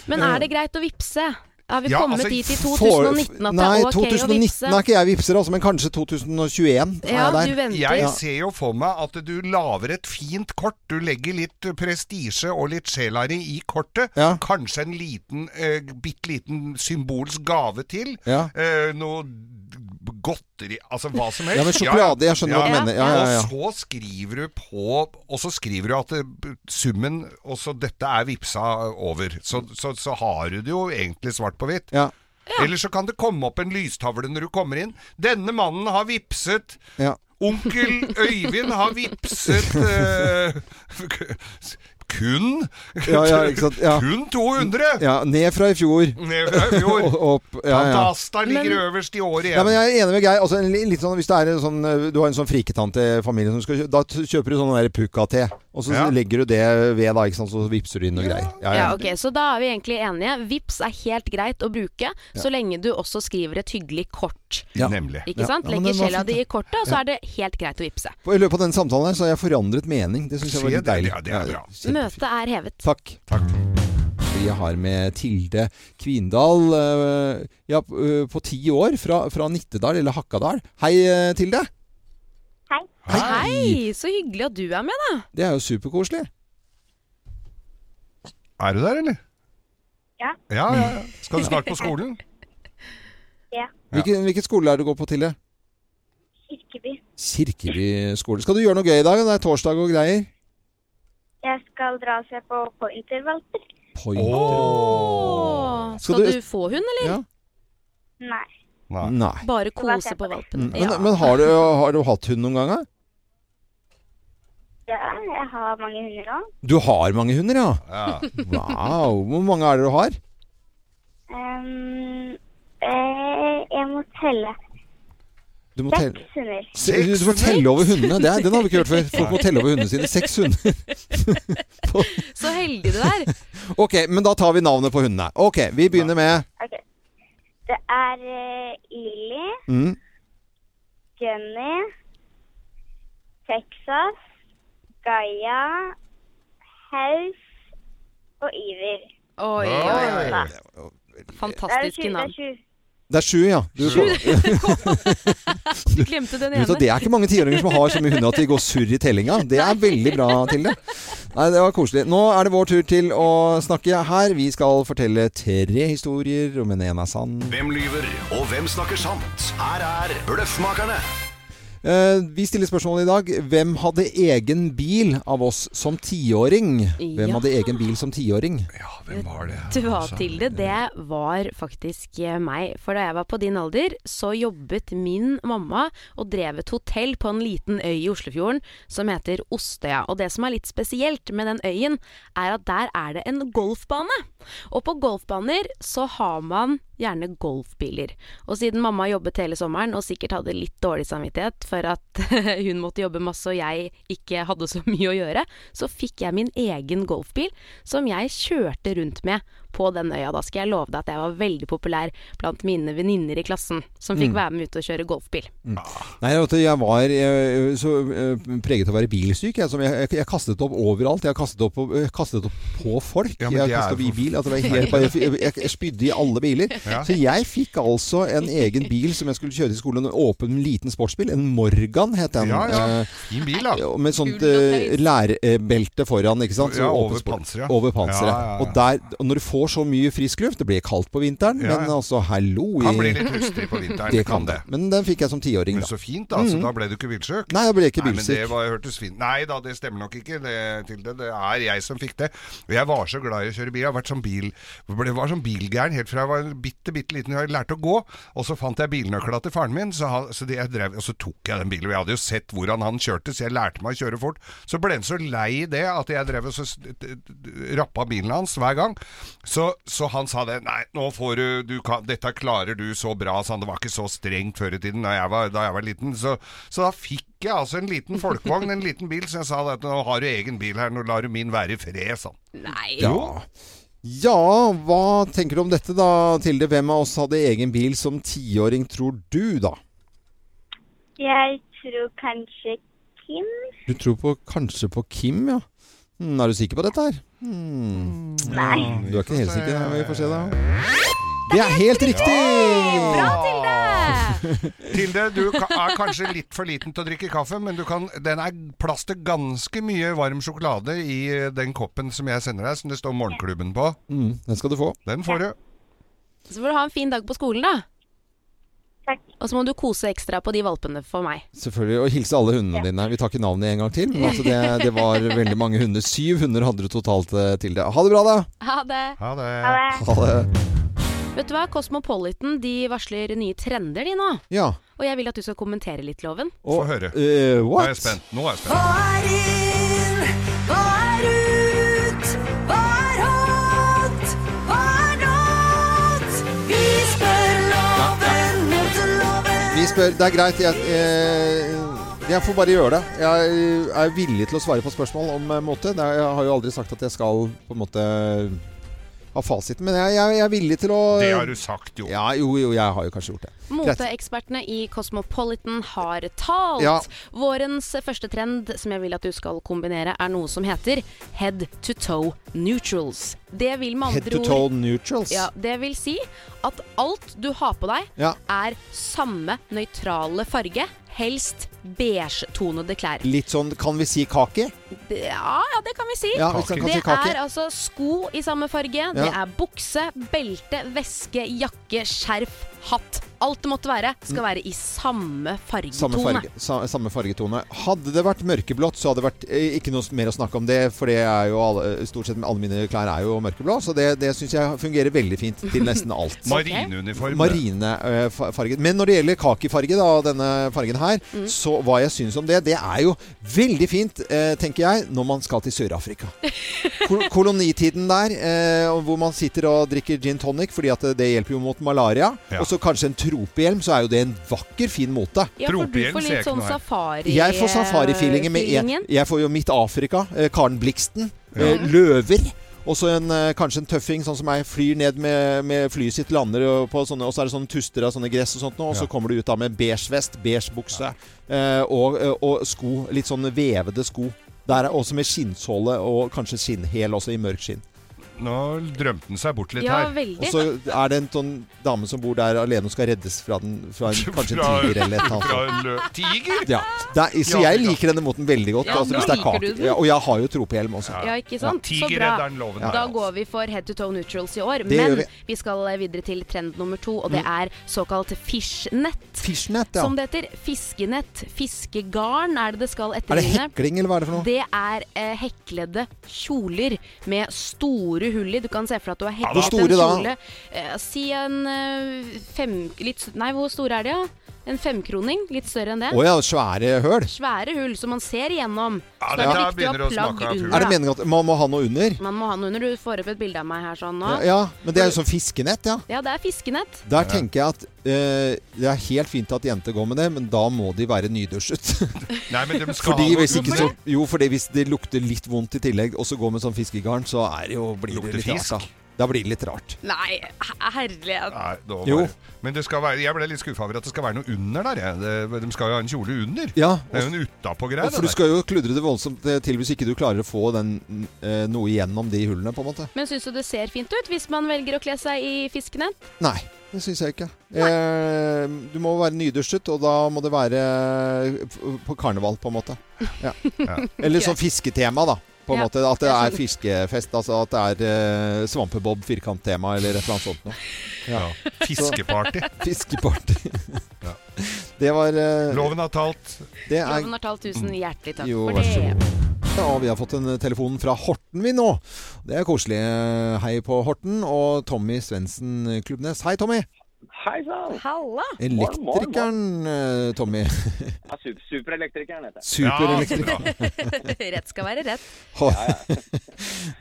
Men er det greit å vippse? Er vi Ja, kommet altså, dit i for- 2019 at det Nei, er ok å 2019 vippse? er ikke jeg vipser, altså, men kanskje 2021 er jeg der. Jeg ser jo for meg at du lager et fint kort. Du legger litt prestisje og litt sjela di i kortet. Ja. Kanskje en liten, eh, bitte liten symbolsk gave til. Ja. Eh, noe d- godteri Altså hva som helst. Ja, men sjokolade, jeg skjønner hva du mener. Ja, ja, ja. Og så skriver du på Og så skriver du at det, summen Og så dette er vipsa over. Så, så, så har du det jo egentlig svart på hvitt. Ja. Eller så kan det komme opp en lystavle når du kommer inn. 'Denne mannen har vipset Ja. Onkel Øyvind har vipset eh, kun, Ja, ja, ikke sant? Ja. kun 200! Ja, ned fra i fjor. Ned fra i fjor. Og opp. Ja, ja. Tantasta ligger øverst i året igjen. Ja, men jeg er enig med Geir. Altså, en li- litt sånn, hvis det er en sånn, eh, du har en sånn friketante i familien som skal kjøpe, da t- kjøper du sånn der pukka-te. Og så Ja. legger du det ved, da, ikke sant? så vipser du inn noe greier. Ja, Ja, ja. ok, Så da er vi egentlig enige. Vips er helt greit å bruke, så lenge du også skriver et hyggelig kort. Ja. Nemlig. Ikke Ja. sant? Ja, men Legger den var sjela fint, di ja. i kortet, og så Ja. er det helt greit å vipse. På- I løpet av den samtalen her så har jeg forandret mening. Det syns jeg var Se litt det, deilig. ja, det er bra. Møtet er hevet. Takk. Vi har med Tilde Kvindal eh, ja, p- eh, på ti år, fra, fra Nittedal eller Hakkadal. Hei, eh, Tilde. Hei. Hei, så hyggelig at du er med, da. Det er jo superkoselig. Er du der, eller? Ja. Ja, ja, ja. Skal du snart på skolen? Ja. Hvilken, hvilken skole er det du går på, Tilde? Kirkeby. Kirkeby skole. Skal du gjøre noe gøy i dag? Det er torsdag og greier. Jeg skal dra og se på pointervalper. Pointer. Åh, Skal skal du- du få hund, eller? Nei. Nei. Bare kose på valpen. Mm. Men, Ja. men har, du, har du hatt hund noen ganger? Ja, jeg har mange hunder òg. Du har mange hunder, ja? Ja. Wow. Hvor mange er det du har? Um, eh, jeg må telle. Du må Seks telle- hunder. Se- Du, du må telle over hundene. Det, er- den har vi ikke hørt før. Folk må Nei. telle over hundene sine. Seks hunder. Så heldig du er. Ok, men da tar vi navnet på hundene. Ok, vi begynner med Ok. Det er eh, Lily, mm, Gunny, Texas, Gaia, Haus og Iver. Oi, oi, oi. Fantastiske Det er navn. sju. Det er sju, ja. Du, Sju. Du- Du glemte den du vet at Det er ene. ikke mange tiåringer som har så mye hunder at de går surr i tellinga. Det er veldig bra, Tilde. Nei, det var koselig. Nå er det vår tur til å snakke her. Vi skal fortelle tre historier, om en ene er sann. Hvem lyver, og hvem snakker sant? Her er Bløffmakerne. Eh, Vi stiller spørsmålet i dag. Hvem hadde egen bil av oss som tiåring? Hvem Ja. hadde egen bil som tiåring? Hvem var det? Altså. Du var Tilde, det var faktisk eh, meg. For da jeg var på din alder, så jobbet min mamma og drev et hotell på en liten øy i Oslofjorden som heter Ostøya. Og det som er litt spesielt med den øyen, er at der er det en golfbane. Og på golfbaner så har man gjerne golfbiler. Og siden mamma jobbet hele sommeren og sikkert hadde litt dårlig samvittighet for at hun måtte jobbe masse og jeg ikke hadde så mye å gjøre, så fikk jeg min egen golfbil som jeg kjørte rundt med på den øya. Da skal jeg love deg at jeg var veldig populær blant mine venninner i klassen som fikk Mm. være med ut og kjøre golfbil. Mm. Nei, jeg, vet, du, jeg var eh, så eh, preget av å være bilsyk. Jeg, som jeg, jeg, jeg kastet opp overalt. Jeg kastet opp, eh, kastet opp på folk. Ja, men jeg det er kastet opp i for- bil. At det var helt, bare, jeg, jeg, jeg spydde i alle biler. Ja. Så jeg fikk altså en egen bil som jeg skulle kjøre til skolen. En åpen, liten sportsbil. En Morgan het den. Ja, ja. Eh, Fin bil, da. og med sånt uh, lærbelte foran, ikke sant? Ja, åpen over sport- panseret. Over panseret. Ja, ja, ja. Og, der, og når du får får så mye frisk luft. Det blir kaldt på vinteren, Ja, men ja. altså hallo i- Kan bli litt hustrig på vinteren, Det det kan kan det. Men den fikk jeg som tiåring, Men da. så fint, da. Så Mhm. da ble du ikke bilsjuk? Nei, jeg ble ikke Nei, men bilsyk. det var, hørtes fint Nei da, det stemmer nok ikke, det, Tilde. Det er jeg som fikk det. Og jeg var så glad i å kjøre bil. Jeg har vært som bil, ble, var som bilgæren helt fra jeg var bitte, bitte liten. Jeg lærte å gå, og så fant jeg bilnøkla til faren min, så, han, så det jeg drev, og så tok jeg den bilen. Og jeg hadde jo sett hvordan han kjørte, så jeg lærte meg å kjøre fort. Så ble han så lei i det at jeg drev og så s- d- d- d- rappa bilen hans hver gang. Så, så han sa det. Nei, nå får du, du kan, dette klarer du så bra, sa han. Det var ikke så strengt før i tiden da jeg var, da jeg var liten. Så, så da fikk jeg altså en liten folkevogn, en liten bil, så jeg sa det at nå har du egen bil her, nå lar du min være i fred, sa han. Nei. Ja. ja, hva tenker du om dette da, Tilde? Hvem av oss hadde egen bil som tiåring, tror du da? Jeg tror kanskje Kim. Du tror på, kanskje på Kim, ja? Hmm, er du sikker på dette her? Hmm. Nei. Ja, Du er ikke helt sikker? Nei, vi får se da. Det er helt riktig! Tilde, du ka- er kanskje litt for liten til å drikke kaffe, men du kan, den er plass til ganske mye varm sjokolade i eh, den koppen som jeg sender deg, som det står Morgenklubben på. Mm, den skal du få. Den får du. Så får du ha en fin dag på skolen, da. Og så må du kose ekstra på de valpene for meg. Selvfølgelig. Og hilse alle hundene dine. Vi tar ikke navnet en gang til, men altså det, det var veldig mange hunder. Syv hunder hadde du totalt, eh, Tilde. Ha det bra, da! Ha det. Ha det. Ha det. Vet du hva, Cosmopolitan de varsler nye trender de nå. Ja. Og jeg vil at du skal kommentere litt, Loven. Få høre. eh, Nå er jeg spent. Nå er jeg spent. er inn? Hva er ut? Hva er hot? Hva er not? Vi spør loven mot loven. Vi spør Det er greit. Jeg, eh, jeg får bare gjøre det. Jeg er villig til å svare på spørsmål om eh, måte. Det er, jeg har jo aldri sagt at jeg skal på en måte ha fasiten, men jeg, jeg, jeg er villig til å Det har du sagt, jo. Ja, jo, jo, jeg har jo kanskje gjort det. Greit. Moteekspertene i Cosmopolitan har talt. Ja. Vårens første trend som jeg vil at du skal kombinere, er noe som heter head to toe neutrals. Det vil med Head andre to ord toe neutrals. Ja, det vil si at alt du har på deg, Ja. er samme nøytrale farge, helst beigetonede klær. Litt sånn Kan vi si kake? Det- Ja, ja, det kan vi si. Ja, vi skal kanskje det kake. er altså sko i samme farge, det er bukse, belte, veske, jakke, skjerf, hatt. Alt det måtte være, skal være i samme fargetone. Mm. Samme, farge, sa, samme fargetone. Hadde det vært mørkeblått, så hadde det vært eh, ikke noe mer å snakke om det, for det er jo alle, stort sett alle mine klær er jo mørkeblå, så det, det syns jeg fungerer veldig fint til nesten alt. Marineuniform. Marinefargen. eh, Men når det gjelder kakifarge, da, denne fargen her, Mm. så hva jeg syns om det, det er jo veldig fint, eh, tenker jeg, når man skal til Sør-Afrika. Kol kolonitiden der, eh, og hvor man sitter og drikker gin tonic, fordi at det hjelper jo mot malaria. Og så kanskje en tropehjelm, så er jo det en vakker, fin mote. Ja, for du får litt sånn safari... eh, Jeg får safarifeelingen med en. feelingen. Jeg får jo Midt Afrika, eh, Karen Bliksten, eh, løver. Og så en, eh, kanskje en tøffing sånn som meg flyr ned med, med flyet sitt, lander og på sånne, og så er det sånne tuster av sånne gress og sånt nå, og så kommer du ut da med beige vest, beige bukse eh, og, eh, og sko, litt sånn vevede sko. Der er også med skinnsåle og kanskje skinnhæl også i mørk skinn. Nå drømte han seg bort litt Ja, her. veldig. Og så er det en sånn dame som bor der alene og skal reddes fra, den, fra en, kanskje en Fra- tiger eller et eller annet. fra sånt. en lø- Tiger? Ja. Det er, så jeg liker denne moten veldig godt. Ja, altså, nå hvis det er liker kake. du den. Ja, og jeg har jo tropehjelm også. Ja, ikke sant? Så bra. Tigerredderen loven her, Da altså. går vi for head to toe neutrals i år. Det gjør Men vi. vi skal videre til trend nummer to, og det Mm. er såkalt fishnett. Fishnett, ja. Som det heter. Fiskenett. Fiskegarn er det det skal Er det etterligne. hekling, eller hva er det for noe? Det er eh, heklede kjoler med store hull i. Du kan se for deg at du har Hvor heklet store en da? kjole. Eh, si en eh, fem... Litt, nei, hvor store er de, da? En femkroning? Litt større enn det. Å ja, svære høl. Svære hull som man ser igjennom. Ja, Så det er dette viktig å ha plagg under. Er det da. meningen at man må ha noe under? Man må ha noe under. Du får opp et bilde av meg her sånn nå. Ja, ja, men det er jo sånn fiskenett, ja. Ja, det er fiskenett. Der tenker jeg at eh, det er helt fint at jenter går med det, men da må de være nydusjet. Nei, men de skal Fordi ha noe hvis ikke så, under. jo, fordi hvis det lukter litt vondt i tillegg, og så går med sånn fiskegarn, så er det jo, blir det Lukter litt fisk? rart. Da. da blir det litt rart. Nei, her- herlighet. Nei, nå var Jo. det- Men det skal være, jeg ble litt skuffa over at det skal være noe under der. jeg. Det, de skal jo ha en kjole under. Ja, det er jo en utapå-greie. Og For du skal jo kludre det voldsomt eh, til hvis ikke du klarer å få den, eh, noe igjennom de hullene, på en måte. Men syns du det ser fint ut hvis man velger å kle seg i fiskenett? Nei, det syns jeg ikke. Eh, du må være nydusjet, og da må det eh, være f- på karneval, på en måte. Ja. Eller sånn fisketema, da. På en Ja. måte At det er fiskefest. Altså at det er eh, svampebob firkanttema eller et eller annet sånt noe. Ja. Fiskeparty. Så- Fiskeparty. Det var eh, Loven har talt. Det er Loven har talt tusen hjertelig takk jo, for vær så det. god. Ja, og vi har fått en eh, telefon fra Horten vi nå. Det er koselig. Eh, Hei på Horten og Tommy Svendsen Klubbnes. Hei, Tommy. Hei sann! Halla! Elektrikeren eh, Tommy. Ja, sup- Superelektrikeren heter jeg. Superelektrikeren. rett skal være rett.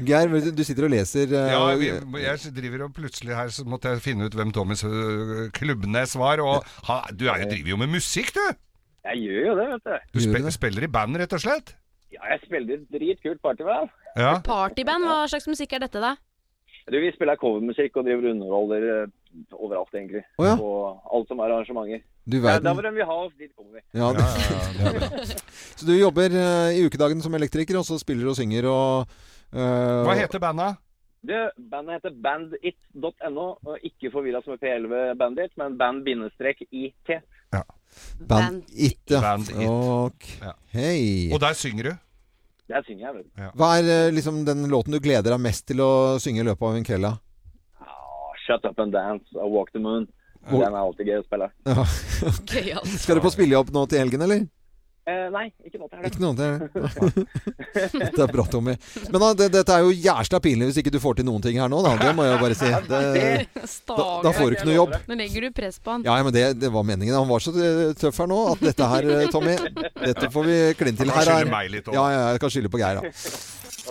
Geir, vet du- du sitter og leser eh, Ja, vi, jeg driver og plutselig her så måtte jeg finne ut hvem Thomas øh, Klubbnes var. Og ha, du er jo, driver jo med musikk, du! Jeg gjør jo det, vet du. Du spe, spiller i band, rett og slett? Ja, jeg spiller et dritkult partyband. Ja. Partyband, hva slags musikk er dette, da? Du, vi spiller covermusikk og driver og underholder eh, overalt, egentlig. Å ja. På alt som er arrangementer. Du Ja, verden. da må de vi ha oss, dit kommer vi. Ja, det- Så du jobber eh, i ukedagen som elektriker, og så spiller og synger og eh, Hva heter bandet? Du, bandet heter bandit.no, og ikke forvirra som med P11 Bandit, men band-it. Band It? ja. Ok. Og der synger du? Der synger jeg, vet du. Hva er eh, liksom den låten du gleder deg mest til å synge i løpet av en kveld? da? Å, Shut up and dance og walk the moon. Hvor- Den er alltid gøy å spille. Ja. Skal du på spillejobb nå til helgen, eller? Eh, nei, ikke nå til helga. Ikke noen til Dette er bra, Tommy. Men da, det, dette er jo jævla pinlig hvis ikke du får til noen ting her nå, da. Det må jeg jo bare si. Det, da, da får du ikke noe jobb. Nå legger du press på han. Ja, ja, men det, det var meningen. Han var så eh, tøff her nå at dette her, eh, Tommy Dette får vi kline til. Han kan Her er- skylde meg litt også. Ja, ja, jeg kan skylde på Geir, da.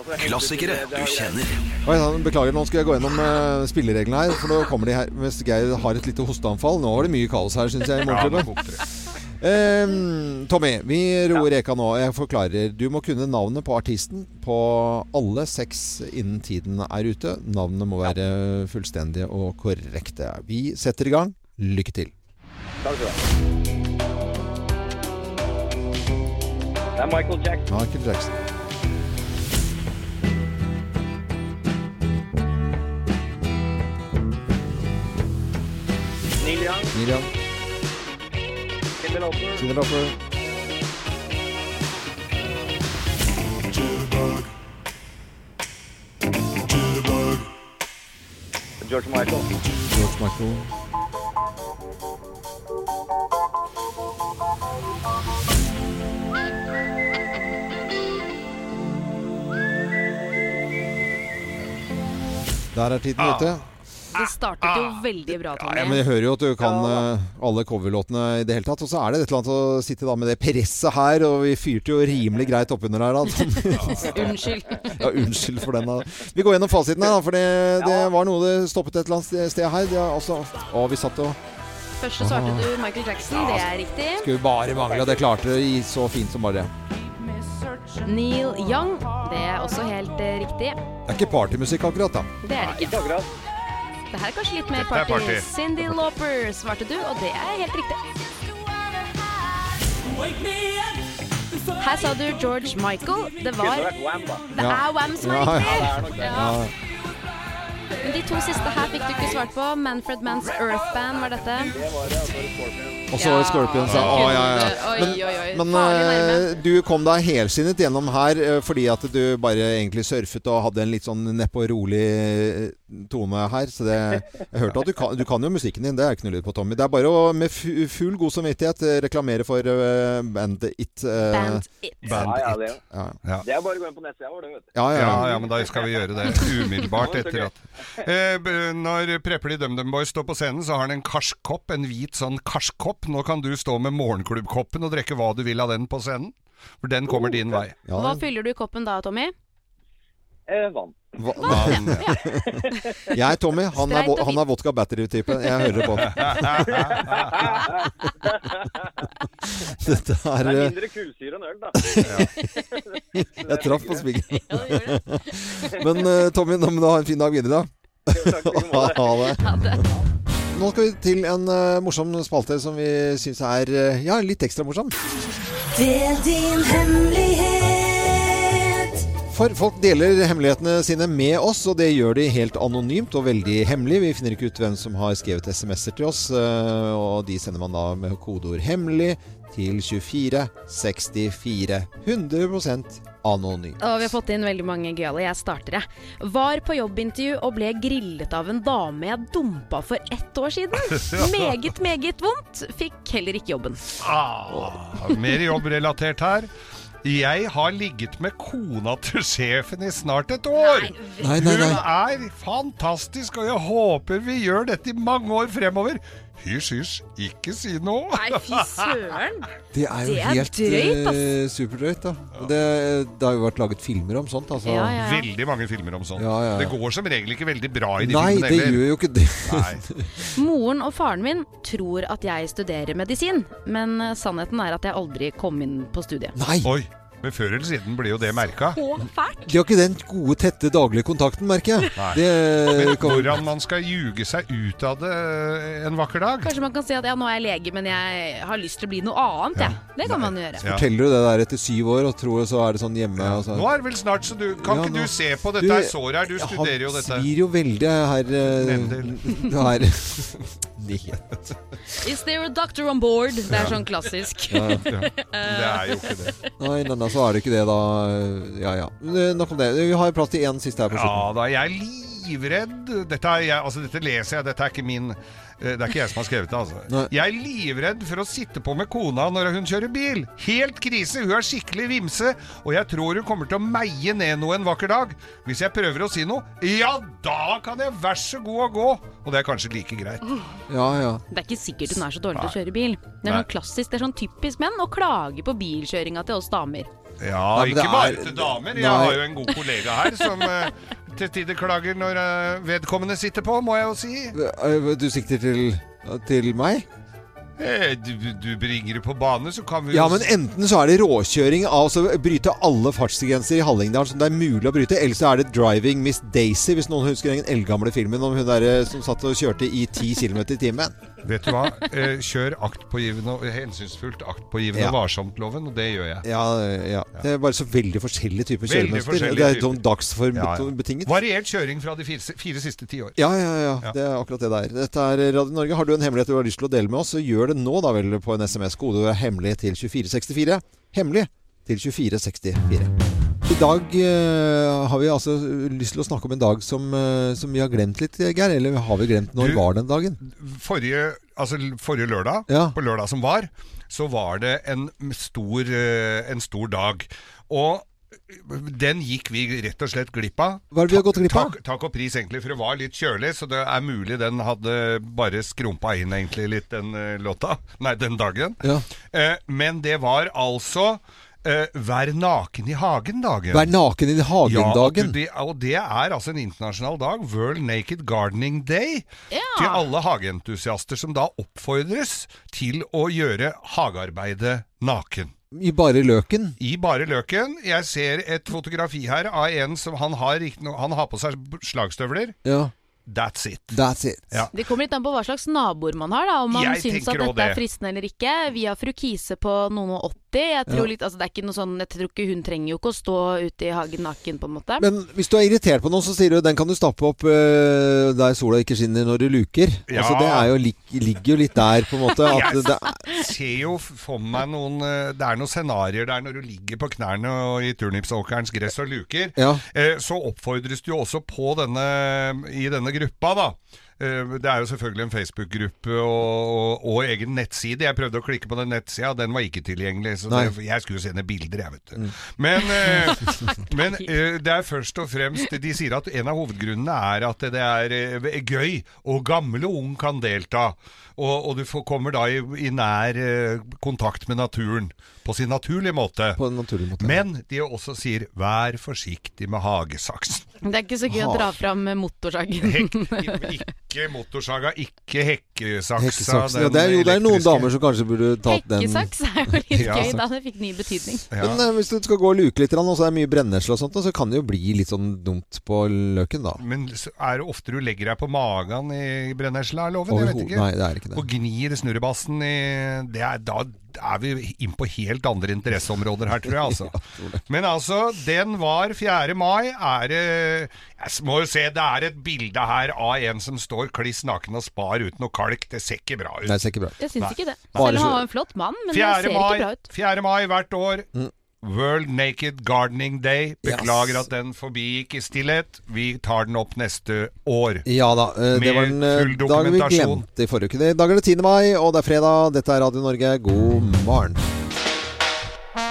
Klassikere du kjenner. Oi, sann, beklager, nå skal jeg gå gjennom eh, spillereglene her. For nå kommer de her mens Geir har et lite hosteanfall. Nå var det mye kaos her, syns jeg. i Ja, nå morgenklubben. kokte det. Ehm, Tommy, vi roer reka nå. Jeg forklarer. Du må kunne navnet på artisten på alle seks innen tiden er ute. Navnet må være fullstendige og korrekte. Vi setter i gang. Lykke til. Takk skal du ha. Det er Michael Jackson. Michael Jackson. Neil Young. Neil Young. Cyndi Lauper. Cyndi Lauper. George Michael. George Michael. Der er tiden Ah. ute. Det startet jo veldig bra, Tommy. Ah. Ja, men Jeg hører jo at du kan eh, alle coverlåtene i det hele tatt. Og så er det et eller annet å sitte da med det presset her, og vi fyrte jo rimelig greit oppunder her. Da. Unnskyld. ja, unnskyld for den. Da. Vi går gjennom fasiten her, da, for det, det var noe det stoppet et eller annet sted her. Det er altså, å, vi satt og Først så svarte Ah. du Michael Jackson, det er riktig. skulle bare mangle, og det klarte du i så fint som bare det. Neil Young, det er også helt eh, riktig. Det er ikke partymusikk akkurat, da. Det er det ikke. Det her er kanskje litt mer Dette er party. party. Cindy Lauper svarte du, og det er helt riktig. Her sa du George Michael. Det var Kunne vært Wham, da. Det Ja. er Wham som er Ja, ja. riktig! Ja, det er nok det. Ja. Men de to siste her fikk du ikke svart på. Manfred Manns Earth Band var dette. Og så var det Scorpions. Ja. Å, ja, ja. Oi, Men, oi, oi. men eh, du kom deg helskinnet gjennom her eh, fordi at du bare egentlig surfet og hadde en litt sånn neppe og rolig eh, tone her. Så det, jeg hørte at du kan, du kan jo musikken din, det er ikke noe lyd på, Tommy. Det er bare å med fu- full god samvittighet eh, reklamere for eh, bandet It. eh, Bandet It. Bandet Ja, ja, det It. Ja. Det er bare å gå inn på nettsida vår, det, vet du. Ja, ja, ja, ja. men da skal vi gjøre det umiddelbart etter at eh, b- Når Prepperly DumDum Boys står på scenen, så har han en karskopp, en hvit sånn karskopp. Nå kan du stå med morgenklubbkoppen og drikke hva du vil av den på scenen. For den kommer Oh. din vei. Hva fyller du i koppen da, Tommy? vann. Hva? Jeg, Tommy, han er, Streit og vo- han er vodka battery-typen. Jeg hører på Dette er Det er eh, mindre kullsyre enn øl, da. Ja. Jeg traff på Ja, det gjør spikeren. det. Men eh, Tommy, nå må du ha en fin dag videre, da. Ha ha det. Nå skal vi til en eh, morsom spalte som vi syns er eh, ja, litt ekstra morsom. Del din hemmelighet. For folk deler hemmelighetene sine med oss, og det gjør de helt anonymt og veldig hemmelig. Vi finner ikke ut hvem som har skrevet SMS-er til oss, eh, og de sender man da med kodeord 'hemmelig' til 24 64 100 anonym. Og vi har fått inn veldig mange gøyale. Jeg starter, jeg. Var på jobbintervju og ble grillet av en dame jeg dumpa for ett år siden. Meget, meget vondt. Fikk heller ikke jobben. Ah, mer jobbrelatert her. Jeg har ligget med kona til sjefen i snart et år. Nei, nei, nei. Hun er fantastisk, og jeg håper vi gjør dette i mange år fremover. Hysj, hysj, ikke si noe. Nei, fy søren. Det er jo Det er helt drøyt, altså. ass. eh, superdrøyt, da. Det, det har jo vært laget filmer om sånt, altså. Veldig mange filmer om sånt. Ja, ja, ja. Det går som regel ikke veldig bra i de Nei, filmene det gjør jo ikke det. Nei. Moren og faren min tror at jeg studerer medisin, men eh, sannheten er at jeg aldri kom inn på studiet. Oi, men før eller siden blir jo det merka. Så fælt! De har ikke den gode, tette daglige kontakten, merker jeg. Men Det kan... hvordan man skal ljuge seg ut av det eh, en vakker dag Kanskje man kan si at ja, nå er jeg lege, men jeg har lyst til å bli noe annet, jeg. Det kan man jo gjøre. Ja. Forteller du det der etter syv år, og tror så er det sånn hjemme og så- Nå er det vel snart, så du Kan Ja, ikke nå- du se på Du, dette her såret her? Du studerer jo dette. Han svir jo veldig her. eh, her. Nyhet. Is there a doctor on board? Det er Ja. sånn klassisk. Ja, ja. Det er jo ikke det. Nei, nei, nei, så er det ikke det, da. Ja ja. Men, eh, Nok om det. Vi har jo plass til én siste her på Ja slutten. da, jeg er livredd. Dette, er jeg, altså, dette leser jeg, dette er ikke min eh, Det er ikke jeg som har skrevet det, altså. Jeg er livredd for å sitte på med kona når hun kjører bil. Helt krise, hun er skikkelig vimse, og jeg tror hun kommer til å meie ned noe en vakker dag. Hvis jeg prøver å si noe, ja da kan jeg vær så god å gå. Og det er kanskje like greit. Ja, ja. Det er ikke sikkert hun er så dårlig til å Nei. kjøre bil. Det er Nei. sånn klassisk, det er sånn typisk menn å klage på bilkjøringa til oss damer. Ja, Nei, men ikke det bare er- til damer. Jeg Nei. har jo en god kollega her som eh, til tider klager når eh, vedkommende sitter på, må jeg jo si. Eh, Du sikter til til meg? Eh, Du, du bringer det på bane, så kan vi Ja, jo men s- enten så er det råkjøring, altså bryte alle fartsgrenser i Hallingdal som det er mulig å bryte, eller så er det Driving Miss Daisy, hvis noen husker den eldgamle filmen om hun der eh, som satt og kjørte i 10 km i timen. Vet du hva? Eh, Kjør aktpågivende og hensynsfullt aktpågivende Ja. og varsomt-loven, og det gjør jeg. Ja, eh, ja. Det er bare så veldig forskjellige typer Veldig kjøremønster. forskjellige Det er typer. sånn dagsform Ja, ja. betinget. Variert kjøring fra de fire, fire siste ti år. Ja, ja, ja, Det er akkurat det der. Dette er eh, Radio Norge. Har du en hemmelighet du har lyst til å dele med oss, så gjør det nå da vel på en SMS. Kode er hemmelig til 2464. Hemmelig til 2464. I dag eh, har vi altså lyst til å snakke om en dag som, eh, som vi har glemt litt, Geir. Eller har vi glemt når Du- var den dagen? Forrige, altså, l- forrige lørdag, på lørdag som var, så var det en stor, eh, en stor dag. Og den gikk vi rett og slett glipp av. Hva er det vi har gått glipp av? Takk, takk og pris, egentlig, for det var litt kjølig, så det er mulig den hadde bare skrumpa inn egentlig litt, den eh, låta. Nei, den dagen. Eh, men det var altså eh, Vær naken i hagen-dagen. Vær naken i Ja, hagen-dagen. at du- det, og det er altså en internasjonal dag, World Naked Gardening Day, til alle hageentusiaster som da oppfordres til å gjøre hagearbeidet naken. I bare løken. I bare løken. Jeg ser et fotografi her av en som han har, riktignok- han har på seg slagstøvler. Ja. That's it. That's it. Ja. Det kommer litt an på hva slags naboer man har, da. Om man Jeg syns tenker at også dette er det. fristende eller ikke. Vi har fru Kise på noen og 80. Jeg tror Ja. litt, altså det er ikke noe sånn, jeg tror ikke hun trenger jo ikke å stå ute i hagen naken, på en måte. Men hvis du er irritert på noen, så sier du den kan du stappe opp eh, der sola ikke skinner når du luker. Ja. Altså, det er jo, lik- ligger jo litt der, på en måte. At Jeg det, ser jo for meg noen eh, Det er noen scenarioer der når du ligger på knærne og i turnipsåkerens gress og luker. Ja. Eh, Så oppfordres du jo også på denne, i denne gruppa, da. Eh, Det er jo selvfølgelig en Facebook-gruppe og, og, og egen nettside. Jeg prøvde å klikke på den nettsida, den var ikke tilgjengelig. Så Nei. det, jeg skulle sende bilder, jeg, Mm. vet du. Men, eh, men eh, det er først og fremst De sier at en av hovedgrunnene er at det er eh, gøy, og gamle og ung kan delta. Og, og du får, kommer da i, i nær eh, kontakt med naturen på sin naturlige måte. På en naturlig måte. Men de også sier 'vær forsiktig med hagesaksen'. Det er ikke så gøy å Ha. dra fram motorsagen. Hekk, ikke motorsaga, ikke hekkesaksa. Hekkesaksen. Ja, den det er jo det er noen elektriske. damer som kanskje burde tatt den. Hekkesaks er jo litt Ja. gøy, da. Det fikk ny betydning. Men eh, hvis du skal gå og luke litt, grann, og så er det mye brennesle og sånt, og så kan det jo bli litt sånn dumt på løken, da. Men så er det ofte du legger deg på magen i brennesla, er loven? Jeg vet Overhodet- ikke. nei, det er ikke det. Og gnir snurrebassen i det er, Da er vi inn på helt andre interesseområder her, tror jeg, altså. Men altså, den var 4. mai. Er det Jeg må jo se, det er et bilde her av en som står kliss naken og spar uten noe kalk. Det ser ikke bra ut. Nei, det ser ikke bra ut. Jeg syns Nei. ikke det. Bare Selv om så- han var en flott mann, men det 4. ser mai, ikke bra ut. 4. mai hvert år. World Naked Gardening Day. Beklager at den forbigikk i stillhet. Vi tar den opp neste år. Ja da. eh, Det Med var en full eh, dag vi dokumentasjon. glemte i forrige uke. I dag er det 10. mai, og det er fredag. Dette er Radio Norge. God morgen.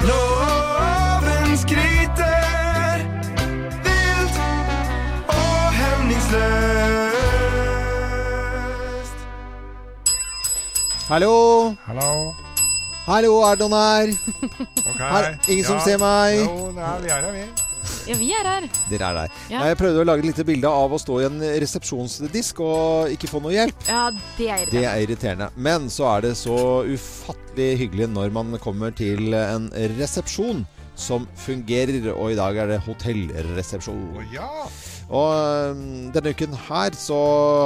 Loven skryter vilt og hemningsløst. Hallo! Hallo. Hallo, er det noen her? Her, ingen som ser meg? Jo, nei, vi er her, vi. Ja, vi er her. Dere er der. Ja. Nei, Jeg prøvde å lage et lite bilde av å stå i en resepsjonsdisk og ikke få noe hjelp. Ja, det er Det er irriterende. Men så er det så ufattelig hyggelig når man kommer til en resepsjon som fungerer, og i dag er det hotellresepsjon. Ja. Og øhm, denne uken her så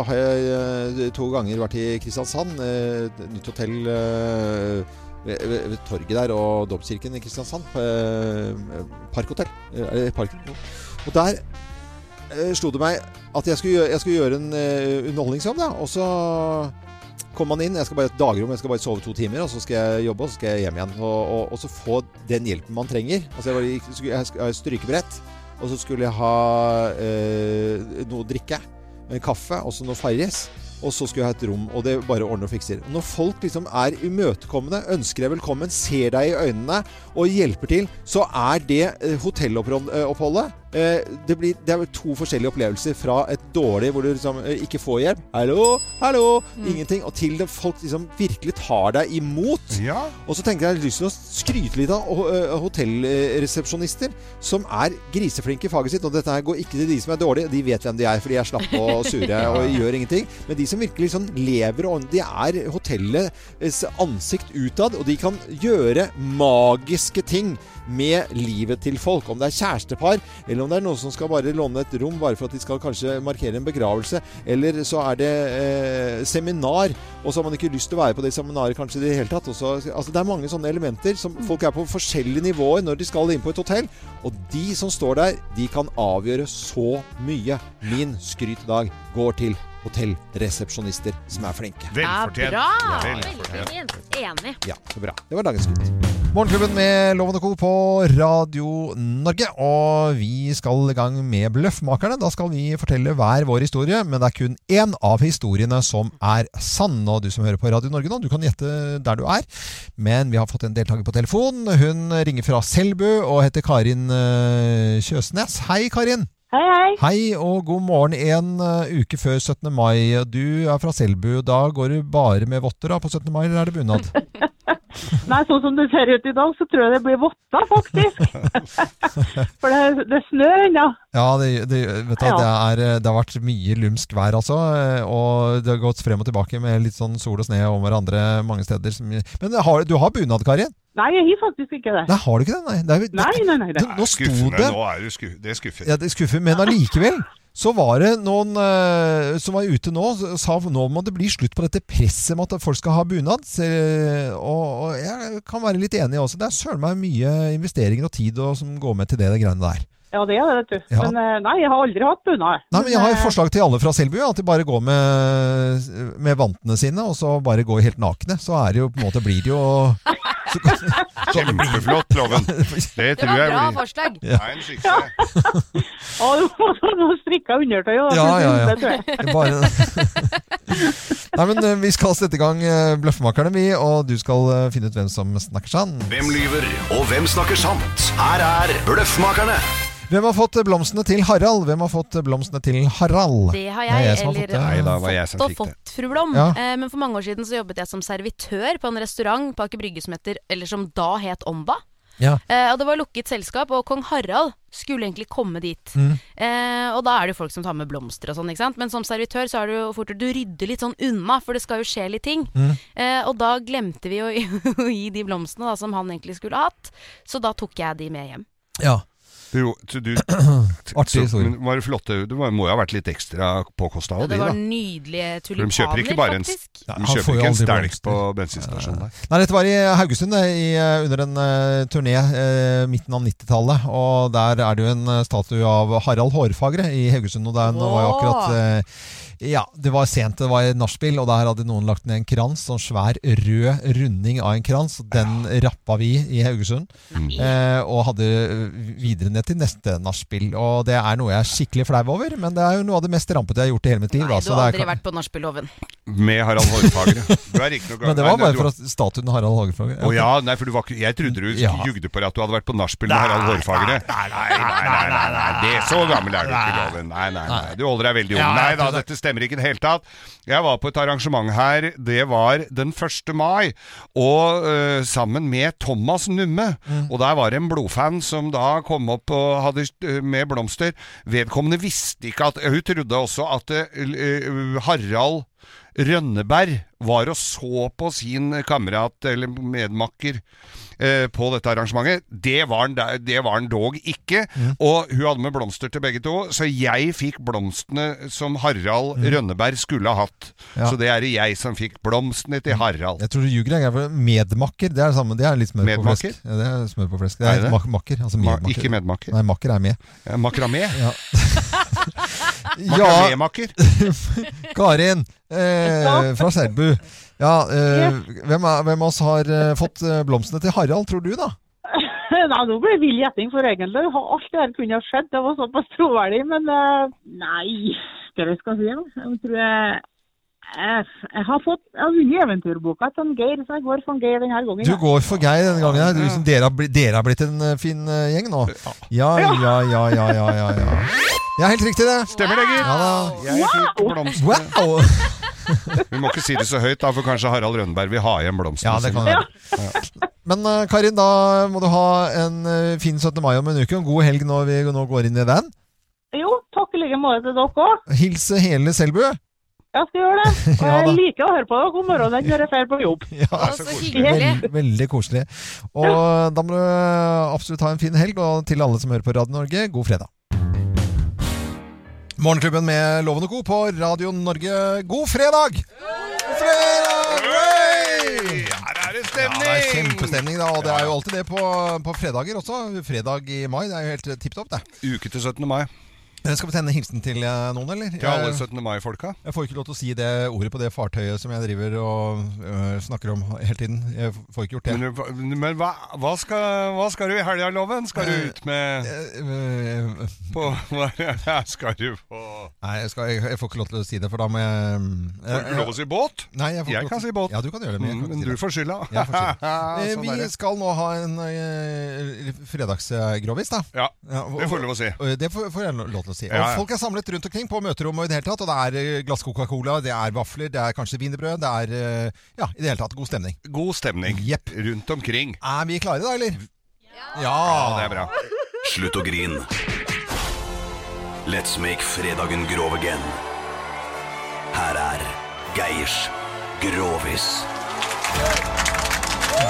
har jeg øh, to ganger vært i Kristiansand. øh, et Nytt hotell øh, ved, ved, ved torget der og Domkirken i Kristiansand. øh, Parkhotell. Øh, Er det parken? Jo. Og der øh, slo det meg at jeg skulle, gjø- jeg skulle gjøre en øh, underholdningsjobb, da. Og så kom man inn. Jeg skal bare ha et dagrom, jeg skal bare sove to timer, og så skal jeg jobbe, og så skal jeg hjem igjen. Og, og, og så få den hjelpen man trenger. Altså, jeg, var, i- skulle- jeg skulle ha et strykebrett, og så skulle jeg ha eh, noe å drikke. eh, Kaffe, og så noe Farris. Og så skulle jeg ha et rom, og det bare ordner og fikser. Når folk liksom er imøtekommende, ønsker deg velkommen, ser deg i øynene og hjelper til, så er det eh, hotelloppholdet Eh, det, blir, det er jo to forskjellige opplevelser fra et dårlig hvor du liksom eh, ikke får hjelp. Hallo, hallo, ingenting. Og til det folk liksom virkelig tar deg imot. Og så tenkte jeg lyst til å skryte litt av eh, hotellresepsjonister som er griseflinke i faget sitt. Og dette her går ikke til de som er dårlige, de vet hvem de er, for de er slappe og sure og gjør ingenting. Men de som virkelig sånn lever og De er hotellets ansikt utad, og de kan gjøre magiske ting med livet til folk. Om det er kjærestepar, eller om det er noen som skal bare låne et rom bare for at de skal kanskje markere en begravelse, eller så er det eh, seminar, og så har man ikke lyst til å være på det seminaret kanskje i det hele tatt. Og så, altså, det er mange sånne elementer som folk er på forskjellige nivåer når de skal inn på et hotell. Og de som står der, de kan avgjøre så mye. Min skryt i dag går til hotellresepsjonister som er flinke. Ja, bra! Veldig fint. Enig. Ja, så bra. Det var dagens skryt. Morgenklubben med Loven og Co. på Radio Norge. Og vi skal i gang med Bløffmakerne. Da skal vi fortelle hver vår historie, men det er kun én av historiene som er sann. Og du som hører på Radio Norge nå, du kan gjette der du er. Men vi har fått en deltaker på telefon. Hun ringer fra Selbu og heter Karin eh, Kjøsnes. Hei, Karin. Hei, hei. Hei, og god morgen. En eh, uke før 17. mai. Du er fra Selbu. Da går du bare med votter da, på 17. mai, eller er det bunad? Nei, sånn som det ser ut i dag, så tror jeg det blir votta, faktisk. For det, det snør ennå. Ja, det, det, vet du, Ja. Det, er, eh, det har vært mye lumsk vær, altså. Og det har gått frem og tilbake med litt sånn sol og sne om hverandre mange steder. Som, men har, du har bunad, Karin? Nei, jeg har faktisk ikke det. Nei, har du ikke det? Nei, det er, Nei, nei, nei. Nå- Nå sto det Nå er du sku- det er skuffet. ja, det skuffer, men allikevel så var det noen eh, som var ute nå, s- sa nå må det bli slutt på dette presset med at folk skal ha bunad. Så, eh, og, og jeg kan være litt enig også. Det er søren meg mye investeringer og tid og, som går med til det, det greiene der. Ja, det er det, vet du. Ja. Men eh, nei, jeg har aldri hatt bunad. Nei, men Jeg har et forslag til alle fra Selbu. At de bare går med, med vantene sine, og så bare går helt nakne. Så er det jo på en måte blir det jo så, Kjempeflott, Loven. Det Det var bra forslag. Ja. Det er en suksess. Å, du får sånn strikka undertøy òg. Ja, ja, ja. Det tror jeg. Det er bare... Nei, men eh, Vi skal sette i gang eh, Bløffmakerne, vi. Og du skal eh, finne ut hvem som snakker sann. Hvem lyver, og hvem snakker sant? Her er Bløffmakerne. Hvem har fått blomstene til Harald? Hvem har fått blomstene til Harald? Det har jeg, Det er som har eller fått fått det. og fått, fru Blom. Ja. Eh, men for mange år siden så jobbet jeg som servitør på en restaurant på Aker Brygge som heter, eller som da het Omba. Ja. Eh, og det var lukket selskap, og kong Harald skulle egentlig komme dit. Mm. Eh, og da er det jo folk som tar med blomster og sånn, ikke sant. Men som servitør så er det jo fort du rydder litt sånn unna, for det skal jo skje litt ting. Mm. Eh, og da glemte vi å å gi de blomstene da, som han egentlig skulle ha hatt, så da tok jeg de med hjem. Ja. Du, så du, Artig så, historie. men var det flotte? Du var- må jo ha vært litt ekstra påkosta av Og det de, da. var nydelige For de kjøper tulipaner, ikke bare en, faktisk. Ja, de han får kjøper jo ikke en aldri stelg blomster. på bensinstasjonen der. Nei, dette var i Haugesund eh, i, eh, under en eh, turné eh, midten av 90-tallet. Og der er det jo en eh, statue av Harald Hårfagre i Haugesund. Og den var jo akkurat eh, Ja, det var sent, det var nachspiel, og der hadde noen lagt ned en krans. Sånn svær rød runding av en krans. og Den rappa vi i Haugesund. Mm. Nei. Eh, og hadde videre ned til neste nachspiel. Og det er noe jeg er skikkelig flau over, men det er jo noe av det mest rampete jeg har gjort i hele mitt liv. da, Du har så Altså, det er aldri kan- vært på nachspielhoven. Med Harald Hårfagre. Du er ikke noe- Men det Nei, var bare du- for at statuen Harald Hårfagre. Å ja, nei, for du var ikke, jeg trodde du Ja. jugde på deg at du hadde vært på nachspiel med Harald Hårfagre. Nei, nei, nei, nei, nei, nei, det så gammel er du ikke, Loven. Nei, nei, nei, du holder deg veldig ung. Ja, Nei jeg da, tror det. dette stemmer ikke i det hele tatt. Jeg var på et arrangement her, det var den 1. mai, og eh, sammen med Thomas Numme. Mm. Og der var det en blodfan som da kom opp og hadde eh, med blomster. Vedkommende visste ikke at Hun trodde også at eh, eh, Harald Rønneberg var og så på sin kamerat eller medmakker eh, på dette arrangementet. Det var han, da- det var han dog ikke. Mm. Og hun hadde med blomster til begge to, så jeg fikk blomstene som Harald Rønneberg skulle ha hatt. Mm. Ja. Så det er det jeg som fikk blomstene til Harald. Jeg tror du ljuger. Jeg er for medmakker, det er det samme. Det er litt smør på Medmakker? flesk. Ja, det er smør på flesk. Det Er er, det? mak makker. Altså Ma- medmakker. ikke medmaker? Nei, makker er med. Eh, Makramé? Ja. Makramémaker? Karin eh, fra Selbu. Ja, eh, hvem, er, hvem av oss har eh, fått eh, blomstene til Harald, tror du, da? Nei, nå ble det vill gjetting, for egentlig har alt det her kunne ha skjedd. Det var såpass troverdig, men eh, nei, hva er det jeg skal si? da? Jeg tror jeg, jeg, jeg har fått jeg har vunnet eventyrboka til han Geir, så jeg går for han Geir denne gangen. Du da. går for Geir denne gangen. her. Du, liksom, dere, har blitt, dere har blitt en eh, fin eh, gjeng nå. Ja, ja, ja, ja, ja. ja, ja. ja helt riktig, det. Stemmer det, gitt. Ja, da. Jeg fikk blomstene. Wow! Vi må ikke si det så høyt, da, for kanskje Harald Rønneberg vil ha igjen blomstene. Ja, det kan sine. være. Men eh, Karin, da må du ha en eh, fin 17. mai om en uke, og en god helg når vi nå går inn i den. Jo, takk i like måte til dere òg. Hils hele Selbu. Jeg skal gjøre det. Og Ja, da. jeg liker å høre på dere om morgenen når jeg drar på jobb. Ja, så Veld, veldig koselig. Og da må du eh, absolutt ha en fin helg, og til alle som hører på Radio Norge, god fredag. Morgenklubben med Lovende Co. på Radio Norge, god fredag! God fredag! Hei! Her er det Ja, stemning! det er kjempestemning, da. Og det er jo alltid det på, på fredager også. Fredag i mai, det er jo helt tipp topp, det. Uke til 17. mai. Dere skal betenne hilsen til eh, noen, eller? Til alle Jeg- 17. mai-folka. Jeg får ikke lov til å si det ordet på det fartøyet som jeg driver og øh, snakker om hele tiden. Jeg får ikke gjort det. Men, du- men hva, hva, skal, hva skal du i helga, Loven? Skal du Eh, ut med På hva, Skal du på Nei, jeg, skal, jeg, jeg får ikke lov til å si det, for da må jeg mm, Får du ikke lov å si båt? Nei, jeg, får ikke lov kan til- si båt. Ja, du kan gjøre det, men jeg kan Mm, ikke men si du det. får skylda. Jeg får skylda. Eh, Sånn er vi det. skal nå ha en eh, fredagsgrovis, da. Ja, og- det får du lov å si. og Det får, får jeg lov til å si. Ja, ja. Og folk er samlet rundt omkring på møterommet i det hele tatt. Og det er eh, glass Coca-Cola, det er vafler, det er kanskje wienerbrød. Det er eh, ja, i det hele tatt god stemning. God stemning rundt omkring. Er vi klare da, eller? Ja! det er bra. Slutt å grin. Let's make fredagen grov again. Her er Geirs Grovis.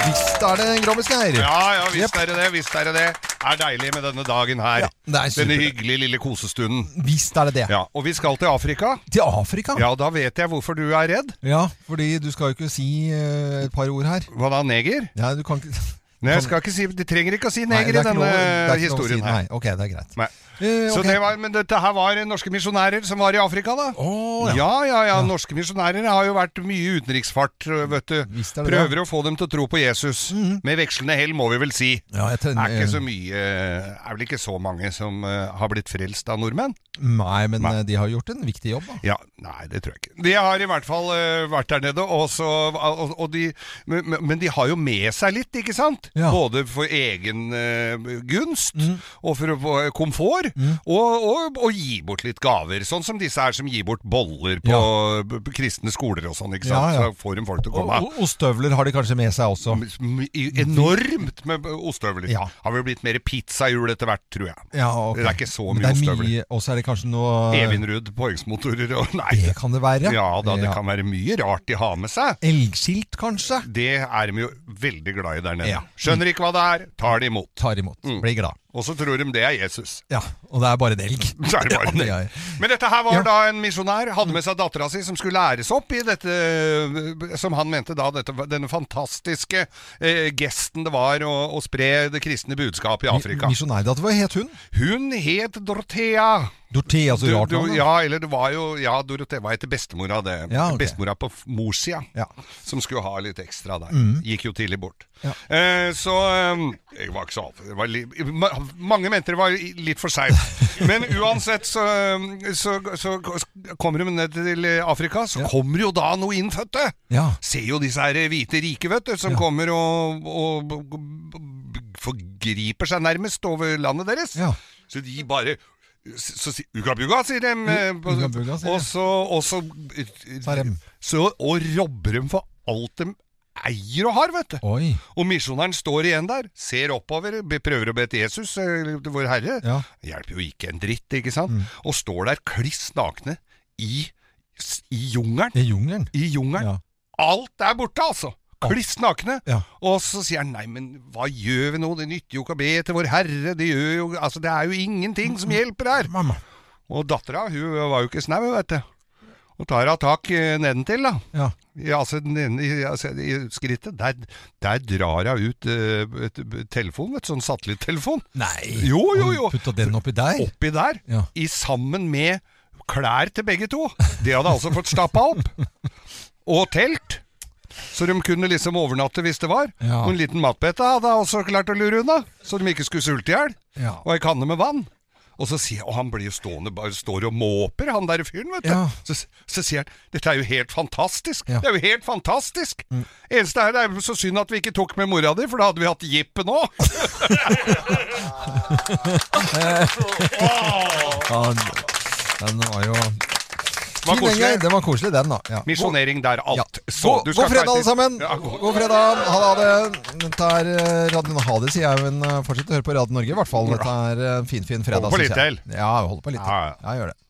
Visst er det en grovis, Geir. Ja, ja, visst er det det. Visst er det det. Er deilig med denne dagen her. det er denne super. hyggelige lille kosestunden. Visst er det det. Ja, Og vi skal til Afrika. Til Afrika? Ja, da vet jeg hvorfor du er redd. Ja, fordi du skal jo ikke si eh, et par ord her. Hva da, neger? Nei, du kan ikke Nei, jeg skal ikke si, De trenger ikke å si Sånn. Nei, neger det i er ikke denne lov- det er ikke lov å historien si, her. Nei, ok, det er greit. Nei. Eh, Så ok. det var, men dette her var norske misjonærer som var i Afrika, da. ja. ja. Ja, ja, Norske misjonærer har jo vært mye utenriksfart, eh, vet du. er det Mhm. Prøver å få dem til å tro på Jesus. Med vekslende hell, må vi vel si. Ja, jeg det er tenker- ikke så mye Er vel ikke så mange som eh, har blitt frelst av nordmenn? Nei, men eh, de har gjort en viktig jobb, da. Ja, Nei, det tror jeg ikke. De har i hvert fall eh, vært der nede, og så, og, og de, men, men de har jo med seg litt, ikke sant? Både for egen eh, gunst, Mhm. og for å få eh, komfort, og, og, og gi bort litt gaver. Sånn som disse her som gir bort boller på, på kristne skoler og sånn, ikke sant? Ja, ja. Så får de folk til å Og, komme. og, og støvler har de kanskje med seg også. Enormt med ostehøvler. Ja. Har vel blitt mer pizzahjul etter hvert, tror jeg. Ja, ok. Det er ikke så Men mye det er ostehøvler. mye- Og så er det kanskje noe Evinrud påhengsmotorer og nei. Det kan det være. Ja da, det Ja. kan være mye rart de har med seg. Elgskilt, kanskje? Det er de jo veldig glad i der nede. Skjønner ikke hva det er, tar det imot. Mm. Tar imot, blir glad. Og så tror de det er Jesus. Ja, og det er bare en elg. Så er det bare Ja, det. ja, ja. Men dette her var Ja. Mm. da en misjonær, hadde med seg dattera si, som skulle læres opp i dette øh, Som han mente da, dette, denne fantastiske eh, gesten det var å, å spre det kristne budskapet i Afrika. Misjonærdatter, hva het hun? Hun het Dorthea. Dorthea, altså rart du, navn, da. Ja, eller det var jo Ja, Dorothea var etter bestemora, det. Ja, ok. Bestemora på f- morssida, som skulle ha litt ekstra der. Mm. Gikk jo tidlig bort. Ja. Eh, så eh, Jeg var ikke så altfor det var li, ma, Mange mente det var i- litt for seint. Men uansett så, eh, så, så, kommer hun ned til Afrika, så kommer jo da noe innfødte! Ja. Ser jo disse her hvite rike, vet du, som kommer og, og, og forgriper seg nærmest over landet deres. Så de bare så, sier Ugabuga, sier de. eh, på- Ugabuga, sier de. og så, og så, eh, så Og robber dem for alt de eier og har, vet du. Og misjonæren står igjen der, ser oppover, be- prøver å be til Jesus, eh, til vår Herre. Ja. Mm. Hjelper jo ikke en dritt, ikke sant? Og står der kliss nakne i, s- i jungelen. I jungelen. Alt er borte, altså! Kliss nakne. Og så sier han nei, men hva gjør vi nå? Det nytter jo ikke å be til Vår Herre. Det, gjør jo, altså, det er jo ingenting som hjelper her. Og dattera, hun var jo ikke snau, vet du. Og tar av tak eh, nedentil, da. Ja. altså, neden, i, altså, i skrittet. Der, der drar hun ut eh, et, et telefon, vet du. Sånn satellittelefon. Nei! Jo, jo, jo. Putta den oppi der? Oppi der. I sammen med klær til begge to. Det hadde altså fått stappa opp. Og telt. Så de kunne liksom overnatte hvis det var. Ja. Og en liten matbete hadde jeg også klart å lure unna, så de ikke skulle sulte i hjel. Ja. Og ei kanne med vann. Og så sier, og han blir jo stående, bare står og måper, han der fyren, vet du. Ja. Så, så sier han, dette er jo helt fantastisk, det er jo helt fantastisk. Mm. Eneste her er jo så synd at vi ikke tok med mora di, for da hadde vi hatt jippe nå. ja, den var jo Fin koselig. gjeng, Den var koselig, den, da. Ja. Misjonering der, alt. Så God, du god skal fredag, ikke- alle sammen! Ja, god. fredag. Ha det, ha det. Dette er eh, Radio Ha det, sier jeg, men eh, fortsett å høre på Radio Norge, i hvert fall. Dette er eh, en fin, fin fredag. Hold på synes litt jeg. til. Ja, hold på litt til. Ja, gjør det.